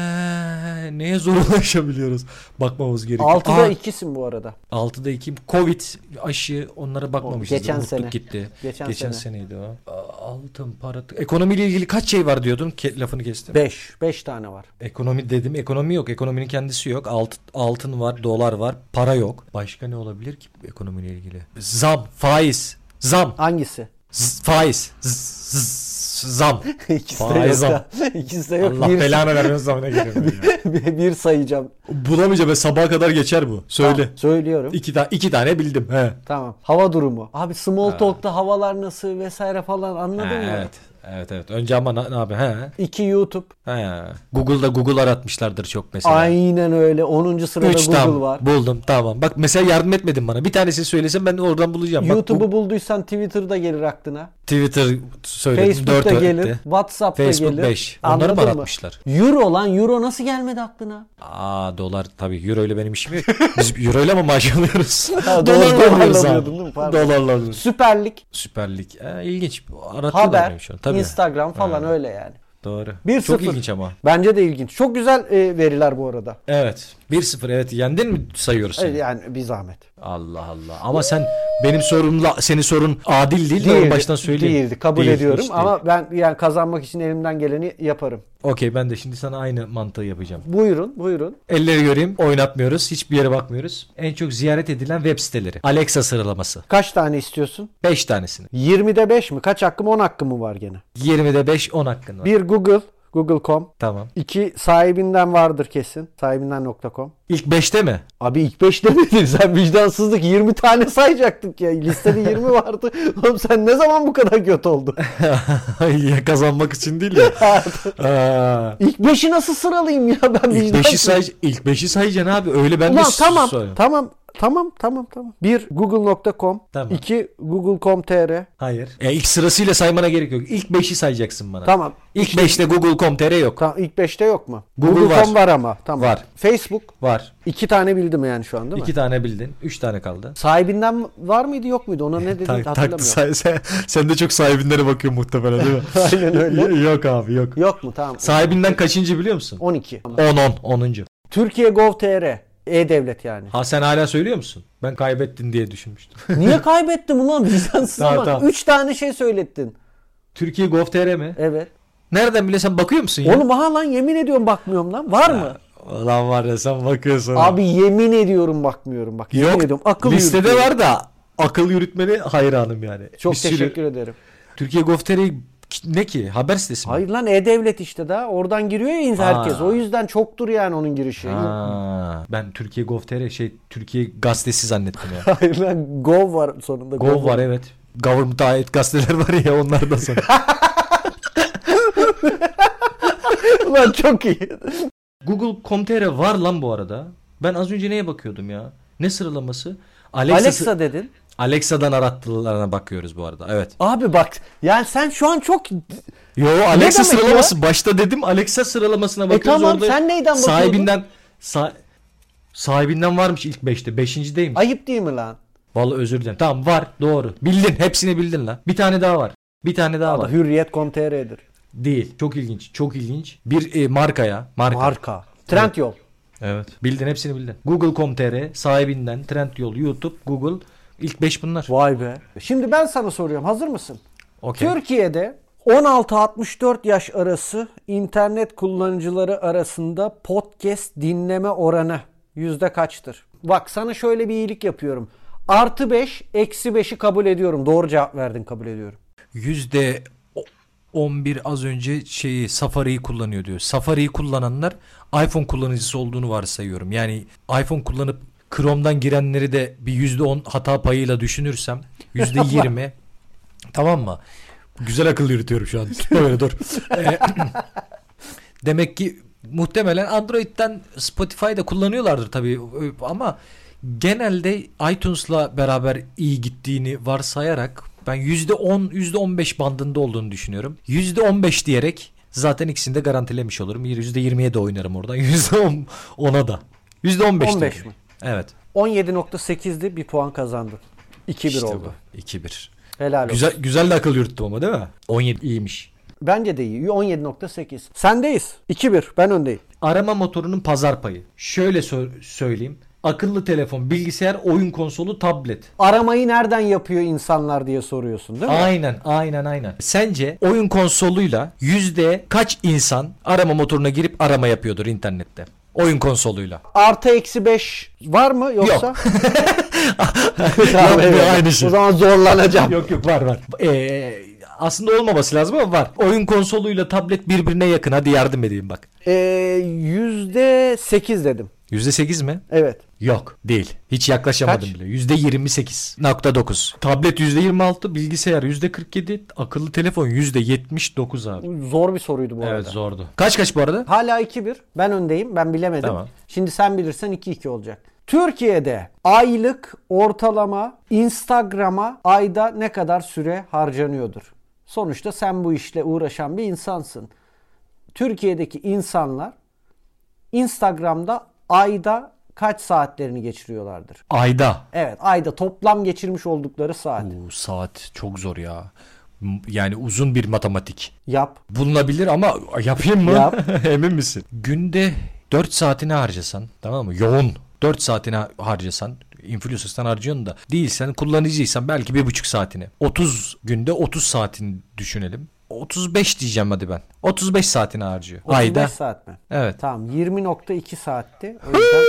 S2: Eee, neye zor ulaşabiliyoruz? Bakmamız gerekiyor.
S1: 6'da
S2: Aa,
S1: 2'sin bu arada.
S2: 6'da 2 Covid aşı onlara bakmamışız.
S1: Geçen
S2: Unuttuk
S1: sene.
S2: gitti.
S1: Geçen sene.
S2: seneydi o. Aa, Altın para. Ekonomiyle ilgili kaç şey var diyordun? Ke- lafını kestim.
S1: 5. 5 tane var.
S2: Ekonomi dedim. Ekonomi yok. Ekonominin kendisi yok. Alt, altın var, dolar var, para yok. Başka ne olabilir ki ekonomiyle ilgili? Zam, faiz. Zam,
S1: Hangisi?
S2: z- faiz. Z- z- zam.
S1: İkisi de
S2: Faiz
S1: yok.
S2: zam.
S1: İkisi de yok.
S2: Allah
S1: bir,
S2: belanı vermez zamına geliyorum. ya.
S1: bir, bir sayacağım.
S3: Bulamayacağım ve sabaha kadar geçer bu. Söyle.
S1: Tamam, söylüyorum.
S3: İki, ta- iki tane bildim. He.
S1: Tamam. Hava durumu. Abi small talk'ta havalar nasıl vesaire falan anladın
S2: Ha,
S1: mı?
S2: evet. Evet evet. Önce ama ne, ne abi? He.
S1: 2 YouTube.
S2: He. Google'da Google aratmışlardır çok mesela.
S1: Aynen öyle. 10. sırada
S2: Üç
S1: Google
S2: tam
S1: var.
S2: buldum tamam. Bak mesela yardım etmedin bana. Bir tanesini söylesem ben oradan bulacağım. Bak,
S1: YouTube'u
S2: bu-
S1: bulduysan Twitter'da gelir aklına.
S2: Twitter söyledim.
S1: Facebook'ta
S2: dört
S1: gelir.
S2: öğretti.
S1: WhatsApp'ta
S2: Facebook
S1: gelir.
S2: beş. Onları mı
S1: Anladın
S2: aratmışlar?
S1: Euro lan. Euro nasıl gelmedi aklına?
S2: Aa dolar tabii euro ile benim işim yok. Biz euro ile mi maaş alıyoruz?
S1: Ha, doğru,
S2: dolarla
S1: dolarla
S2: alıyoruz abi.
S1: alıyordun değil mi? Pardon.
S2: Dolarla alıyoruz.
S1: Süper Lig,
S2: Süper Lig. Ee, ilginç. Aratıyorlar
S1: haber,
S2: beni şu an. şey Tabii.
S1: Instagram falan öyle yani.
S2: Doğru.
S1: 1-0.
S2: Çok ilginç ama.
S1: Bence de ilginç. Çok güzel e, veriler bu arada.
S2: Evet. 1-0 evet yendin mi sayıyoruz seni?
S1: Evet, Yani bir zahmet.
S2: Allah Allah. Ama sen benim sorumla senin sorun adil değil de en
S1: Değildi,
S2: baştan söyleyeyim.
S1: Değildi. Kabul
S2: Değil,
S1: ediyorum
S2: hiç değil.
S1: ama ben yani kazanmak için elimden geleni yaparım.
S2: Okey ben de şimdi sana aynı mantığı yapacağım.
S1: Buyurun, buyurun.
S2: Elleri göreyim. Oynatmıyoruz. Hiçbir yere bakmıyoruz. En çok ziyaret edilen web siteleri. Alexa sıralaması.
S1: Kaç tane istiyorsun?
S2: 5 tanesini.
S1: 20'de 5 mi? Kaç hakkım? 10 hakkım mı var gene?
S2: 20'de 5 10 hakkın var.
S1: 1 Google, google.com.
S2: Tamam.
S1: 2 sahibinden vardır kesin. Sahibinden.com.
S2: İlk 5'te mi?
S1: Abi ilk 5 demedin sen vicdansızlık 20 tane sayacaktık ya. Listede 20 vardı. Oğlum sen ne zaman bu kadar kötü oldun?
S2: ya kazanmak için değil ya. Aa,
S1: İlk 5'i nasıl sıralayayım ya ben
S2: ilk
S1: vicdansızlık.
S2: 5'i say ilk 5'i sayacaksın abi. Öyle ben de
S1: Ulan
S2: s-
S1: tamam
S2: sorayım.
S1: tamam tamam tamam tamam. 1 google.com,
S2: Tamam.
S1: 2 google.com.tr.
S2: Hayır. Ya ilk sırasıyla saymana gerek yok. İlk 5'i sayacaksın bana.
S1: Tamam.
S2: İlk 5'te Google.com.tr yok.
S1: Tamam ilk 5'te yok mu?
S2: Google
S1: Google.com
S2: var.
S1: var. ama. Tamam.
S2: Var.
S1: Facebook
S2: Var.
S1: 2 tane bildim yani şu an değil mi?
S2: 2 tane bildin. 3 tane kaldı.
S1: Sahibinden var mıydı yok muydu? Ona ne dedi
S3: Tak-
S1: hatırlamıyorum.
S3: taktı say- sen, sen de çok sahibinlere bakıyorsun muhtemelen değil mi?
S1: Aynen öyle.
S3: yok abi yok.
S1: yok mu? Tamam.
S2: Sahibinden kaçıncı biliyor musun?
S1: 12.
S2: 10 10 10.
S1: Türkiye Gov.tr. E-Devlet yani.
S2: Ha sen hala söylüyor musun? Ben kaybettin diye düşünmüştüm.
S1: Niye kaybettim ulan vicdansız
S2: Tamam,
S1: bak.
S2: tamam.
S1: Üç tane şey söylettin.
S2: Türkiye Gov.tr mi?
S1: Evet.
S2: Nereden bile sen bakıyor musun ya?
S1: Oğlum aha lan yemin ediyorum bakmıyorum lan. Var mı?
S3: Lan var ya sen bakıyorsun.
S1: Abi yemin ediyorum bakmıyorum bak. Yemin
S3: Yok,
S1: ediyorum. Akıl
S2: Listede
S1: yürütüyorum.
S2: var da akıl yürütmeni hayranım yani.
S1: Çok
S2: Bir sürü-
S1: teşekkür ederim.
S2: Türkiye Gov.tr ki- ne ki? Haber sitesi mi?
S1: Hayır lan e-devlet işte daha. Oradan giriyor ya ins- herkes.
S2: Ha.
S1: O yüzden çoktur yani onun girişi.
S2: Ha, ben Türkiye Gov.tr şey Türkiye gazetesi zannettim ya.
S1: Hayır lan gov var sonunda.
S2: Gov var evet. Government'a ait gazeteler var ya onlardan sonra.
S1: lan çok iyi.
S2: Google.com.tr var lan bu arada. Ben az önce neye bakıyordum ya? Ne sıralaması? Alexa'sı-
S1: Alexa dedin.
S2: Alexa'dan arattılarına bakıyoruz bu arada. Evet.
S1: Abi bak yani sen şu an çok...
S2: Yo
S1: demek
S2: Alexa
S1: ya?
S2: sıralaması başta dedim Alexa sıralamasına bakıyoruz
S1: tamam,
S2: orada.
S1: sen neyden bakıyordun?
S2: Sahibinden sa- sahibinden varmış ilk 5'te. 5.deymiş.
S1: Ayıp değil mi lan?
S2: Vallahi özür dilerim. Tamam var doğru. Bildin hepsini bildin lan. Bir tane daha var. Bir tane daha var.
S1: Hürriyet.com.tr'dir.
S2: Değil. Çok ilginç. Çok ilginç. Bir e, marka ya. Marka.
S1: Marka. Trend yol.
S2: evet. Bildin hepsini bildin. Google.com.tr sahibinden Trendyol, YouTube, Google ilk 5 bunlar.
S1: Vay be. Şimdi ben sana soruyorum. Hazır mısın?
S2: Okey.
S1: Türkiye'de 16-64 yaş arası internet kullanıcıları arasında podcast dinleme oranı yüzde kaçtır? Bak sana şöyle bir iyilik yapıyorum. Artı 5, eksi 5'i kabul ediyorum. Doğru cevap verdin kabul ediyorum.
S2: Yüzde o- 11 az önce şeyi Safari'yi kullanıyor diyor. Safari'yi kullananlar iPhone kullanıcısı olduğunu varsayıyorum. Yani iPhone kullanıp Chrome'dan girenleri de bir yüzde 10 hata payıyla düşünürsem yüzde 20 tamam mı?
S3: Güzel akıl yürütüyorum şu an. Böyle dur.
S2: Ee, Demek ki muhtemelen Android'den Spotify'da kullanıyorlardır tabii ama genelde iTunes'la beraber iyi gittiğini varsayarak ben %10 %15 bandında olduğunu düşünüyorum. %15 diyerek zaten ikisini de garantilemiş olurum. %20'ye de oynarım oradan. %10 ona da. %15
S1: 15
S2: diyorum.
S1: mi?
S2: Evet.
S1: 17.8'di bir puan kazandı. 2-1
S2: İşte
S1: oldu.
S2: bu. 2-1.
S1: Helal olsun.
S3: Güzel, güzel de akıl yürüttüm ama değil mi?
S2: 17 iyiymiş.
S1: Bence de iyi. 17.8. Sendeyiz. 2-1. Ben öndeyim.
S2: Arama motorunun pazar payı. Şöyle sö- söyleyeyim. Akıllı telefon, bilgisayar, oyun konsolu, tablet.
S1: Aramayı nereden yapıyor insanlar diye soruyorsun değil mi?
S2: Aynen aynen aynen. Sence oyun konsoluyla yüzde kaç insan arama motoruna girip arama yapıyordur internette? Oyun konsoluyla.
S1: Artı eksi 5 var mı yoksa?
S2: Yok.
S1: Tamam,
S2: Yok,
S1: evet.
S2: aynı şey.
S1: O zaman zorlanacağım.
S2: Yok yok var var. Ee, aslında olmaması lazım ama var. Oyun konsoluyla tablet birbirine yakın. Hadi yardım edeyim bak.
S1: Ee, Yüzde 8 dedim.
S2: Yüzde sekiz mi?
S1: Evet.
S2: Yok değil. Hiç yaklaşamadım
S1: Kaç?
S2: bile. Yüzde yirmi sekiz nokta dokuz. Tablet yüzde yirmi altı. Bilgisayar yüzde kırk yedi. Akıllı telefon yüzde yetmiş dokuz abi.
S1: Zor bir soruydu bu
S2: Evet
S1: arada.
S2: zordu. Kaç kaç bu arada?
S1: Hala 2-1. Ben öndeyim. Ben bilemedim.
S2: Tamam.
S1: Şimdi sen bilirsen 2-2 olacak. Türkiye'de aylık ortalama Instagram'a ayda ne kadar süre harcanıyordur? Sonuçta sen bu işle uğraşan bir insansın. Türkiye'deki insanlar Instagram'da ayda kaç saatlerini geçiriyorlardır?
S2: Ayda.
S1: Evet, ayda toplam geçirmiş oldukları saat.
S2: Bu saat çok zor ya. M- Yani uzun bir matematik.
S1: Yap.
S2: Bulunabilir ama yapayım mı?
S1: Yap.
S2: Emin misin? Günde 4 saatini harcasan tamam mı? Yoğun 4 saatini ha- harcasan influencer'dan harcıyorsun da değilsen kullanıcıysan belki bir buçuk saatini. 30 günde 30 saatini düşünelim. 35 diyeceğim hadi ben. 35 saatini harcıyor.
S1: 35
S2: Ayda.
S1: saat mi?
S2: Evet.
S1: Tamam 20.2 saatti. O yüzden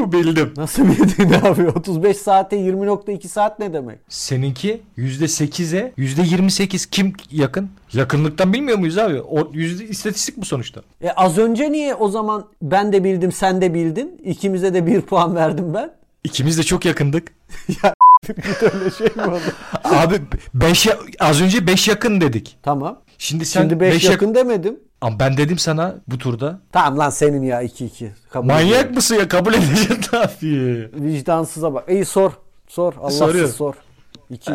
S3: Huu, Bildim.
S1: nasıl bildin abi? 35 saate 20.2 saat ne demek?
S2: Seninki %8'e %28 kim yakın? Yakınlıktan bilmiyor muyuz abi? O yüzde istatistik bu sonuçta.
S1: E az önce niye o zaman ben de bildim sen de bildin. İkimize de bir puan verdim ben.
S2: İkimiz de çok yakındık.
S1: Öyle şey mi oldu?
S2: Abi 5 az önce 5 yakın dedik.
S1: tamam.
S2: Şimdi sen
S1: Şimdi 5
S2: beş yak-
S1: yakın demedim.
S2: Ama ben dedim sana bu turda.
S1: Tamam lan senin ya 2-2. Kabul
S3: Manyak
S1: ediyorum.
S3: mısın ya? Kabul edeceksin tabii.
S1: Vicdansıza bak. İyi sor. Sor. Allahsız
S3: Soruyorum.
S1: sor. 2-2.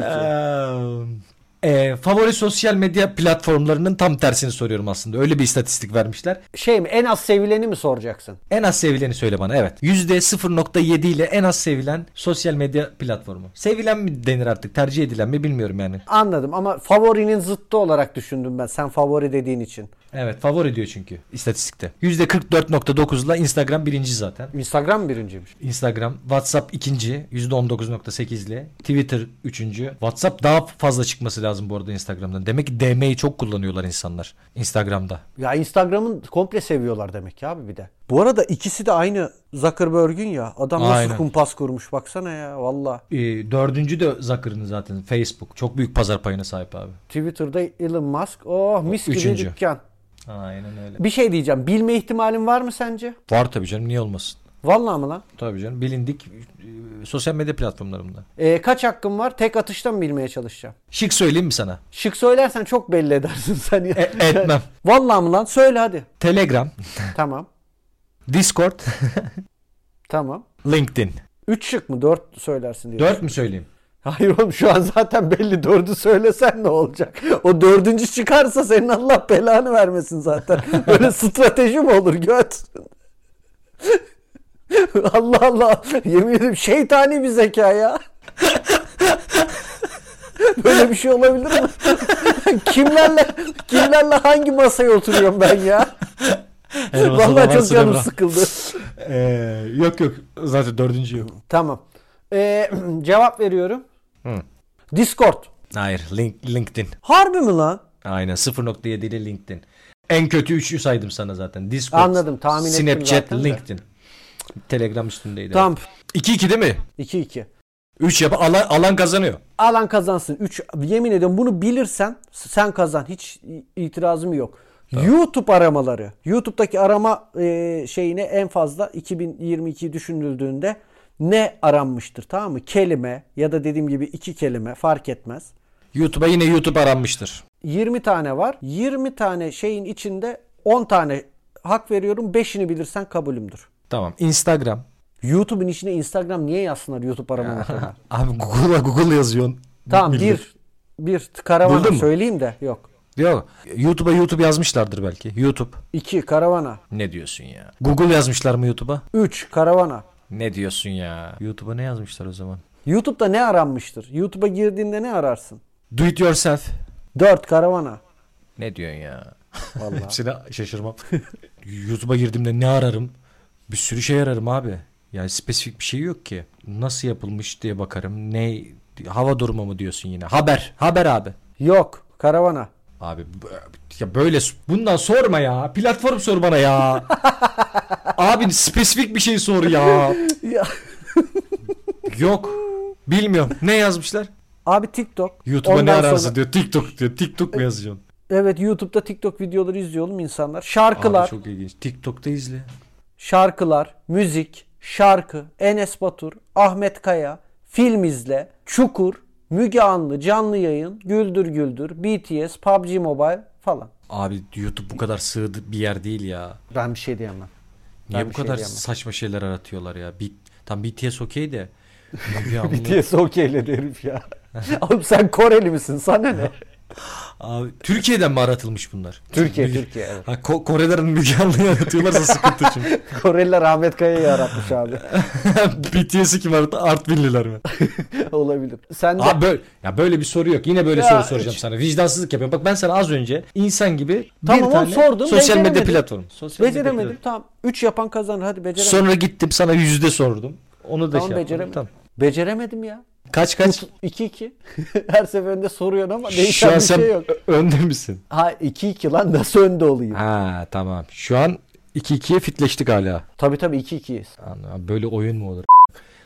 S2: Ee, e, favori sosyal medya platformlarının tam tersini soruyorum aslında. Öyle bir istatistik vermişler.
S1: şey mi en az sevileni mi soracaksın?
S2: En az sevileni söyle bana evet. %0.7 ile en az sevilen sosyal medya platformu. Sevilen mi denir artık tercih edilen mi bilmiyorum yani.
S1: Anladım ama favorinin zıttı olarak düşündüm ben. Sen favori dediğin için.
S2: Evet favori diyor çünkü istatistikte. %44.9 ile Instagram birinci zaten.
S1: Instagram birinciymiş.
S2: Instagram, WhatsApp ikinci %19.8 ile Twitter üçüncü. WhatsApp daha fazla çıkması lazım bu arada Instagram'dan. Demek ki DM'yi çok kullanıyorlar insanlar Instagram'da.
S1: Ya Instagram'ın komple seviyorlar demek ki abi bir de. Bu arada ikisi de aynı Zuckerberg'ün ya. Adam nasıl
S2: Aynen.
S1: kumpas kurmuş baksana ya valla.
S2: Ee, dördüncü de Zucker'ın zaten Facebook. Çok büyük pazar payına sahip abi.
S1: Twitter'da Elon Musk oh mis gibi
S2: Üçüncü.
S1: dükkan.
S2: Aynen öyle.
S1: Bir şey diyeceğim bilme ihtimalin var mı sence?
S2: Var tabii canım niye olmasın?
S1: Vallahi mı lan?
S2: Tabii canım bilindik e, sosyal medya platformlarında.
S1: Ee, kaç hakkım var? Tek atışta mı bilmeye çalışacağım?
S2: Şık söyleyeyim mi sana?
S1: Şık söylersen çok belli edersin sen ya.
S2: E- etmem.
S1: Vallahi mı lan? Söyle hadi.
S2: Telegram,
S1: tamam.
S2: Discord,
S1: Tamam.
S2: LinkedIn.
S1: 3 şık mı? 4 söylersin diye.
S2: Dört mü söyleyeyim?
S1: Hayır oğlum şu an zaten belli dördü söylesen ne olacak? O dördüncü çıkarsa senin Allah belanı vermesin zaten. Böyle strateji mi olur göt? Allah Allah yemin ederim şeytani bir zeka ya. Böyle bir şey olabilir mi? kimlerle kimlerle hangi masaya oturuyorum ben ya? Vallahi çok canım sıkıldı.
S3: Ee, yok yok. Zaten dördüncü yok.
S1: Tamam. Ee, cevap veriyorum. Discord.
S2: Hayır link, LinkedIn.
S1: Harbi mi lan?
S2: Aynen 0.7 ile LinkedIn. En kötü üçü saydım sana zaten. Discord,
S1: Anladım, tahmin ettim
S2: Snapchat,
S1: zaten de.
S2: LinkedIn. Telegram üstündeydi.
S1: Tamam.
S3: 2-2 değil mi?
S1: 2-2.
S2: 3 yap alan, alan kazanıyor.
S1: Alan kazansın. 3 yemin ediyorum bunu bilirsen sen kazan. Hiç i- itirazım yok. YouTube aramaları. YouTube'daki arama e, şeyine en fazla 2022 düşünüldüğünde ne aranmıştır tamam mı? Kelime ya da dediğim gibi iki kelime fark etmez.
S2: YouTube'a yine YouTube aranmıştır.
S1: 20 tane var. 20 tane şeyin içinde 10 tane hak veriyorum. 5'ini bilirsen kabulümdür.
S2: Tamam. Instagram.
S1: YouTube'un içine Instagram niye yazsınlar YouTube arama motoruna?
S2: Abi Google'a Google yazıyorsun.
S1: Tamam
S2: Bilmiyorum.
S1: bir bir karavana
S2: Buldun mu?
S1: söyleyeyim de yok.
S2: Yok. YouTube'a YouTube yazmışlardır belki. YouTube.
S1: İki karavana.
S2: Ne diyorsun ya? Google yazmışlar mı YouTube'a?
S1: Üç karavana.
S2: Ne diyorsun ya? YouTube'a ne yazmışlar o zaman?
S1: YouTube'da ne aranmıştır? YouTube'a girdiğinde ne ararsın?
S2: Do it yourself.
S1: Dört karavana.
S2: Ne diyorsun ya?
S1: Vallahi.
S2: Hepsine şaşırmam. YouTube'a girdiğimde ne ararım? Bir sürü şey ararım abi. Yani spesifik bir şey yok ki. Nasıl yapılmış diye bakarım. Ne hava durumu mu diyorsun yine? Haber. Haber abi.
S1: yok karavana.
S2: Abi b- ya böyle bundan sorma ya. Platform sor bana ya. abi spesifik bir şey sor ya.
S1: Ya.
S2: Yok. Bilmiyorum. Ne yazmışlar?
S1: Abi TikTok.
S2: YouTube'a ne
S1: Ondan
S2: ararsın
S1: sonra- E,
S2: diyor. TikTok diyor. Tiktok mu yazacaksın?
S1: Evet YouTube'da TikTok videoları izliyor oğlum insanlar.
S2: Abi
S1: Şarkılar,
S2: çok ilginç. TikTok'ta izle.
S1: şarkılar, müzik, şarkı, Enes Batur, Ahmet Kaya, film izle, Çukur, Müge Anlı, canlı yayın, Güldür Güldür, BTS, PUBG Mobile falan.
S2: Abi YouTube bu kadar sığ bir yer değil ya.
S1: Ben bir şey diyemem.
S2: Niye
S1: Ben
S2: bu
S1: bir şey
S2: kadar
S1: diyemem.
S2: saçma şeyler aratıyorlar ya? Bit tam BTS okey de. Müge Anlı-
S1: BTS okeyledi herif ya. Oğlum sen Koreli misin? Sana ne?
S2: Abi, Türkiye'den mi aratılmış bunlar?
S1: Türkiye,
S2: Müge-
S1: Türkiye, evet.
S2: Ha, Ko- Korelilerin Müge Anlı'yı aratıyorlarsa sıkıntı şimdi.
S1: Koreliler Ahmet Kaya'yı yaratmış abi.
S2: BTS'i kim arattı? Artvinliler mi?
S1: Olabilir. Sen de
S2: Abi böyle, ya böyle bir soru yok. Yine böyle
S1: Ya,
S2: soru soracağım
S1: hiç-
S2: sana. Vicdansızlık yapıyorum. Bak ben sana az önce insan gibi
S1: Tamam
S2: bir
S1: oğlum,
S2: tane
S1: sordum,
S2: sosyal medya
S1: beceremedim.
S2: platformu. Sosyal medya
S1: beceremedim. Tamam. 3 yapan kazanır. Hadi
S2: platformu.
S1: beceremedim.
S2: Sonra gittim sana yüzde sordum. Onu da
S1: Tamam
S2: şey yapmadım.
S1: beceremedim.
S2: Tamam.
S1: Beceremedim ya.
S2: Kaç kaç?
S1: 2-2. Her seferinde soruyorsun ama
S2: Şu
S1: değişen
S2: an
S1: bir
S2: sen
S1: şey yok.
S2: önde misin?
S1: Ha 2-2 lan nasıl önde olayım?
S2: Ha tamam. Şu an 2-2'ye fitleştik hala.
S1: Tabii tabii 2-2'yiz.
S2: Anladım. Böyle oyun mu olur?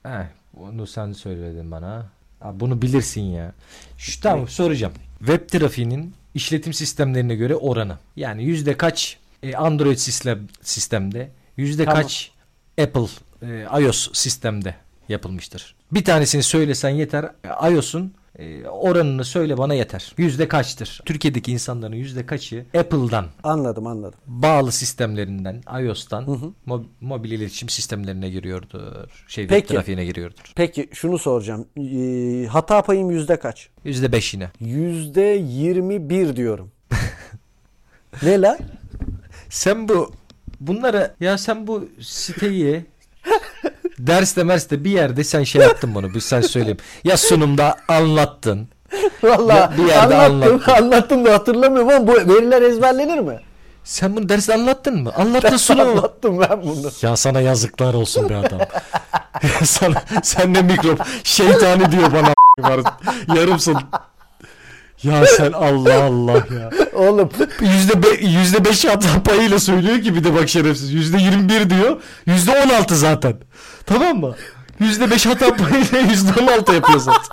S2: He, bunu sen söyledin bana. Abi bunu bilirsin ya. Şu, tamam soracağım. Web trafiğinin işletim sistemlerine göre oranı. Yani yüzde kaç e, Android sistem sistemde, yüzde
S1: Tamam.
S2: kaç Apple e, iOS sistemde yapılmıştır. Bir tanesini söylesen yeter. E, iOS'un e, oranını söyle bana yeter. Yüzde kaçtır? Türkiye'deki insanların yüzde kaçı Apple'dan
S1: Anladım anladım.
S2: bağlı sistemlerinden iOS'tan mob- mobil iletişim sistemlerine giriyordur. Şey web
S1: Peki.
S2: trafiğine giriyordur.
S1: Peki şunu soracağım. Ee, hata payım yüzde kaç?
S2: %5 yine.
S1: Yüzde 21 diyorum. ne lan?
S2: Sen bu bunlara ya sen bu siteyi derste merste bir yerde sen şey yaptın bunu. Bu sen söyleyeyim. Ya sunumda anlattın.
S1: Vallahi
S2: Bir- bir yerde
S1: anlattım,
S2: anlattım.
S1: anlattım da hatırlamıyorum ama bu veriler ezberlenir mi?
S2: Sen bunu derste anlattın mı? Anlattın sunumu.
S1: Anlattım ben bunu.
S2: Ya sana yazıklar olsun be adam. sana, sen ne mikrop şeytani diyor bana var. Yarımsın. Ya sen Allah Allah ya.
S1: Oğlum
S2: Yüzde, be, yüzde beş hata payıyla söylüyor ki bir de bak şerefsiz. Yüzde yirmi bir diyor. Yüzde on altı zaten. Tamam mı? Yüzde beş hata payıyla yüzde on altı yapıyor zaten.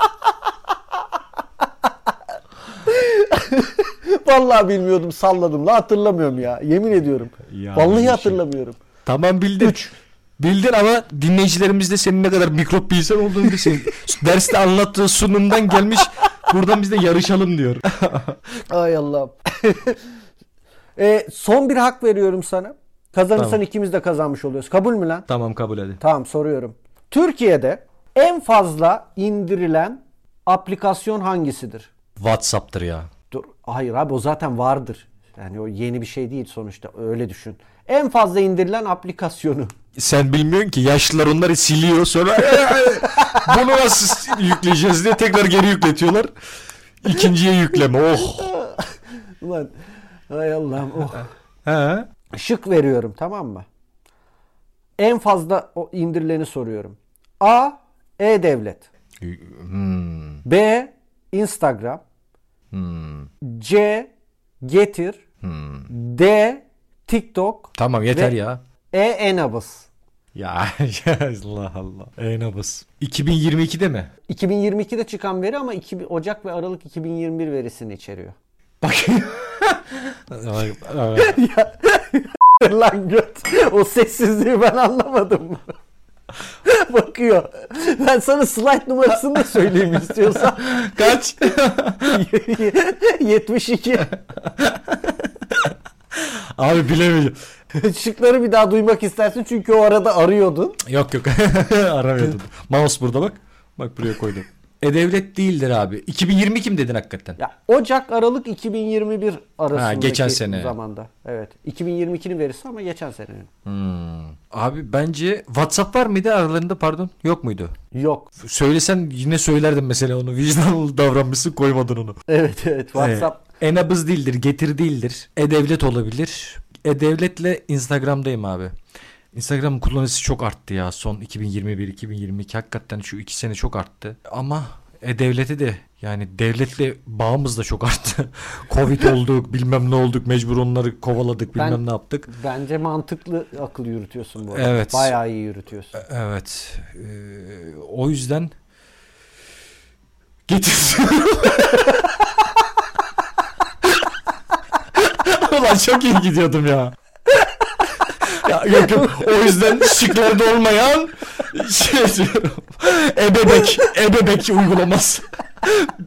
S1: vallahi bilmiyordum salladım la hatırlamıyorum ya. Yemin ediyorum.
S2: Ya bir
S1: vallahi
S2: şey.
S1: hatırlamıyorum.
S2: Tamam bildin. Bildin ama dinleyicilerimiz de senin ne kadar mikrop bir insan olduğunu bir şey. Derste anlattığı sunumdan gelmiş. Buradan biz de yarışalım diyor.
S1: Ay Allah'ım. e, son bir hak veriyorum sana. Kazanırsan
S2: Tamam.
S1: ikimiz de kazanmış oluyoruz. Kabul mü lan?
S2: tamam kabul hadi.
S1: Tamam soruyorum. Türkiye'de en fazla indirilen aplikasyon hangisidir?
S2: Whatsapp'tır ya.
S1: Dur. Hayır abi o zaten vardır. Yani o yeni bir şey değil sonuçta. Öyle düşün. En fazla indirilen aplikasyonu.
S3: Sen bilmiyorsun ki yaşlılar onları siliyor sonra bunu nasıl yükleyeceğiz diye tekrar geri yükletiyorlar. İkinciye yükleme oh.
S1: Ulan hay Allah'ım. Oh.
S2: He.
S1: Şık veriyorum tamam mı? En fazla o indirileni soruyorum. A. E-Devlet. B. Instagram. C. Getir. D. TikTok.
S2: Tamam yeter
S1: Ve-
S2: ya.
S1: E. Enabız.
S2: Ya, ya Allah Allah. Ey nabız. 2022'de mi?
S1: 2022'de çıkan veri ama 2000 Ocak ve Aralık 2021 verisini içeriyor. Lan göt. O sessizliği ben anlamadım. Bakıyor. Ben sana slide numarasını da söyleyeyim istiyorsan.
S2: Kaç?
S1: 72.
S2: Abi bilemeyeceğim.
S1: Şıkları bir daha duymak istersin çünkü o arada arıyordun.
S2: Yok yok. Aramıyordum. Mouse burada bak. Bak buraya koydum. E devlet değildir abi. 2020 kim dedin hakikaten?
S1: Ya Ocak Aralık 2021 arasındaki
S2: Ha, geçen sene.
S1: zamanda. Evet. 2022'nin verisi ama geçen senenin.
S2: Abi bence WhatsApp var mıydı aralarında pardon? Yok muydu?
S1: Yok.
S2: Söylesen yine söylerdim mesela onu. Vicdanlı davranmışsın koymadın onu.
S1: Evet evet. WhatsApp
S2: E, enabız değildir, getir değildir. E-Devlet olabilir. E-Devlet'le Instagram'dayım abi. Instagram kullanıcısı çok arttı ya. Son 2021-2022 hakikaten şu iki sene çok arttı. Ama E-Devlet'e de yani devletle bağımız da çok arttı. Covid olduk, bilmem ne olduk, mecbur onları kovaladık, bilmem
S1: Ben-
S2: ne yaptık.
S1: bence mantıklı akıl yürütüyorsun bu arada.
S2: Evet.
S1: Bayağı iyi yürütüyorsun.
S2: Evet. e, o yüzden getir.
S3: Ulan çok iyi gidiyordum ya. ya yok yok. O yüzden şıklarda olmayan şey diyorum. Ebebek. Ebebek uygulaması.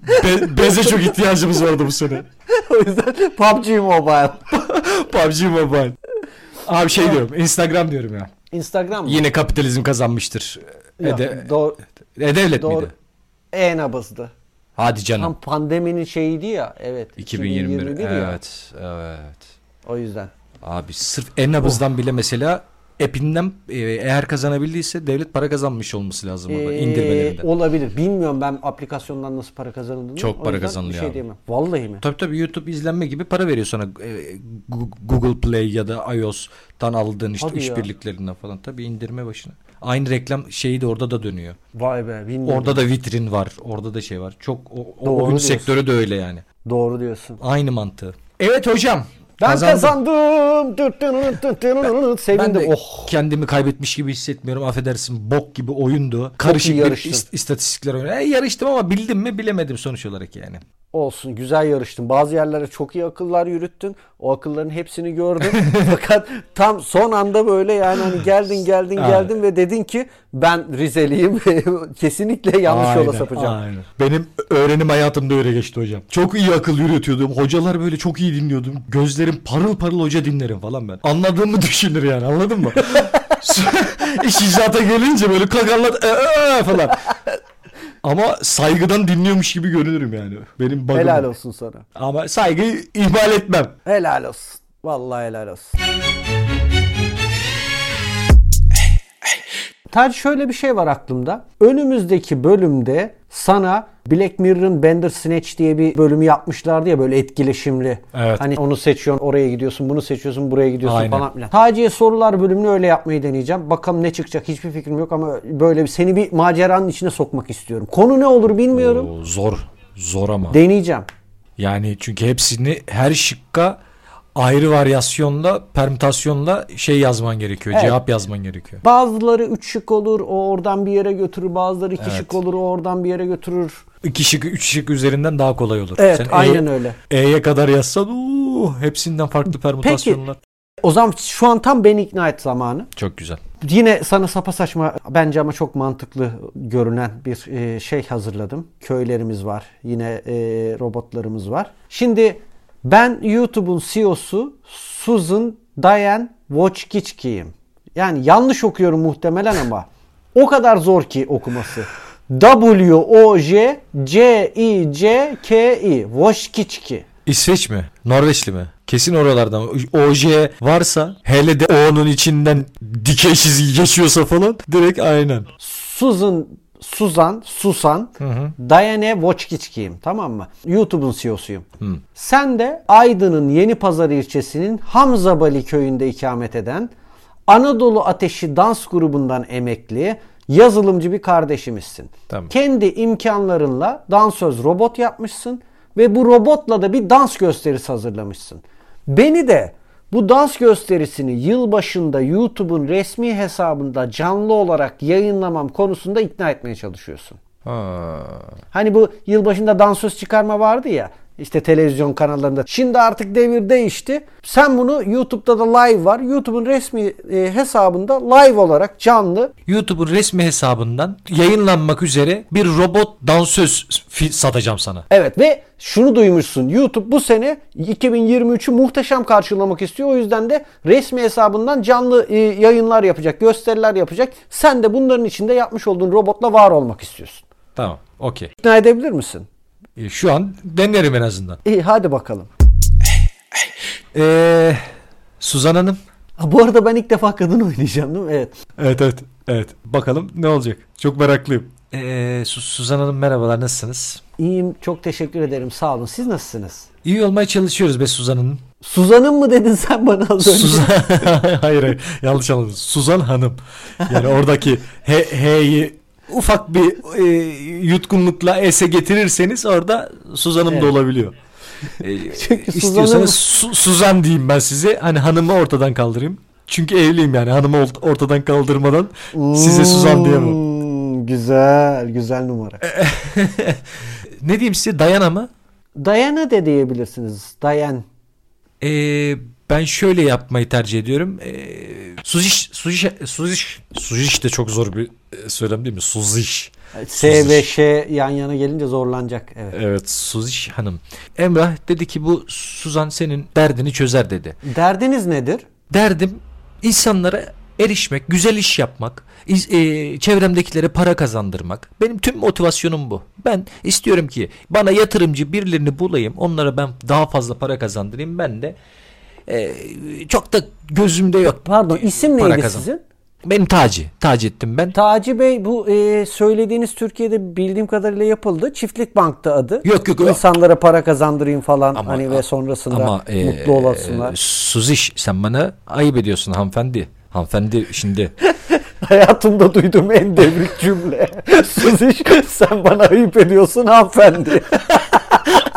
S3: Be- beze çok ihtiyacımız vardı bu sene.
S1: o yüzden PUBG Mobile.
S3: PUBG Mobile. Abi şey diyorum. Instagram diyorum ya.
S1: Instagram mı?
S3: Yine kapitalizm kazanmıştır.
S1: Yok,
S3: Ede-
S1: doğru.
S3: E-Devlet
S1: Doğru.
S3: miydi?
S1: E-nabızdı.
S3: Hadi canım.
S1: Tam pandeminin şeyiydi ya. Evet.
S2: 2021.
S1: 2021 ya.
S2: Evet. Evet.
S1: O yüzden.
S2: Abi sırf en nabızdan
S1: Oh.
S2: bile mesela app'inden e, eğer kazanabildiyse devlet para kazanmış olması lazım orada
S1: Ee,
S2: indirmelerinden.
S1: Olabilir. Bilmiyorum ben aplikasyondan nasıl para kazanıldığını.
S2: Çok
S1: O
S2: para
S1: yüzden
S2: kazanılıyor
S1: Bir şey
S2: abi.
S1: diyemem. Vallahi mi?
S2: Tabii tabii YouTube izlenme gibi para veriyor sana e, Gu- Google Play ya da iOS'tan aldığın işte
S1: Hadi ya.
S2: işbirliklerinden falan tabii indirme başına. Aynı reklam şeyi de orada da dönüyor.
S1: Vay be bilmiyorum.
S2: Orada da vitrin var, orada da şey var. Çok o, o-
S1: Doğru
S2: oyun
S1: diyorsun.
S2: sektörü de öyle yani.
S1: Doğru diyorsun.
S2: Aynı mantığı. Evet hocam.
S1: Ben
S2: kazandım.
S1: kazandım. Tüt tününün tüt tününün.
S2: Ben
S1: Sevindim.
S2: de
S1: Oh.
S2: kendimi kaybetmiş gibi hissetmiyorum. Affedersin bok gibi oyundu. Karışık
S1: iyi
S2: bir
S1: yarıştın.
S2: ist- istatistikler oynadı. E, yarıştım ama bildim mi bilemedim sonuç olarak yani.
S1: Olsun güzel yarıştın. Bazı yerlere çok iyi akıllar yürüttün. O akılların hepsini gördüm. Fakat tam son anda böyle yani hani geldin geldin geldin ve dedin ki ben Rizeliyim. Kesinlikle yanlış yola sapacağım.
S2: aynen.
S3: Benim öğrenim hayatımda öyle geçti hocam. Çok iyi akıl yürütüyordum. Hocalar böyle çok iyi dinliyordum. Gözlerim parıl parıl hoca dinlerim falan ben. Anladığımı düşünür yani anladın mı? İş icraata gelince böyle kakallar "Ee, ee" falan. Ama saygıdan dinliyormuş gibi görünürüm yani. Benim bug'ım.
S1: Helal olsun sana.
S3: Ama saygıyı ihmal etmem.
S1: Helal olsun. Vallahi helal olsun. Ter şöyle bir şey var aklımda. Önümüzdeki bölümde sana Black Mirror'ın Bender Snatch diye bir bölümü yapmışlardı ya böyle etkileşimli.
S2: Evet.
S1: Hani onu seçiyorsun, oraya gidiyorsun, bunu seçiyorsun, buraya gidiyorsun
S2: Aynen.
S1: falan filan. Taciye sorular bölümünü öyle yapmayı deneyeceğim. Bakalım ne çıkacak hiçbir fikrim yok ama böyle bir, seni bir maceranın içine sokmak istiyorum. Konu ne olur bilmiyorum.
S2: Oo, zor. Zor ama.
S1: Deneyeceğim.
S2: yani çünkü hepsini her şıkka ayrı varyasyonla, permütasyonla şey yazman gerekiyor. Cevap yazman gerekiyor.
S1: Bazıları 3 şık olur, o oradan bir yere götürür. Bazıları 2
S2: Evet.
S1: şık olur, o oradan bir yere götürür.
S2: İki şık, üç şık üzerinden daha kolay olur.
S1: Evet,
S2: Sen E-
S1: aynen öyle.
S2: E'ye kadar yazsan uuu, hepsinden farklı permütasyonlar.
S1: O zaman şu an tam beni ikna et zamanı.
S2: Çok güzel.
S1: Yine sana sapasaçma bence ama çok mantıklı görünen bir e, şey hazırladım. Köylerimiz var, yine e, robotlarımız var. Şimdi ben YouTube'un CEO'su Susan Diane Wojcicki'yim. Yani yanlış okuyorum muhtemelen ama o kadar zor ki okuması. W O J C I C K I Wojcicki.
S2: İsveç mi? Norveçli mi? Kesin oralardan. OJ varsa hele de O'nun içinden dikey çizgi geçiyorsa falan direkt aynen.
S1: Susan Suzan, Susan, Diane Wojcicki'yim tamam mı? YouTube'un CEO'suyum. Sen de Aydın'ın Yenipazarı ilçesinin Hamzabali köyünde ikamet eden Anadolu Ateşi dans grubundan emekli yazılımcı bir kardeşimizsin.
S2: Tamam.
S1: Kendi imkanlarınla dansöz robot yapmışsın ve bu robotla da bir dans gösterisi hazırlamışsın. Beni de Bu dans gösterisini yılbaşında YouTube'un resmi hesabında canlı olarak yayınlamam konusunda ikna etmeye çalışıyorsun. Hani bu yılbaşında dansöz çıkarma vardı ya işte televizyon kanallarında. Şimdi artık devir değişti. Sen bunu YouTube'da da live var. YouTube'un resmi e, hesabında live olarak canlı
S2: YouTube'un resmi hesabından yayınlanmak üzere bir robot dansöz fi- satacağım sana.
S1: Evet ve şunu duymuşsun. YouTube bu sene 2023'ü muhteşem karşılamak istiyor. O yüzden de resmi hesabından canlı e, yayınlar yapacak, gösteriler yapacak. Sen de bunların içinde yapmış olduğun robotla var olmak istiyorsun.
S2: Tamam. Okey.
S1: İkna edebilir misin?
S2: E, Şu an denerim en azından.
S1: İyi hadi bakalım.
S2: Ee, Suzan Hanım.
S1: Ha, bu arada ben ilk defa kadın oynayacağım değil mi? Evet.
S3: Evet evet. Evet. Bakalım ne olacak? Çok meraklıyım.
S2: Ee, Su- Suzan Hanım merhabalar nasılsınız?
S1: İyiyim. Çok teşekkür ederim. Sağ olun. Siz nasılsınız?
S2: İyi olmaya çalışıyoruz be Suzan Hanım.
S1: Suzan'ım mı dedin sen bana az önce?
S2: Suzan
S3: hayır hayır. Yanlış anladın. Suzan Hanım. Yani oradaki he, he'yi ufak bir e, yutkunlukla s'e getirirseniz orada Suzan'ım da olabiliyor.
S1: Çünkü Suzan'ım
S3: İstiyorsanız Su- Suzan diyeyim ben size. Hani hanımı ortadan kaldırayım. Çünkü evliyim yani. Hanımı ort- ortadan kaldırmadan size Suzan diyemem.
S1: Hmm, Güzel, güzel numara.
S2: ne diyeyim size Dayana mı?
S1: Dayana de diyebilirsiniz. Dayan.
S2: Ee, ben şöyle yapmayı tercih ediyorum. Ee, suziş, suziş, suziş, suziş de çok zor bir e, söylem değil mi? Suziş.
S1: S ve Ş yan yana gelince zorlanacak. Evet.
S2: Evet Suziş Hanım. Emrah dedi ki bu Suzan senin derdini çözer dedi.
S1: Derdiniz nedir?
S2: Derdim insanlara erişmek, güzel iş yapmak, iz- e, çevremdekilere para kazandırmak. Benim tüm motivasyonum bu. Ben istiyorum ki bana yatırımcı birilerini bulayım. Onlara ben daha fazla para kazandırayım. Ben de e, çok da gözümde yok.
S1: Pardon isim
S2: Para
S1: neydi
S2: kazan.
S1: sizin?
S2: Benim Taci. Taci ettim ben.
S1: Taci Bey bu e, söylediğiniz Türkiye'de bildiğim kadarıyla yapıldı. Çiftlik Bank'ta adı.
S2: Yok, yok, yok.
S1: İnsanlara para kazandırayım falan
S2: Ama-
S1: hani ve sonrasında
S2: Ama e,
S1: mutlu olasınlar.
S2: Suziş sen bana ayıp ediyorsun hanımefendi. Hanımefendi şimdi
S1: Hayatımda duyduğum en devrik cümle. Suziş sen bana ayıp ediyorsun hanımefendi.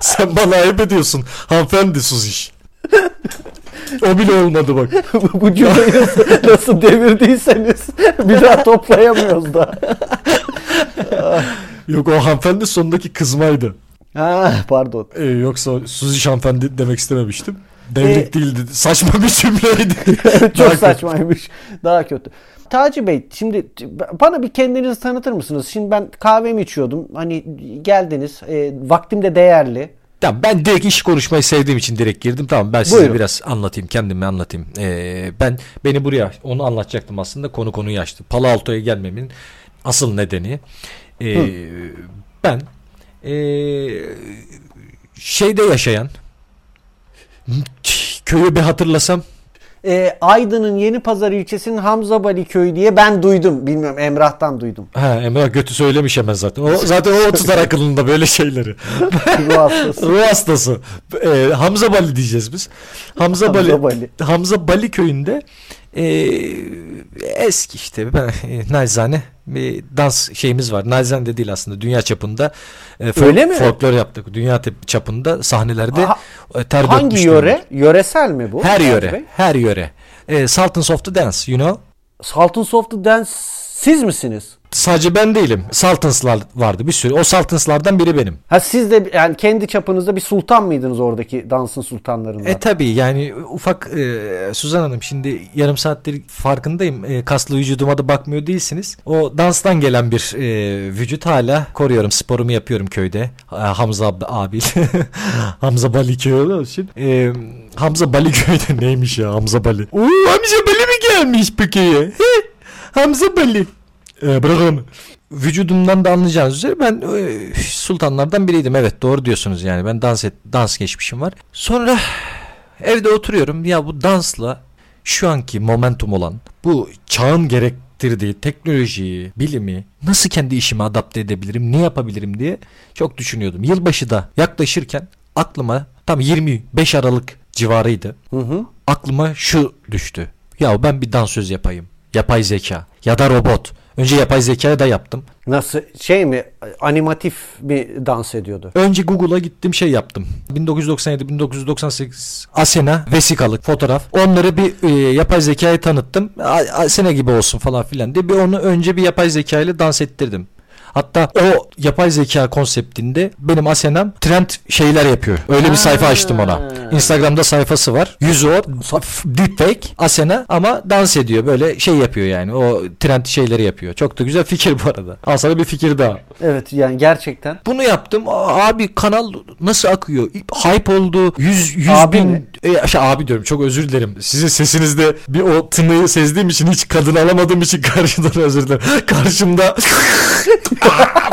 S3: Sen bana ayıp ediyorsun. Hanımefendi Suziş. o bile olmadı bak.
S1: bu bu cümleyi nasıl, nasıl devirdiyseniz bir daha toplayamıyoruz da.
S3: Yok o hanımefendi sondaki kızmaydı.
S1: Ha, Ah, pardon.
S3: Ee, yoksa Suziş hanımefendi demek istememiştim. Devrik
S1: Ee,
S3: değildi. Saçma bir cümleydi.
S1: Çok saçmaymış. Daha kötü. Taci Bey şimdi t- bana bir kendinizi tanıtır mısınız? Şimdi ben kahvemi içiyordum. Hani geldiniz. E, vaktim de değerli.
S2: Tamam ben direkt iş konuşmayı sevdiğim için direkt girdim. Tamam ben size
S1: Buyurun.
S2: biraz anlatayım kendimi anlatayım. Ee, ben beni buraya onu anlatacaktım aslında konu konuyu açtı. Palo Alto'ya gelmemin asıl nedeni ee, ben ee, şeyde yaşayan köyü bir hatırlasam
S1: E, Aydın'ın Yeni Pazar ilçesinin Hamzabali köyü diye ben duydum. Bilmiyorum Emrah'tan duydum.
S2: Ha Emrah götü söylemiş hemen zaten. O, zaten o tutar akılında böyle şeyleri.
S1: Ruh hastası.
S3: Ruh hastası. Ee, Hamza Bali diyeceğiz biz. Hamza Bali.
S1: Hamza
S3: Hamza
S1: Bali.
S3: Bali, köyünde
S2: Ee, eski işte ben e, naizane bir dans şeyimiz var. Naizane de değil aslında dünya çapında. E, folk-
S1: Öyle mi?
S2: Folklor yaptık. Dünya tep- çapında sahnelerde
S1: Ha-
S2: e, ter
S1: Hangi
S2: dökmüş
S1: yöre?
S2: durumda.
S1: Yöresel mi bu?
S2: Her
S1: Taci
S2: yöre.
S1: Bey?
S2: Her yöre. E, Salt and Soft the Dance you know.
S1: Saltın Soft'u Dance siz misiniz?
S2: Sadece ben değilim. Saltanslar vardı bir sürü. O Saltanslardan biri benim.
S1: Ha siz de yani kendi çapınızda bir sultan mıydınız oradaki dansın sultanlarından?
S2: E tabii yani ufak e, Suzan Hanım şimdi yarım saattir farkındayım. E, kaslı vücuduma da bakmıyor değilsiniz. O danstan gelen bir e, vücut hala koruyorum. Sporumu yapıyorum köyde. E, Hamza ab- abi. Hamza Bali köyü için. E, Hamza Bali köyde neymiş ya Hamza Bali? Oo Hamza Bali mi gelmiş bu köye? He? Hamza Bali.
S3: e, bırakın.
S2: Vücudumdan da anlayacağınız üzere ben e, sultanlardan biriydim. Evet doğru diyorsunuz yani. Ben dans et, dans geçmişim var. Sonra evde oturuyorum. Ya bu dansla şu anki momentum olan bu çağın gerektirdiği teknolojiyi, bilimi nasıl kendi işime adapte edebilirim, ne yapabilirim diye çok düşünüyordum. Yılbaşı da yaklaşırken aklıma tam 25 Aralık civarıydı. Aklıma şu düştü. Ya ben bir dansöz yapayım. Yapay zeka ya da robot. Önce yapay zekaya da yaptım.
S1: Nasıl şey mi animatif bir dans ediyordu.
S2: Önce Google'a gittim şey yaptım. 1997-1998 Asena vesikalık fotoğraf. Onları bir e, yapay zekaya tanıttım. A- Asena gibi olsun falan filan diye. Bir onu önce bir yapay zeka ile dans ettirdim. Hatta o yapay zeka konseptinde benim Asena'm trend şeyler yapıyor. Öyle bir sayfa açtım ona. Instagram'da sayfası var. Yüzü o. saf- Deepfake Asena ama dans ediyor. Böyle şey yapıyor yani. O trend şeyleri yapıyor. Çok da güzel fikir bu arada. Al sana bir fikir daha.
S1: Evet yani gerçekten.
S2: Bunu yaptım. Aa, Abi kanal nasıl akıyor? Hype oldu. 100, 100
S1: Abi
S2: bin.
S1: mi?
S2: E, şey, abi diyorum çok özür dilerim.
S3: Sizin sesinizde bir o tınıyı sezdiğim için hiç kadın alamadığım için karşıdan özür dilerim. Karşımda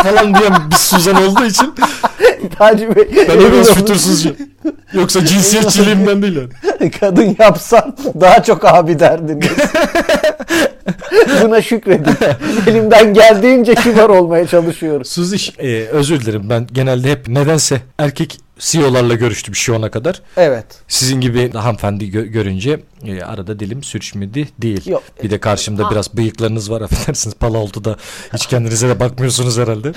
S3: falan diyen bir Suzan olduğu için
S1: Hacı Bey.
S3: ben de biraz fütursuzcuyum. Yoksa cinsiyetçiliğimden değil yani.
S1: Kadın yapsan daha çok abi derdiniz. Buna şükredin. Elimden geldiğince kibar olmaya çalışıyoruz.
S2: Suziş. E, özür dilerim ben genelde hep nedense erkek CEO'larla görüştüm şu ana kadar.
S1: Evet.
S2: Sizin gibi hanımefendi gö- görünce e, arada dilim sürçmedi değil.
S1: Yok.
S2: Bir de karşımda biraz bıyıklarınız var affedersiniz. Palaoltu'da hiç kendinize de bakmıyorsunuz herhalde.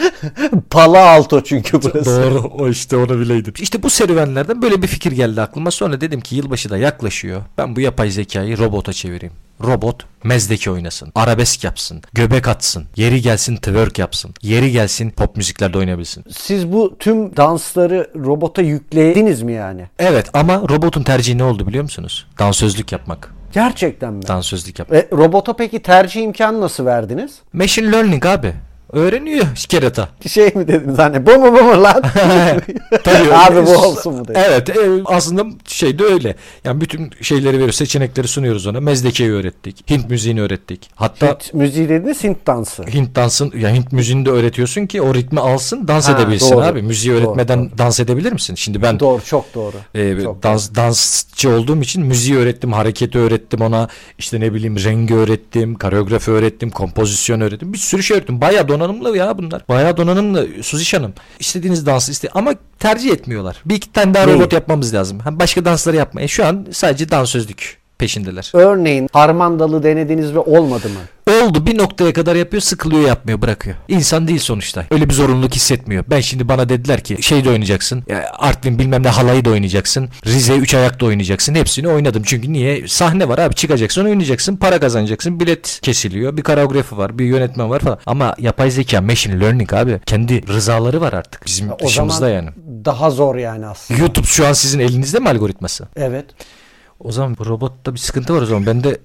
S1: Pala alto çünkü burası.
S2: Doğru.
S3: O işte onu bileydim.
S2: İşte bu serüvenlerden böyle bir fikir geldi aklıma. Sonra dedim ki yılbaşı da yaklaşıyor. Ben bu yapay zekayı robota çevireyim. Robot mezdeki oynasın. Arabesk yapsın. Göbek atsın. Yeri gelsin twerk yapsın. Yeri gelsin pop müziklerde oynayabilsin.
S1: Siz bu tüm dansları robota yüklediniz mi yani?
S2: Evet ama robotun tercihi ne oldu biliyor musunuz? Dansözlük yapmak.
S1: Gerçekten mi?
S2: Dansözlük yapmak.
S1: E, robota peki tercih imkanı nasıl verdiniz?
S2: Machine learning abi. Öğreniyor kerata.
S1: Şey mi dediniz hani bu mu bu mu lan?
S2: Tabii.
S1: Abi bu olsun mu dedi.
S2: Evet e, aslında şey de öyle. Yani bütün şeyleri veriyoruz, seçenekleri sunuyoruz ona. Mezdekeyi öğrettik, Hint müziğini öğrettik. Hatta
S1: Hint müziği dediniz Hint dansı.
S2: Hint dansın ya Hint müziğini de öğretiyorsun ki o ritmi alsın, dans
S1: Ha,
S2: edebilsin
S1: doğru.
S2: abi. Müziği
S1: Doğru,
S2: öğretmeden dans edebilir misin? Şimdi ben
S1: Doğru çok doğru.
S2: e,
S1: Çok
S2: dans dansçı olduğum için müziği öğrettim, hareketi öğrettim ona. İşte ne bileyim rengi öğrettim, koreografi öğrettim, kompozisyon öğrettim. Bir sürü şey öğrettim. Bayağı donanımlı ya bunlar. Bayağı donanımlı Suziş Hanım. İstediğiniz dansı iste ama tercih etmiyorlar. Bir iki tane daha
S1: Neyi?
S2: robot yapmamız lazım. Hem başka dansları yapmaya. Şu an sadece dansözlük peşindeler.
S1: Örneğin harmandalı denediniz ve olmadı mı?
S2: Oldu bir noktaya kadar yapıyor sıkılıyor yapmıyor bırakıyor. İnsan değil sonuçta. Öyle bir zorunluluk hissetmiyor. Ben şimdi bana dediler ki şey de oynayacaksın. ya Artvin bilmem ne halayı da oynayacaksın. Rize üç ayak da oynayacaksın. Hepsini oynadım. Çünkü niye? Sahne var abi çıkacaksın oynayacaksın. Para kazanacaksın. Bilet kesiliyor. Bir koreografi var. Bir yönetmen var falan. Ama yapay zeka machine learning abi. Kendi rızaları var artık. Bizim
S1: O
S2: dışımızda
S1: zaman
S2: yani.
S1: daha zor yani aslında.
S2: YouTube şu an sizin elinizde mi algoritması?
S1: Evet.
S2: O zaman bu robotta bir sıkıntı var o zaman. Ben de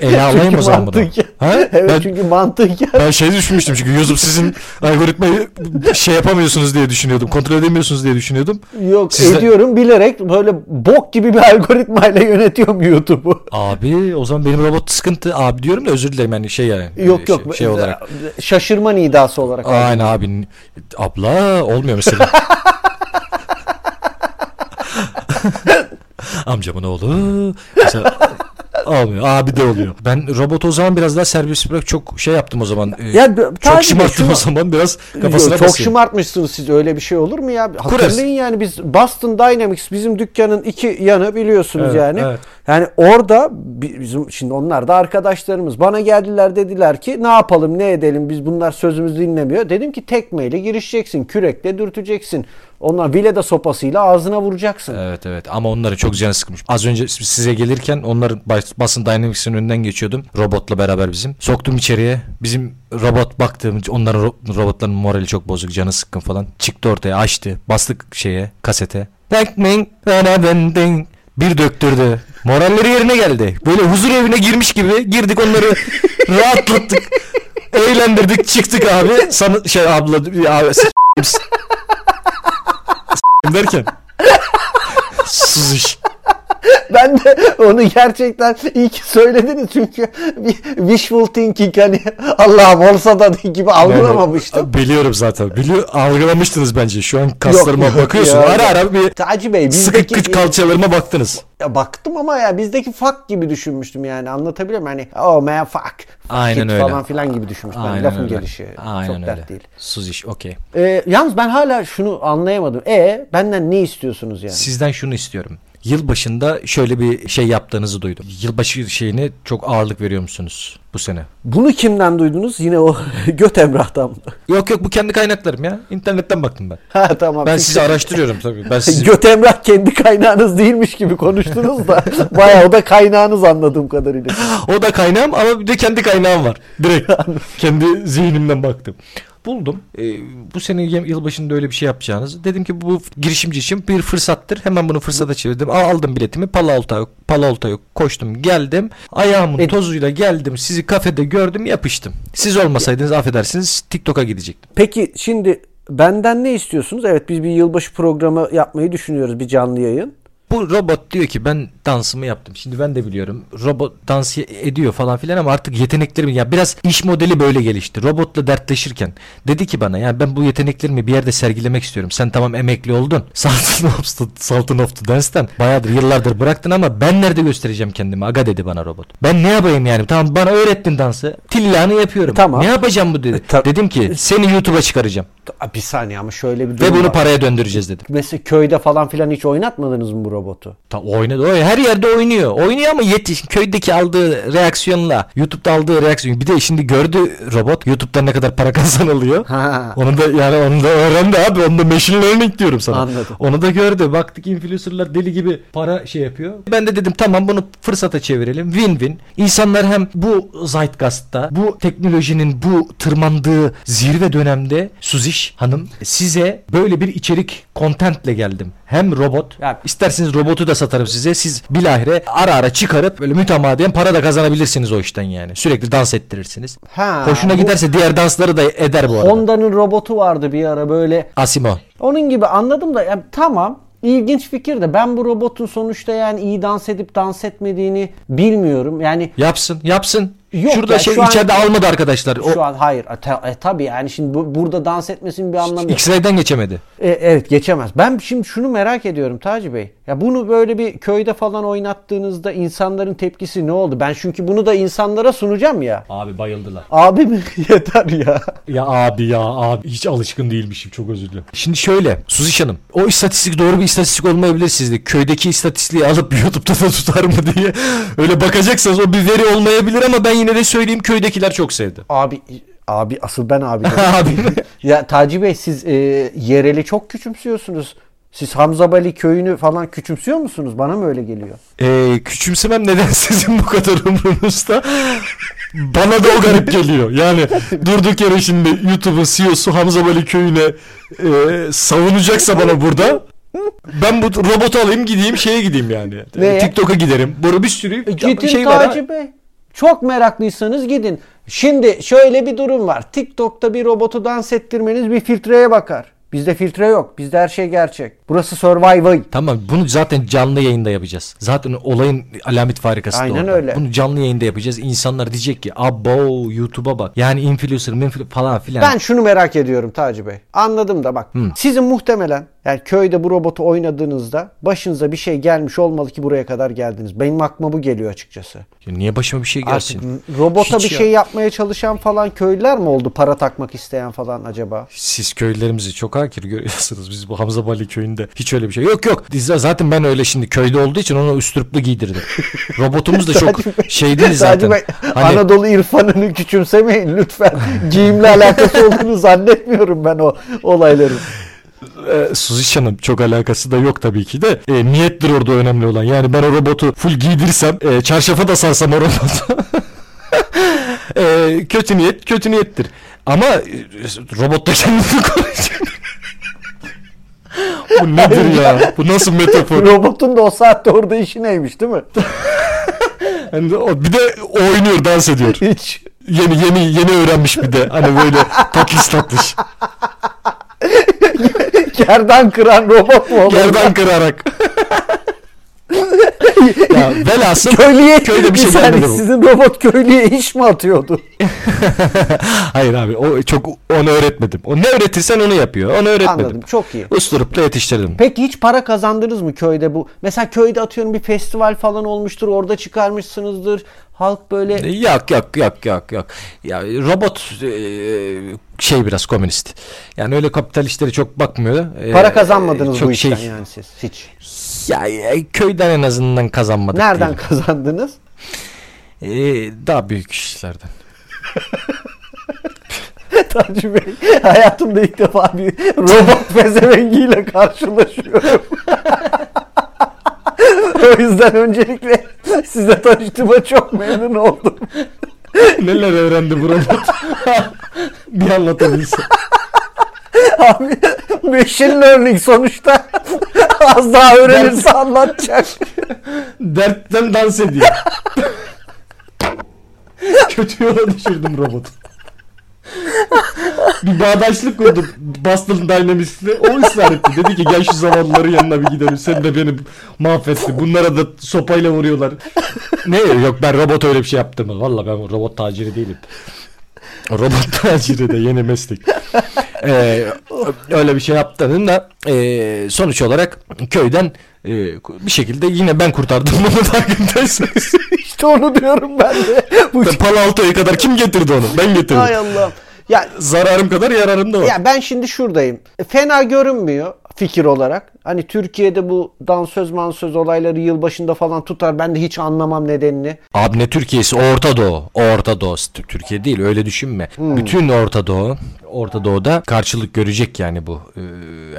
S2: ele alayım o zaman bunu.
S1: mantıken-
S2: Ha?
S1: Evet
S3: Ben-
S1: çünkü mantıken
S3: Ben şey düşünmüştüm çünkü YouTube sizin algoritmayı şey yapamıyorsunuz diye düşünüyordum. Kontrol edemiyorsunuz diye düşünüyordum.
S1: yok
S2: Siz de-
S1: ediyorum bilerek böyle bok gibi bir algoritmayla yönetiyorum YouTube'u.
S2: Abi o zaman benim robot sıkıntı. Abi diyorum da özür dilerim yani şey yani.
S1: Yok
S2: şey-
S1: yok
S2: Şey, olarak.
S1: şaşırma nidası olarak.
S2: Aynen abi. Abla olmuyor mesela. Amcamın oğlu. Mesela olmuyor. Abi de oluyor. Ben robot o zaman biraz daha servis bırak çok şey yaptım o zaman. Ee,
S1: Ya, b-
S2: çok
S1: tabii
S2: şımarttım
S1: şu-
S2: o zaman biraz
S1: Yo,
S2: kafasına
S1: çok
S2: basayım.
S1: şımartmışsınız siz öyle bir şey olur mu ya? Hatırlayın yani biz Boston Dynamics bizim dükkanın iki yanı biliyorsunuz
S2: Evet,
S1: yani.
S2: evet.
S1: Yani orada bi- bizim şimdi onlar da arkadaşlarımız bana geldiler dediler ki ne yapalım ne edelim biz bunlar sözümüzü dinlemiyor. Dedim ki tekmeyle girişeceksin kürekle dürteceksin. Ondan vileda sopasıyla ağzına vuracaksın.
S2: Evet evet ama onları çok canı sıkmış. Az önce size gelirken onların bas- basın Dynamics'in önünden geçiyordum. Robotla beraber bizim. Soktum içeriye. Bizim robot baktığım onların ro- robotların morali çok bozuk canı sıkkın falan. Çıktı ortaya açtı. Bastık şeye kasete. Ding, ding, dana, ding, ding. Bir döktürdü. Moralleri yerine geldi. Böyle huzur evine girmiş gibi girdik onları rahatlattık. Eğlendirdik çıktık abi. Sana şey abla abi, s- s- derken. Sus iş.
S1: Ben de onu gerçekten iyi ki söylediniz çünkü bir wishful thinking hani Allah'ım olsa da gibi algılamamıştım.
S2: Biliyorum zaten. Biliyor, algılamıştınız bence. Şu an kaslarıma
S1: Yok, yok
S2: bakıyorsun.
S1: ya.
S2: Ara ara bir
S1: Taci Bey
S2: sıkı
S1: bizdeki
S2: kıt kalçalarıma baktınız.
S1: Ya baktım ama ya bizdeki fuck gibi düşünmüştüm yani anlatabiliyor muyum? Hani oh man fuck, fuck
S2: Aynen
S1: it
S2: öyle.
S1: falan filan gibi düşünmüştüm. Yani lafın gelişi
S2: Aynen
S1: çok
S2: öyle.
S1: dert değil.
S2: Sus iş okey.
S1: Ee, yalnız ben hala şunu anlayamadım. E benden ne istiyorsunuz yani?
S2: Sizden şunu istiyorum. yılbaşında şöyle bir şey yaptığınızı duydum. Yılbaşı şeyini çok ağırlık veriyor musunuz bu sene?
S1: Bunu kimden duydunuz? Yine o göt Emrah'tan mı?
S2: Yok yok bu kendi kaynaklarım ya. İnternetten baktım ben.
S1: Ha tamam.
S2: Ben
S1: Çünkü
S2: sizi araştırıyorum tabii. Ben sizi
S1: Göt Emrah kendi kaynağınız değilmiş gibi konuştunuz da bayağı o da kaynağınız anladığım kadarıyla.
S2: O da kaynağım ama bir de kendi kaynağım var. Direkt kendi zihnimden baktım. Buldum. Ee, bu sene yem- yılbaşında öyle bir şey yapacağınız. Dedim ki bu girişimci için bir fırsattır. Hemen bunu fırsata çevirdim. Aa, Aldım biletimi. Palalta yok. Palalta yok. Koştum geldim. Ayağımın
S1: Evet.
S2: tozuyla geldim. Sizi kafede gördüm yapıştım. Siz olmasaydınız affedersiniz TikTok'a gidecektim.
S1: Peki şimdi benden ne istiyorsunuz? Evet biz bir yılbaşı programı yapmayı düşünüyoruz bir canlı yayın.
S2: Bu robot diyor ki ben dansımı yaptım. Şimdi ben de biliyorum. Robot dans ediyor falan filan ama artık yeteneklerim ya biraz iş modeli böyle gelişti. Robotla dertleşirken dedi ki bana ya ben bu yeteneklerimi bir yerde sergilemek istiyorum. Sen tamam emekli oldun. Sultan of the, Sultan of the Dance'den bayağıdır yıllardır bıraktın ama ben nerede göstereceğim kendimi aga dedi bana robot. Ben ne yapayım yani tamam bana öğrettin dansı. Tillanı yapıyorum.
S1: tamam. E,
S2: Ne yapacağım bu dedi.
S1: ta-
S2: dedim ki seni YouTube'a çıkaracağım
S1: Aa, Bir saniye ama şöyle bir durum
S2: ve bunu
S1: var.
S2: paraya döndüreceğiz dedim.
S1: Mesela köyde falan filan hiç oynatmadınız mı bu robotu?
S2: Ta oynadı. Oy, her yerde oynuyor. Oynuyor ama yetiş. Köydeki aldığı reaksiyonla YouTube'da aldığı reaksiyon. Bir de şimdi gördü robot YouTube'dan ne kadar para kazanılıyor.
S1: Ha.
S2: Onu da yani onu da öğrendi abi. Onu da machine learning diyorum sana.
S1: Anladım.
S2: Onu da gördü. Baktık influencerlar deli gibi para şey yapıyor. Ben de dedim tamam bunu fırsata çevirelim. Win-win. İnsanlar hem bu zeitgeist'ta bu teknolojinin bu tırmandığı zirve dönemde Suziş Hanım size böyle bir içerik contentle geldim. Hem robot
S1: Ya-
S2: isterseniz robotu da satarım size. Siz bilahare ara ara çıkarıp böyle mütemadiyen para da kazanabilirsiniz o işten yani. Sürekli dans ettirirsiniz.
S1: Ha,
S2: Hoşuna
S1: bu-
S2: giderse diğer dansları da eder bu arada.
S1: Honda'nın robotu vardı bir ara böyle.
S2: Asimo.
S1: Onun gibi anladım da ya, tamam ilginç fikir de ben bu robotun sonuçta yani iyi dans edip dans etmediğini bilmiyorum. Yani
S2: Yapsın, yapsın.
S1: Yok
S2: Şurada
S1: ya,
S2: şey
S1: şu an-
S2: içeride almadı arkadaşlar. O
S1: şu an hayır e, ta- e, tabii yani şimdi bu, burada dans etmesinin bir anlamı yok.
S2: X-ray'den geçemedi.
S1: E, evet geçemez. Ben şimdi şunu merak ediyorum Taci Bey. Ya bunu böyle bir köyde falan oynattığınızda insanların tepkisi ne oldu? Ben çünkü bunu da insanlara sunacağım ya.
S2: Abi bayıldılar.
S1: Abi mi? Yeter ya.
S2: Ya abi ya abi hiç alışkın değilmişim çok özür dilerim. Şimdi şöyle Suziş Hanım o istatistik doğru bir istatistik olmayabilir sizde. Köydeki istatistiği alıp YouTube'da da tutar mı diye öyle bakacaksanız o bir veri olmayabilir ama ben yine de söyleyeyim köydekiler çok sevdi.
S1: Abi abi asıl ben abi. dedim.
S2: abi mi?
S1: ya Taci Bey siz e, yereli çok küçümsüyorsunuz. Siz Hamza Bali köyünü falan küçümsüyor musunuz? Bana mı öyle geliyor?
S2: Ee, küçümsemem neden sizin bu kadar umrunuzda? Bana da o garip geliyor. Yani durduk yere şimdi YouTube'un CEO'su Hamza Bali köyüne e, savunacaksa bana burada ben bu robotu alayım gideyim şeye gideyim yani. E,
S1: Neye?
S2: TikTok'a giderim. Burada bir sürü
S1: E, Gidin
S2: şey var. ha.
S1: Taci Bey. Çok meraklıysanız gidin. Şimdi şöyle bir durum var. TikTok'ta bir robotu dans ettirmeniz bir filtreye bakar. Bizde filtre yok. Bizde her şey gerçek. Burası survival.
S2: Tamam bunu zaten canlı yayında yapacağız. Zaten olayın alamet farikası da
S1: Aynen
S2: orada.
S1: öyle.
S2: Bunu canlı yayında yapacağız. İnsanlar diyecek ki abo YouTube'a bak. Yani influencer minflu- falan filan.
S1: Ben şunu merak ediyorum Taci Bey. Anladım da bak. Sizin muhtemelen yani köyde bu robotu oynadığınızda başınıza bir şey gelmiş olmalı ki buraya kadar geldiniz. Benim aklıma bu geliyor açıkçası.
S2: Ya Niye başıma bir şey gelsin?
S1: Artık robota
S2: Hiç
S1: bir
S2: ya.
S1: şey yapmaya çalışan falan köylüler mi oldu? Para takmak isteyen falan acaba?
S2: Siz köylerimizi çok hakir görüyorsunuz. Biz bu Hamza Bali köyünde hiç öyle bir şey yok yok. Biz de- Zaten ben öyle şimdi köyde olduğu için ona üstürplü giydirdim. Robotumuz da çok şey değil
S1: Sadece
S2: zaten.
S1: ben
S2: Hani
S1: Anadolu irfanını küçümsemeyin lütfen. Giyimle alakası olduğunu zannetmiyorum ben o olayların.
S2: e, Suziş Hanım çok alakası da yok tabii ki de. E, niyettir orada önemli olan. Yani ben o robotu full giydirsem, e, çarşafa da sarsam o robotu. E, kötü niyet kötü niyettir. Ama e, robot da kendini koruyacak. Bu nedir ya? Bu nasıl metafor?
S1: Robotun da o saatte orada işi neymiş değil mi?
S2: Yani Hani o- bir de oynuyor, dans ediyor.
S1: Hiç.
S2: Yeni yeni yeni öğrenmiş bir de. Hani böyle tatlış tatlış.
S1: Gerdan kıran robot mu olur?
S2: Yerden kırarak. Ya velhasıl
S1: köylüye
S2: köyde bir şey
S1: bir saniye,
S2: gelmedi bu.
S1: Sizin robot köylüye iş mi atıyordu?
S2: Hayır abi o çok onu öğretmedim. O ne öğretirsen onu yapıyor. Onu öğretmedim.
S1: Anladım. Çok iyi.
S2: Usturupla yetiştirdim.
S1: Peki hiç para kazandınız mı köyde bu? Mesela köyde atıyorum bir festival falan olmuştur. Orada çıkarmışsınızdır. Halk böyle
S2: E, Yok yok yok yok yok. Ya robot e, şey biraz komünist. Yani öyle kapitalistleri çok bakmıyor. E,
S1: para kazanmadınız
S2: çok
S1: bu işten
S2: şey-
S1: yani siz hiç.
S2: Ya, ya, e, köyden en azından kazanmadık.
S1: Nereden
S2: diyelim.
S1: kazandınız?
S2: E, daha büyük işlerden.
S1: Tanju Bey hayatımda ilk defa bir robot pezevengiyle karşılaşıyorum. o yüzden öncelikle size tanıştığıma çok memnun oldum.
S2: Neler öğrendi bu robot? bir anlatabilsin.
S1: Abi machine learning sonuçta az daha öğrenirse anlatacak.
S2: Dertten dans ediyor. Kötü yola düşürdüm robotu. bir bağdaşlık kurdum Boston Dynamics'le. O ısrar etti. Dedi ki gel şu zavallıların yanına bir gidelim. Sen de beni mahvetti. Bunlara da sopayla vuruyorlar. ne yok ben robot öyle bir şey yaptım. Valla ben robot taciri değilim. Robot taciri de yeni meslek. Ee, öyle bir şey yaptığının da ee, sonuç olarak köyden ee, bir şekilde yine ben kurtardım bunu farkındaysanız.
S1: İşte onu diyorum ben de. Bu
S2: Palo Alto'ya kadar kim getirdi onu? Ben getirdim.
S1: Hay Allah. Ya
S2: Zararım kadar yararım da var.
S1: Ya ben şimdi şuradayım. E, Fena görünmüyor fikir olarak. Hani Türkiye'de bu dansöz mansöz olayları yılbaşında falan tutar. Ben de hiç anlamam nedenini.
S2: Abi ne Türkiye'si? Orta Doğu. O Orta Doğu. T- Türkiye değil öyle düşünme.
S1: Hmm.
S2: Bütün Orta Doğu. Orta Doğu'da karşılık görecek yani bu. Ee,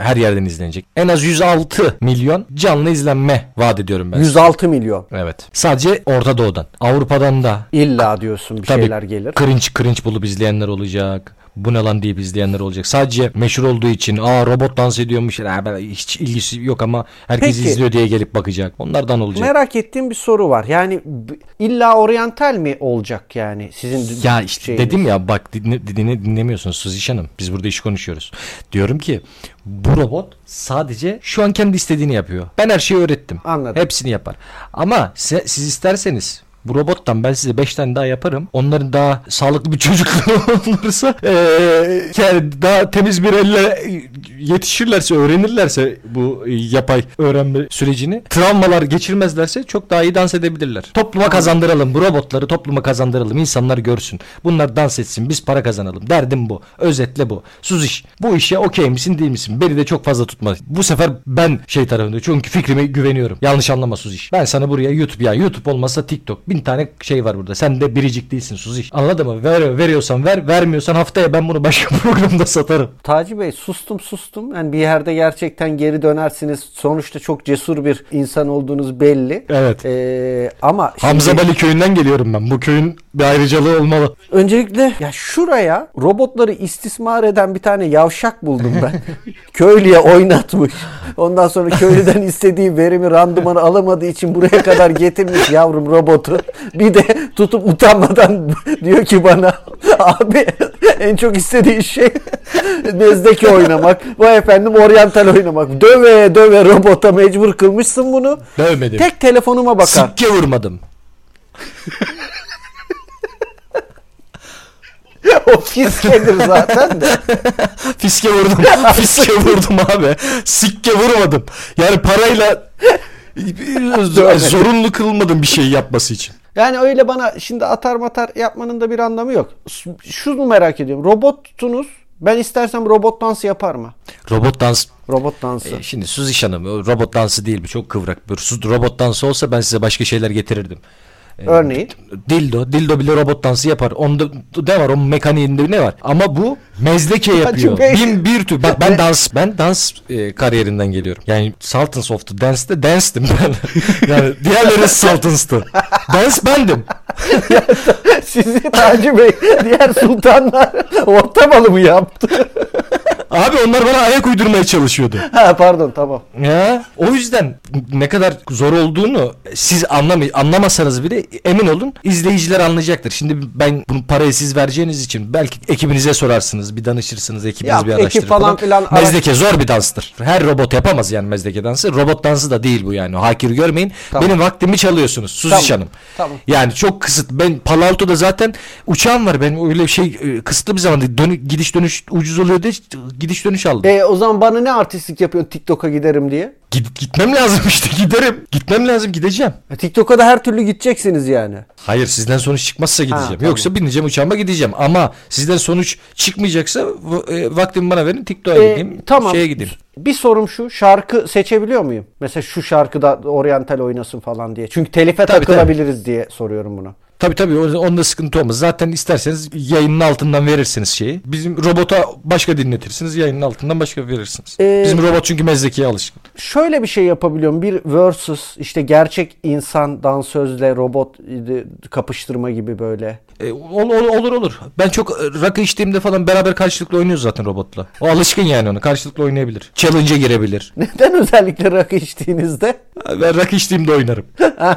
S2: her yerden izlenecek. En az 106 milyon canlı izlenme vaat ediyorum ben.
S1: 106 milyon.
S2: Evet. Sadece Orta Doğu'dan. Avrupa'dan da
S1: İlla diyorsun bir şeyler gelir.
S2: Cringe cringe bulup izleyenler olacak. Bu ne lan deyip izleyenler olacak. Sadece meşhur olduğu için aa robot dans ediyormuş. Ha, ben- hiç ilgisi yok ama herkes
S1: Peki.
S2: izliyor diye gelip bakacak. Onlardan olacak.
S1: Merak ettiğim bir soru var. Yani b- illa oryantal mi olacak yani sizin
S2: ya işte
S1: şeyiniz?
S2: dedim ya bak dinle, dinle, dinlemiyorsunuz Suziş Hanım. Biz burada iş konuşuyoruz. Diyorum ki bu robot sadece şu an kendi istediğini yapıyor. Ben her şeyi öğrettim.
S1: Anladım.
S2: Hepsini yapar. Ama se- siz isterseniz bu robottan ben size 5 tane daha yaparım. Onların daha sağlıklı bir çocukları olursa eee, yani daha temiz bir elle yetişirlerse, öğrenirlerse bu e, yapay öğrenme sürecini travmalar geçirmezlerse çok daha iyi dans edebilirler. Topluma kazandıralım. Bu robotları topluma kazandıralım. İnsanlar görsün. Bunlar dans etsin. Biz para kazanalım. Derdim bu. Özetle bu. Suz iş. Bu işe okey misin değil misin? Beni de çok fazla tutma. Bu sefer ben şey tarafında çünkü fikrime güveniyorum. Yanlış anlama Suz iş. Ben sana buraya YouTube ya YouTube olmasa TikTok. Bin tane şey var burada. Sen de biricik değilsin Suz iş. Anladın mı? Ver, veriyorsan ver. Vermiyorsan haftaya ben bunu başka programda satarım.
S1: Taci Bey sustum sustum. Yani bir yerde gerçekten geri dönersiniz. Sonuçta çok cesur bir insan olduğunuz belli.
S2: Evet.
S1: Ee, ama
S2: Hamza
S1: şimdi-
S2: Bali köyünden geliyorum ben. Bu köyün bir ayrıcalığı olmalı.
S1: Öncelikle ya şuraya robotları istismar eden bir tane yavşak buldum ben. Köylüye oynatmış. Ondan sonra köylüden istediği verimi, randımanı alamadığı için buraya kadar getirmiş yavrum robotu. Bir de tutup utanmadan diyor ki bana abi en çok istediği şey mezdeki oynamak. Vay efendim oryantal oynamak. Döve döve robota mecbur kılmışsın bunu.
S2: Dövmedim.
S1: Tek telefonuma bakar.
S2: Sikke vurmadım.
S1: o fiskedir zaten de.
S2: Fiske vurdum. Fiske vurdum abi. Sikke vurmadım. Yani parayla zorunlu kılmadım bir şey yapması için.
S1: Yani öyle bana şimdi atar matar yapmanın da bir anlamı yok. S- Şunu merak ediyorum. Robotunuz ben istersem robot dansı yapar mı?
S2: Robot dans
S1: Robot dansı.
S2: E, şimdi Suziş Hanım o robot dansı değil bu çok kıvrak. Bir su- robot dansı olsa ben size başka şeyler getirirdim. E,
S1: Örneğin
S2: Dildo, dildo bile robot dansı yapar. Onda ne var? Onun mekaniğinde ne var? Ama bu mezleke yapıyor.
S1: Bey.
S2: Bin bir tür. Ben, ben dans, ben dans e, kariyerinden geliyorum. Yani Salt and Soft'u dance'te dance'tim ben. yani diğerleri Salt and'stı. Dance bendim.
S1: sizi Taci Bey diğer sultanlar ortamalı mı yaptı?
S2: Abi onlar bana ayak uydurmaya çalışıyordu.
S1: ha pardon tamam.
S2: Ya, o yüzden ne kadar zor olduğunu siz anlamay anlamasanız bile emin olun izleyiciler anlayacaktır. Şimdi ben bunu parayı siz vereceğiniz için belki ekibinize sorarsınız, bir danışırsınız, ekibiniz
S1: Ya,
S2: bir
S1: ekip
S2: araştırır
S1: falan filan araş-
S2: Mezdeke zor bir danstır. Her robot yapamaz yani mezdeke dansı. Robot dansı da değil bu yani. Hakir görmeyin.
S1: Tamam.
S2: Benim vaktimi çalıyorsunuz Suzi
S1: Tamam,
S2: Hanım.
S1: tamam.
S2: Yani çok kısıt. Ben Palo Alto'da zaten uçağım var. Benim öyle bir şey e, kısıtlı bir zamanda dönü- gidiş dönüş ucuz oluyor diye gidiş dönüş aldım.
S1: E, o zaman bana ne artistlik yapıyorsun TikTok'a giderim diye?
S2: Git, gitmem lazım işte giderim. Gitmem lazım gideceğim.
S1: E, TikTok'a da her türlü gideceksiniz yani.
S2: Hayır sizden sonuç çıkmazsa gideceğim.
S1: tamam.
S2: Yoksa bineceğim uçağıma gideceğim. Ama sizden sonuç çıkmayacaksa v- e, vaktimi bana verin TikTok'a
S1: E,
S2: gideyim. Şeye gideyim.
S1: Bir sorum şu. Şarkı seçebiliyor muyum? Mesela şu şarkıda oryantal oynasın falan diye. Çünkü telife
S2: Tabii,
S1: takılabiliriz diye soruyorum bunu.
S2: Tabii tabii o- onda sıkıntı olmaz. Zaten isterseniz yayının altından verirsiniz şeyi. Bizim robota başka dinletirsiniz. Yayının altından başka verirsiniz.
S1: Ee,
S2: Bizim robot çünkü mezlekiye alışkın.
S1: Şöyle bir şey yapabiliyorum. Bir versus işte gerçek insan dansözle robot e, kapıştırma gibi böyle.
S2: E, ol- ol- olur olur. Ben çok e, rakı içtiğimde falan beraber karşılıklı oynuyoruz zaten robotla. O alışkın yani ona. Karşılıklı oynayabilir. Challenge'a girebilir.
S1: Neden özellikle rakı içtiğinizde?
S2: Ben rakı içtiğimde oynarım.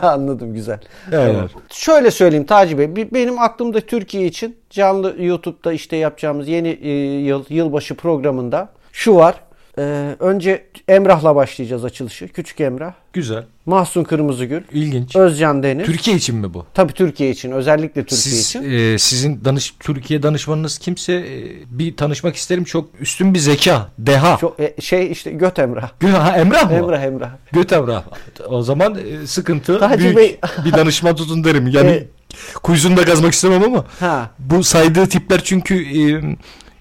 S1: Anladım güzel.
S2: Evet.
S1: Şöyle söyleyeyim Taci Bey. bi- Benim aklımda Türkiye için canlı YouTube'da işte yapacağımız yeni e, yıl yılbaşı programında şu var. Ee, önce Emrah'la başlayacağız açılışı. Küçük Emrah.
S2: Güzel.
S1: Mahsun Kırmızıgül.
S2: İlginç.
S1: Özcan Deniz.
S2: Türkiye için mi bu?
S1: Tabii Türkiye için. Özellikle Türkiye
S2: Siz,
S1: için.
S2: e, sizin danış Türkiye danışmanınız kimse e, bir tanışmak isterim. Çok üstün bir zeka, deha.
S1: Çok, e, şey işte Göt Emrah.
S2: Gö- ha, Emrah mı?
S1: Emrah Emrah.
S2: Göt Emrah. O zaman e, sıkıntı
S1: Taci
S2: büyük.
S1: Bey-
S2: bir danışman tutun derim. Yani
S1: E-
S2: kuyusunu da kazmak istemem ama
S1: Ha.
S2: bu saydığı tipler çünkü e,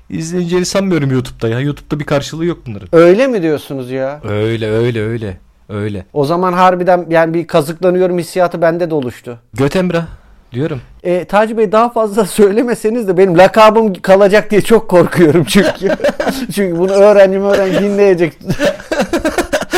S2: izleyeceğini sanmıyorum YouTube'da ya. YouTube'da bir karşılığı yok bunların.
S1: Öyle mi diyorsunuz ya?
S2: Öyle öyle öyle. Öyle.
S1: O zaman harbiden yani bir kazıklanıyorum hissiyatı bende de oluştu.
S2: Göt Emrah diyorum.
S1: E, Taci Bey daha fazla söylemeseniz de benim lakabım kalacak diye çok korkuyorum çünkü. çünkü bunu öğrencim öğrenci dinleyecek.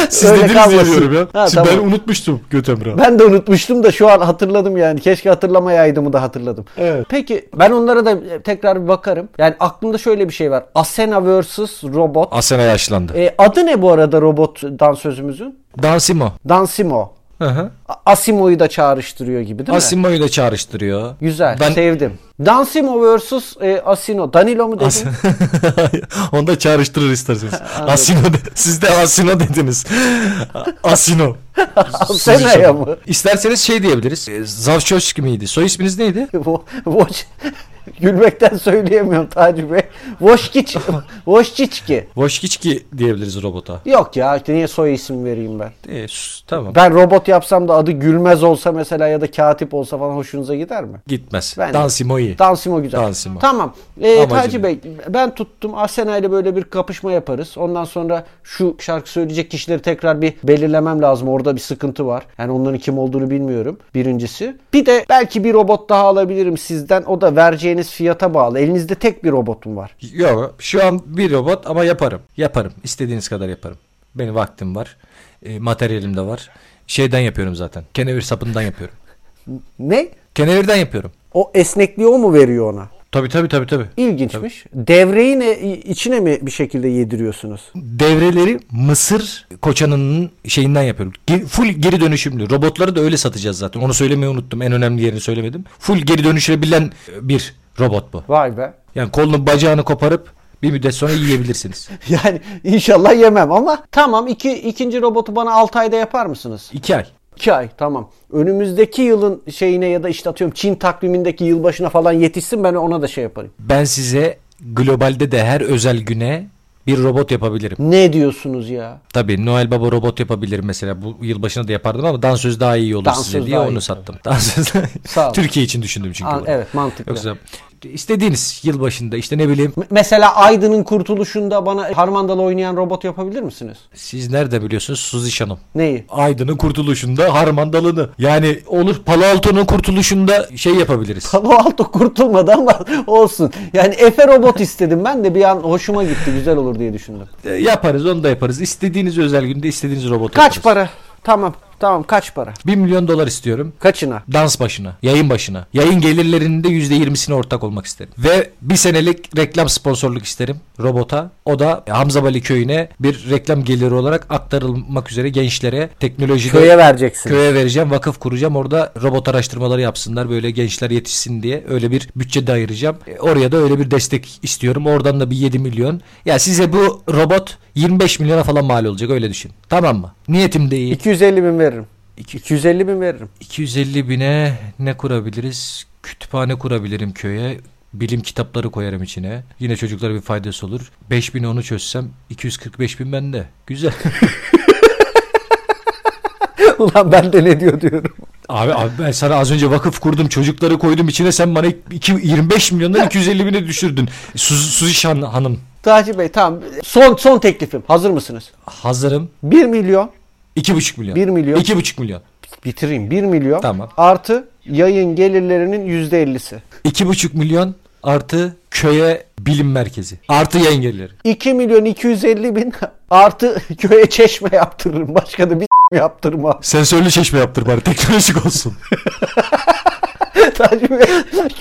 S3: Siz
S1: Öyle
S3: dediniz diye
S1: kalmasın.
S3: diyorum ya.
S1: Ha,
S3: Şimdi
S1: tamam.
S3: Ben unutmuştum Göt Emrah.
S1: Ben de unutmuştum da şu an hatırladım yani. Keşke hatırlamayaydım da hatırladım.
S3: Evet.
S1: Peki ben onlara da tekrar bir bakarım. Yani aklımda şöyle bir şey var. Asena vs. Robot.
S2: Asena yaşlandı.
S1: E, adı ne bu arada robot dansözümüzün?
S2: Dansimo.
S1: Dansimo.
S2: Hı hı.
S1: A- Asimo'yu da çağrıştırıyor gibi değil mi?
S2: Asimo'yu da çağrıştırıyor.
S1: Güzel, Şey-
S2: Ben-
S1: sevdim. Dansimo vs. e, Asino. Danilo mu dedin?
S2: Onu da çağrıştırır isterseniz. Asino de- siz de Asino dediniz. Asino.
S1: Asena'ya mı?
S2: İsterseniz şey diyebiliriz. E, Zavşoşki miydi? Soy isminiz neydi?
S1: Vo- Voş gülmekten söyleyemiyorum Taci Bey. Voşkiç Voşkiçki.
S2: Voşkiçki diyebiliriz robota.
S1: Yok ya işte niye soy isim vereyim ben?
S2: E, sus, tamam.
S1: Ben robot yapsam da adı Gülmez olsa mesela ya da Katip olsa falan hoşunuza gider mi?
S2: Gitmez.
S1: Ben-
S2: Dansimo'yu.
S1: Dansimo güzel.
S2: Dansimo.
S1: Tamam. Ee,
S2: Amacım
S1: Taci
S2: yok.
S1: Bey ben tuttum. Asena ile böyle bir kapışma yaparız. Ondan sonra şu şarkı söyleyecek kişileri tekrar bir belirlemem lazım. Orada bir sıkıntı var. Yani onların kim olduğunu bilmiyorum. Birincisi. Bir de belki bir robot daha alabilirim sizden. O da vereceğiniz fiyata bağlı. Elinizde tek bir robotum var.
S2: Yok şu an bir robot ama yaparım. Yaparım. İstediğiniz kadar yaparım. Benim vaktim var. E, materyalim de var. Şeyden yapıyorum zaten. Kenevir sapından yapıyorum.
S1: Ne?
S2: Kenevirden yapıyorum.
S1: O esnekliği o mu veriyor ona?
S2: Tabii tabii tabii tabii.
S1: İlginçmiş. Devreyi ne, içine mi bir şekilde yediriyorsunuz?
S2: devreleri Mısır koçanının şeyinden yapıyorum. Ge- Full geri dönüşümlü. Robotları da öyle satacağız zaten. Onu söylemeyi unuttum. En önemli yerini söylemedim. Full geri dönüşebilen e, bir robot bu.
S1: Vay be.
S2: Yani kolunu bacağını koparıp bir müddet sonra yiyebilirsiniz.
S1: Yani inşallah yemem ama tamam iki, ikinci robotu bana 6 ayda yapar mısınız?
S2: İki ay.
S1: 2 ay tamam. Önümüzdeki yılın şeyine ya da işte atıyorum Çin takvimindeki yılbaşına falan yetişsin ben ona da şey yaparım.
S2: Ben size globalde de her özel güne bir robot yapabilirim.
S1: Ne diyorsunuz ya?
S2: Tabii Noel Baba robot yapabilirim mesela. Bu yılbaşına da yapardım ama dansöz daha iyi olur
S1: Dansöz
S2: size diye
S1: daha
S2: onu
S1: iyi.
S2: sattım. Dansöz daha iyi.
S1: Sağ ol.
S2: Türkiye için düşündüm çünkü.
S1: Aa,
S2: bunu.
S1: evet mantıklı.
S2: Yoksa istediğiniz yılbaşında işte ne bileyim
S1: M- Mesela Aydın'ın kurtuluşunda bana harmandalı oynayan robot yapabilir misiniz?
S2: Siz nerede biliyorsunuz Suzi Hanım?
S1: Neyi?
S2: Aydın'ın kurtuluşunda Harmandalını. Yani olur Palo Alto'nun kurtuluşunda şey yapabiliriz.
S1: Palo Alto kurtulmadı ama olsun. Yani Efe robot istedim ben de bir an hoşuma gitti güzel olur diye düşündüm.
S2: E, Yaparız onu da yaparız. İstediğiniz özel günde istediğiniz robotu
S1: Kaç
S2: yaparız.
S1: para? Tamam. Tamam kaç para?
S2: 1 milyon dolar istiyorum.
S1: Kaçına?
S2: Dans başına, yayın başına. Yayın gelirlerinin de %20'sine ortak olmak isterim. Ve bir senelik reklam sponsorluk isterim robota. O da Hamza Bali köyüne bir reklam geliri olarak aktarılmak üzere gençlere teknolojide
S1: Köye vereceksin.
S2: köye vereceğim, vakıf kuracağım. Orada robot araştırmaları yapsınlar böyle gençler yetişsin diye. Öyle bir bütçe de ayıracağım. E, Oraya da öyle bir destek istiyorum. Oradan da bir 7 milyon. Ya size bu robot 25 milyona falan mal olacak öyle düşün. Tamam mı? Niyetim de iyi.
S1: 250 bin veririm.
S2: İki-
S1: 250 bin veririm.
S2: 250 bine ne kurabiliriz? Kütüphane kurabilirim köye. Bilim kitapları koyarım içine. Yine çocuklara bir faydası olur. 5000 onu çözsem 245 bin bende. Güzel.
S1: Ulan ben de ne diyor diyorum.
S2: Abi, abi ben sana az önce vakıf kurdum çocukları koydum içine sen bana iki- 25 milyondan 250 bine düşürdün. Suzi, Suzi Şan hanım
S1: Taci Bey tamam. Son son teklifim. Hazır mısınız?
S2: hazırım
S1: 1 milyon
S2: 2,5 milyon.
S1: Bir milyon.
S2: 2,5 milyon.
S1: bitireyim. 1 milyon
S2: Tamam.
S1: artı yayın gelirlerinin %50'si.
S2: 2,5 milyon artı köye bilim merkezi. Artı yayın gelirleri.
S1: 2 milyon 250 bin artı köye çeşme yaptırırım. Başka da bir yaptırma.
S3: Sensörlü çeşme yaptır bari teknolojik olsun.
S1: Taci Bey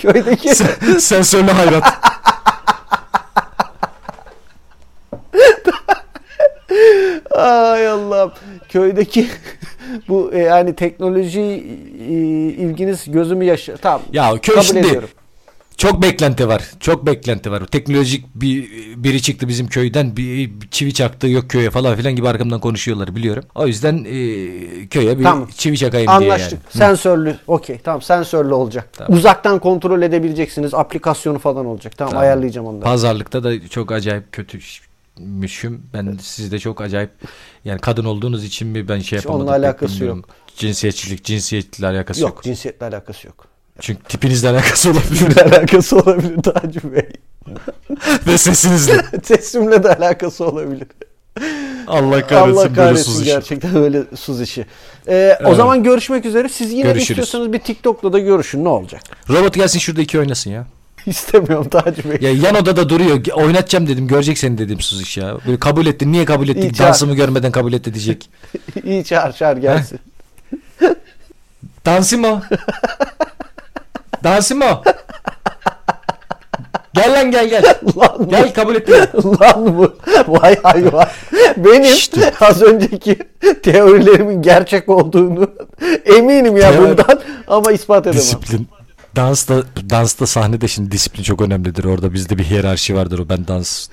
S1: köydeki
S3: Sen- Sensörlü hayrat.
S1: Ay Allah'ım. Köydeki bu e, yani teknoloji e, ilginiz gözümü yaşa. Tamam.
S2: Ya köy
S1: kabul
S2: şimdi-
S1: ediyorum.
S2: Çok beklenti var. Çok beklenti var. Teknolojik bir biri çıktı bizim köyden bir bir çivi çaktı yok köye falan filan gibi arkamdan konuşuyorlar biliyorum. O yüzden e, köye bir
S1: Tamam.
S2: çivi çakayım
S1: Anlaştık.
S2: diye yani.
S1: Sensörlü. Okey. Tamam sensörlü olacak. Uzaktan kontrol edebileceksiniz. Aplikasyonu falan olacak. Tamam, ayarlayacağım onları.
S2: Pazarlıkta da çok acayip kötüymüşüm. Ben siz de çok acayip yani kadın olduğunuz için mi ben şey yapamadım.
S1: onunla
S2: pek
S1: alakası
S2: bilmiyorum. Cinsiyetçilik, cinsiyetle alakası
S1: yok,
S2: yok.
S1: cinsiyetle alakası yok.
S2: Çünkü tipinizle alakası olabilir
S1: Kimle alakası olabilir Taci Bey?
S2: ve sesinizle.
S1: Sesimle de alakası olabilir.
S3: Allah kahretsin,
S1: Allah
S3: böyle
S1: kahretsin
S3: susuşu.
S1: gerçekten öyle suz işi. Ee, O zaman görüşmek üzere. Siz yine de
S2: Görüşürüz.
S1: istiyorsanız bir TikTok'la da görüşün. Ne olacak?
S2: Robot gelsin şurada iki oynasın ya.
S1: İstemiyorum Taci Bey.
S2: Ya yan odada duruyor. Ge- Oynatacağım dedim. Görecek seni dedim Suziş ya. Böyle kabul etti. Niye kabul etti?
S1: İyi,
S2: Dansımı görmeden kabul etti diyecek.
S1: İyi çağır çağır gelsin.
S2: Dansimo. Dansimo. gel lan gel gel.
S1: Lan bu-
S2: Gel kabul etti.
S1: Lan bu vay hayvan. Benim az önceki teorilerimin gerçek olduğunu eminim ya
S2: Teori-
S1: bundan ama ispat edemem.
S3: Disiplin.
S2: Dansta, dansta sahnede şimdi disiplin çok önemlidir. Orada bizde bir hiyerarşi vardır. O ben dans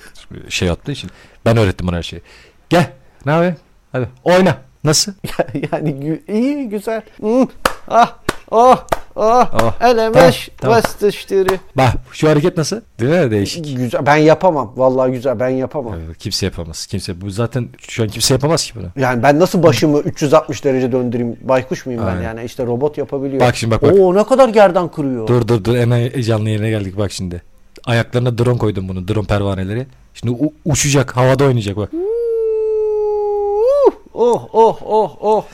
S2: şey yaptığı için. Ben öğrettim ona her şeyi. Gel. Ne yapıyorsun? Hadi oyna. Nasıl?
S1: yani gü- iyi güzel. Hmm, Ah oh oh,
S2: Oh,
S1: elemeş
S2: tamam,
S1: tamam,
S2: Bak şu hareket nasıl? Değil mi? Değişik.
S1: Güzel ben yapamam vallahi güzel ben yapamam.
S2: Ee, Kimse yapamaz. Kimse bu zaten şu an kimse yapamaz ki bunu.
S1: Yani ben nasıl başımı 360 derece döndüreyim? Baykuş muyum ben
S2: Aynen.
S1: yani? İşte robot yapabiliyor.
S2: Bak şimdi bak bak.
S1: Oo ne kadar gerdan kırıyor.
S2: Dur dur dur en heyecanlı yerine geldik bak şimdi. Ayaklarına drone koydum bunun drone pervaneleri. Şimdi u- uçacak havada oynayacak bak.
S1: Uh, Oh oh oh oh.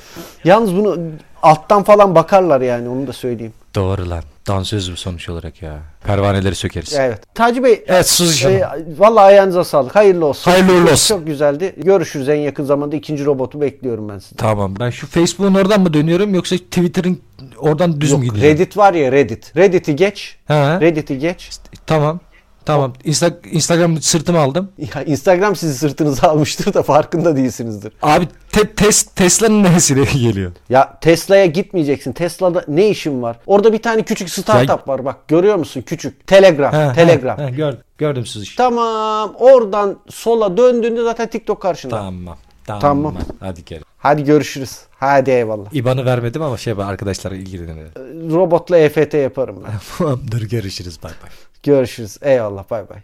S1: Yalnız bunu alttan falan bakarlar yani onu da söyleyeyim.
S2: Doğru lan. Dansöz bu sonuç olarak ya. Pervaneleri sökeriz.
S1: Evet. Taci Bey
S2: Evet sus
S1: e,
S2: canım.
S1: vallahi ayağınıza sağlık. Hayırlı olsun.
S2: Hayırlı uğurlu
S1: Çok-
S2: olsun.
S1: Çok güzeldi. Görüşürüz en yakın zamanda ikinci robotu bekliyorum ben sizden.
S2: Tamam ben şu Facebook'un oradan mı dönüyorum yoksa Twitter'ın oradan düz mü
S1: Yok,
S2: gidiyorum?
S1: Reddit var ya Reddit. Reddit'i geç.
S2: Ha?
S1: Reddit'i geç.
S2: Tamam. Tamam. Insta- Instagram sırtımı aldım.
S1: Ya Instagram sizi sırtınıza almıştır da farkında değilsinizdir.
S2: Abi te- tes- Tesla'nın nesine geliyor?
S1: Ya Tesla'ya gitmeyeceksin. Tesla'da ne işin var? Orada bir tane küçük startup var bak. Görüyor musun? Küçük. Telegram.
S2: Ha, ha,
S1: Telegram.
S2: ha, gördüm, gördüm sizi.
S1: Tamam. Oradan sola döndüğünde zaten TikTok karşında.
S2: Tamam. Tamam.
S1: Tamam.
S2: Hadi gel.
S1: Hadi görüşürüz. Hadi eyvallah.
S2: İban'ı vermedim ama şey yapar, arkadaşlar ilgilenir.
S1: Robotla EFT yaparım ben.
S2: Tamamdır görüşürüz bay bay.
S1: görüşürüz. Eyvallah. Bay bay.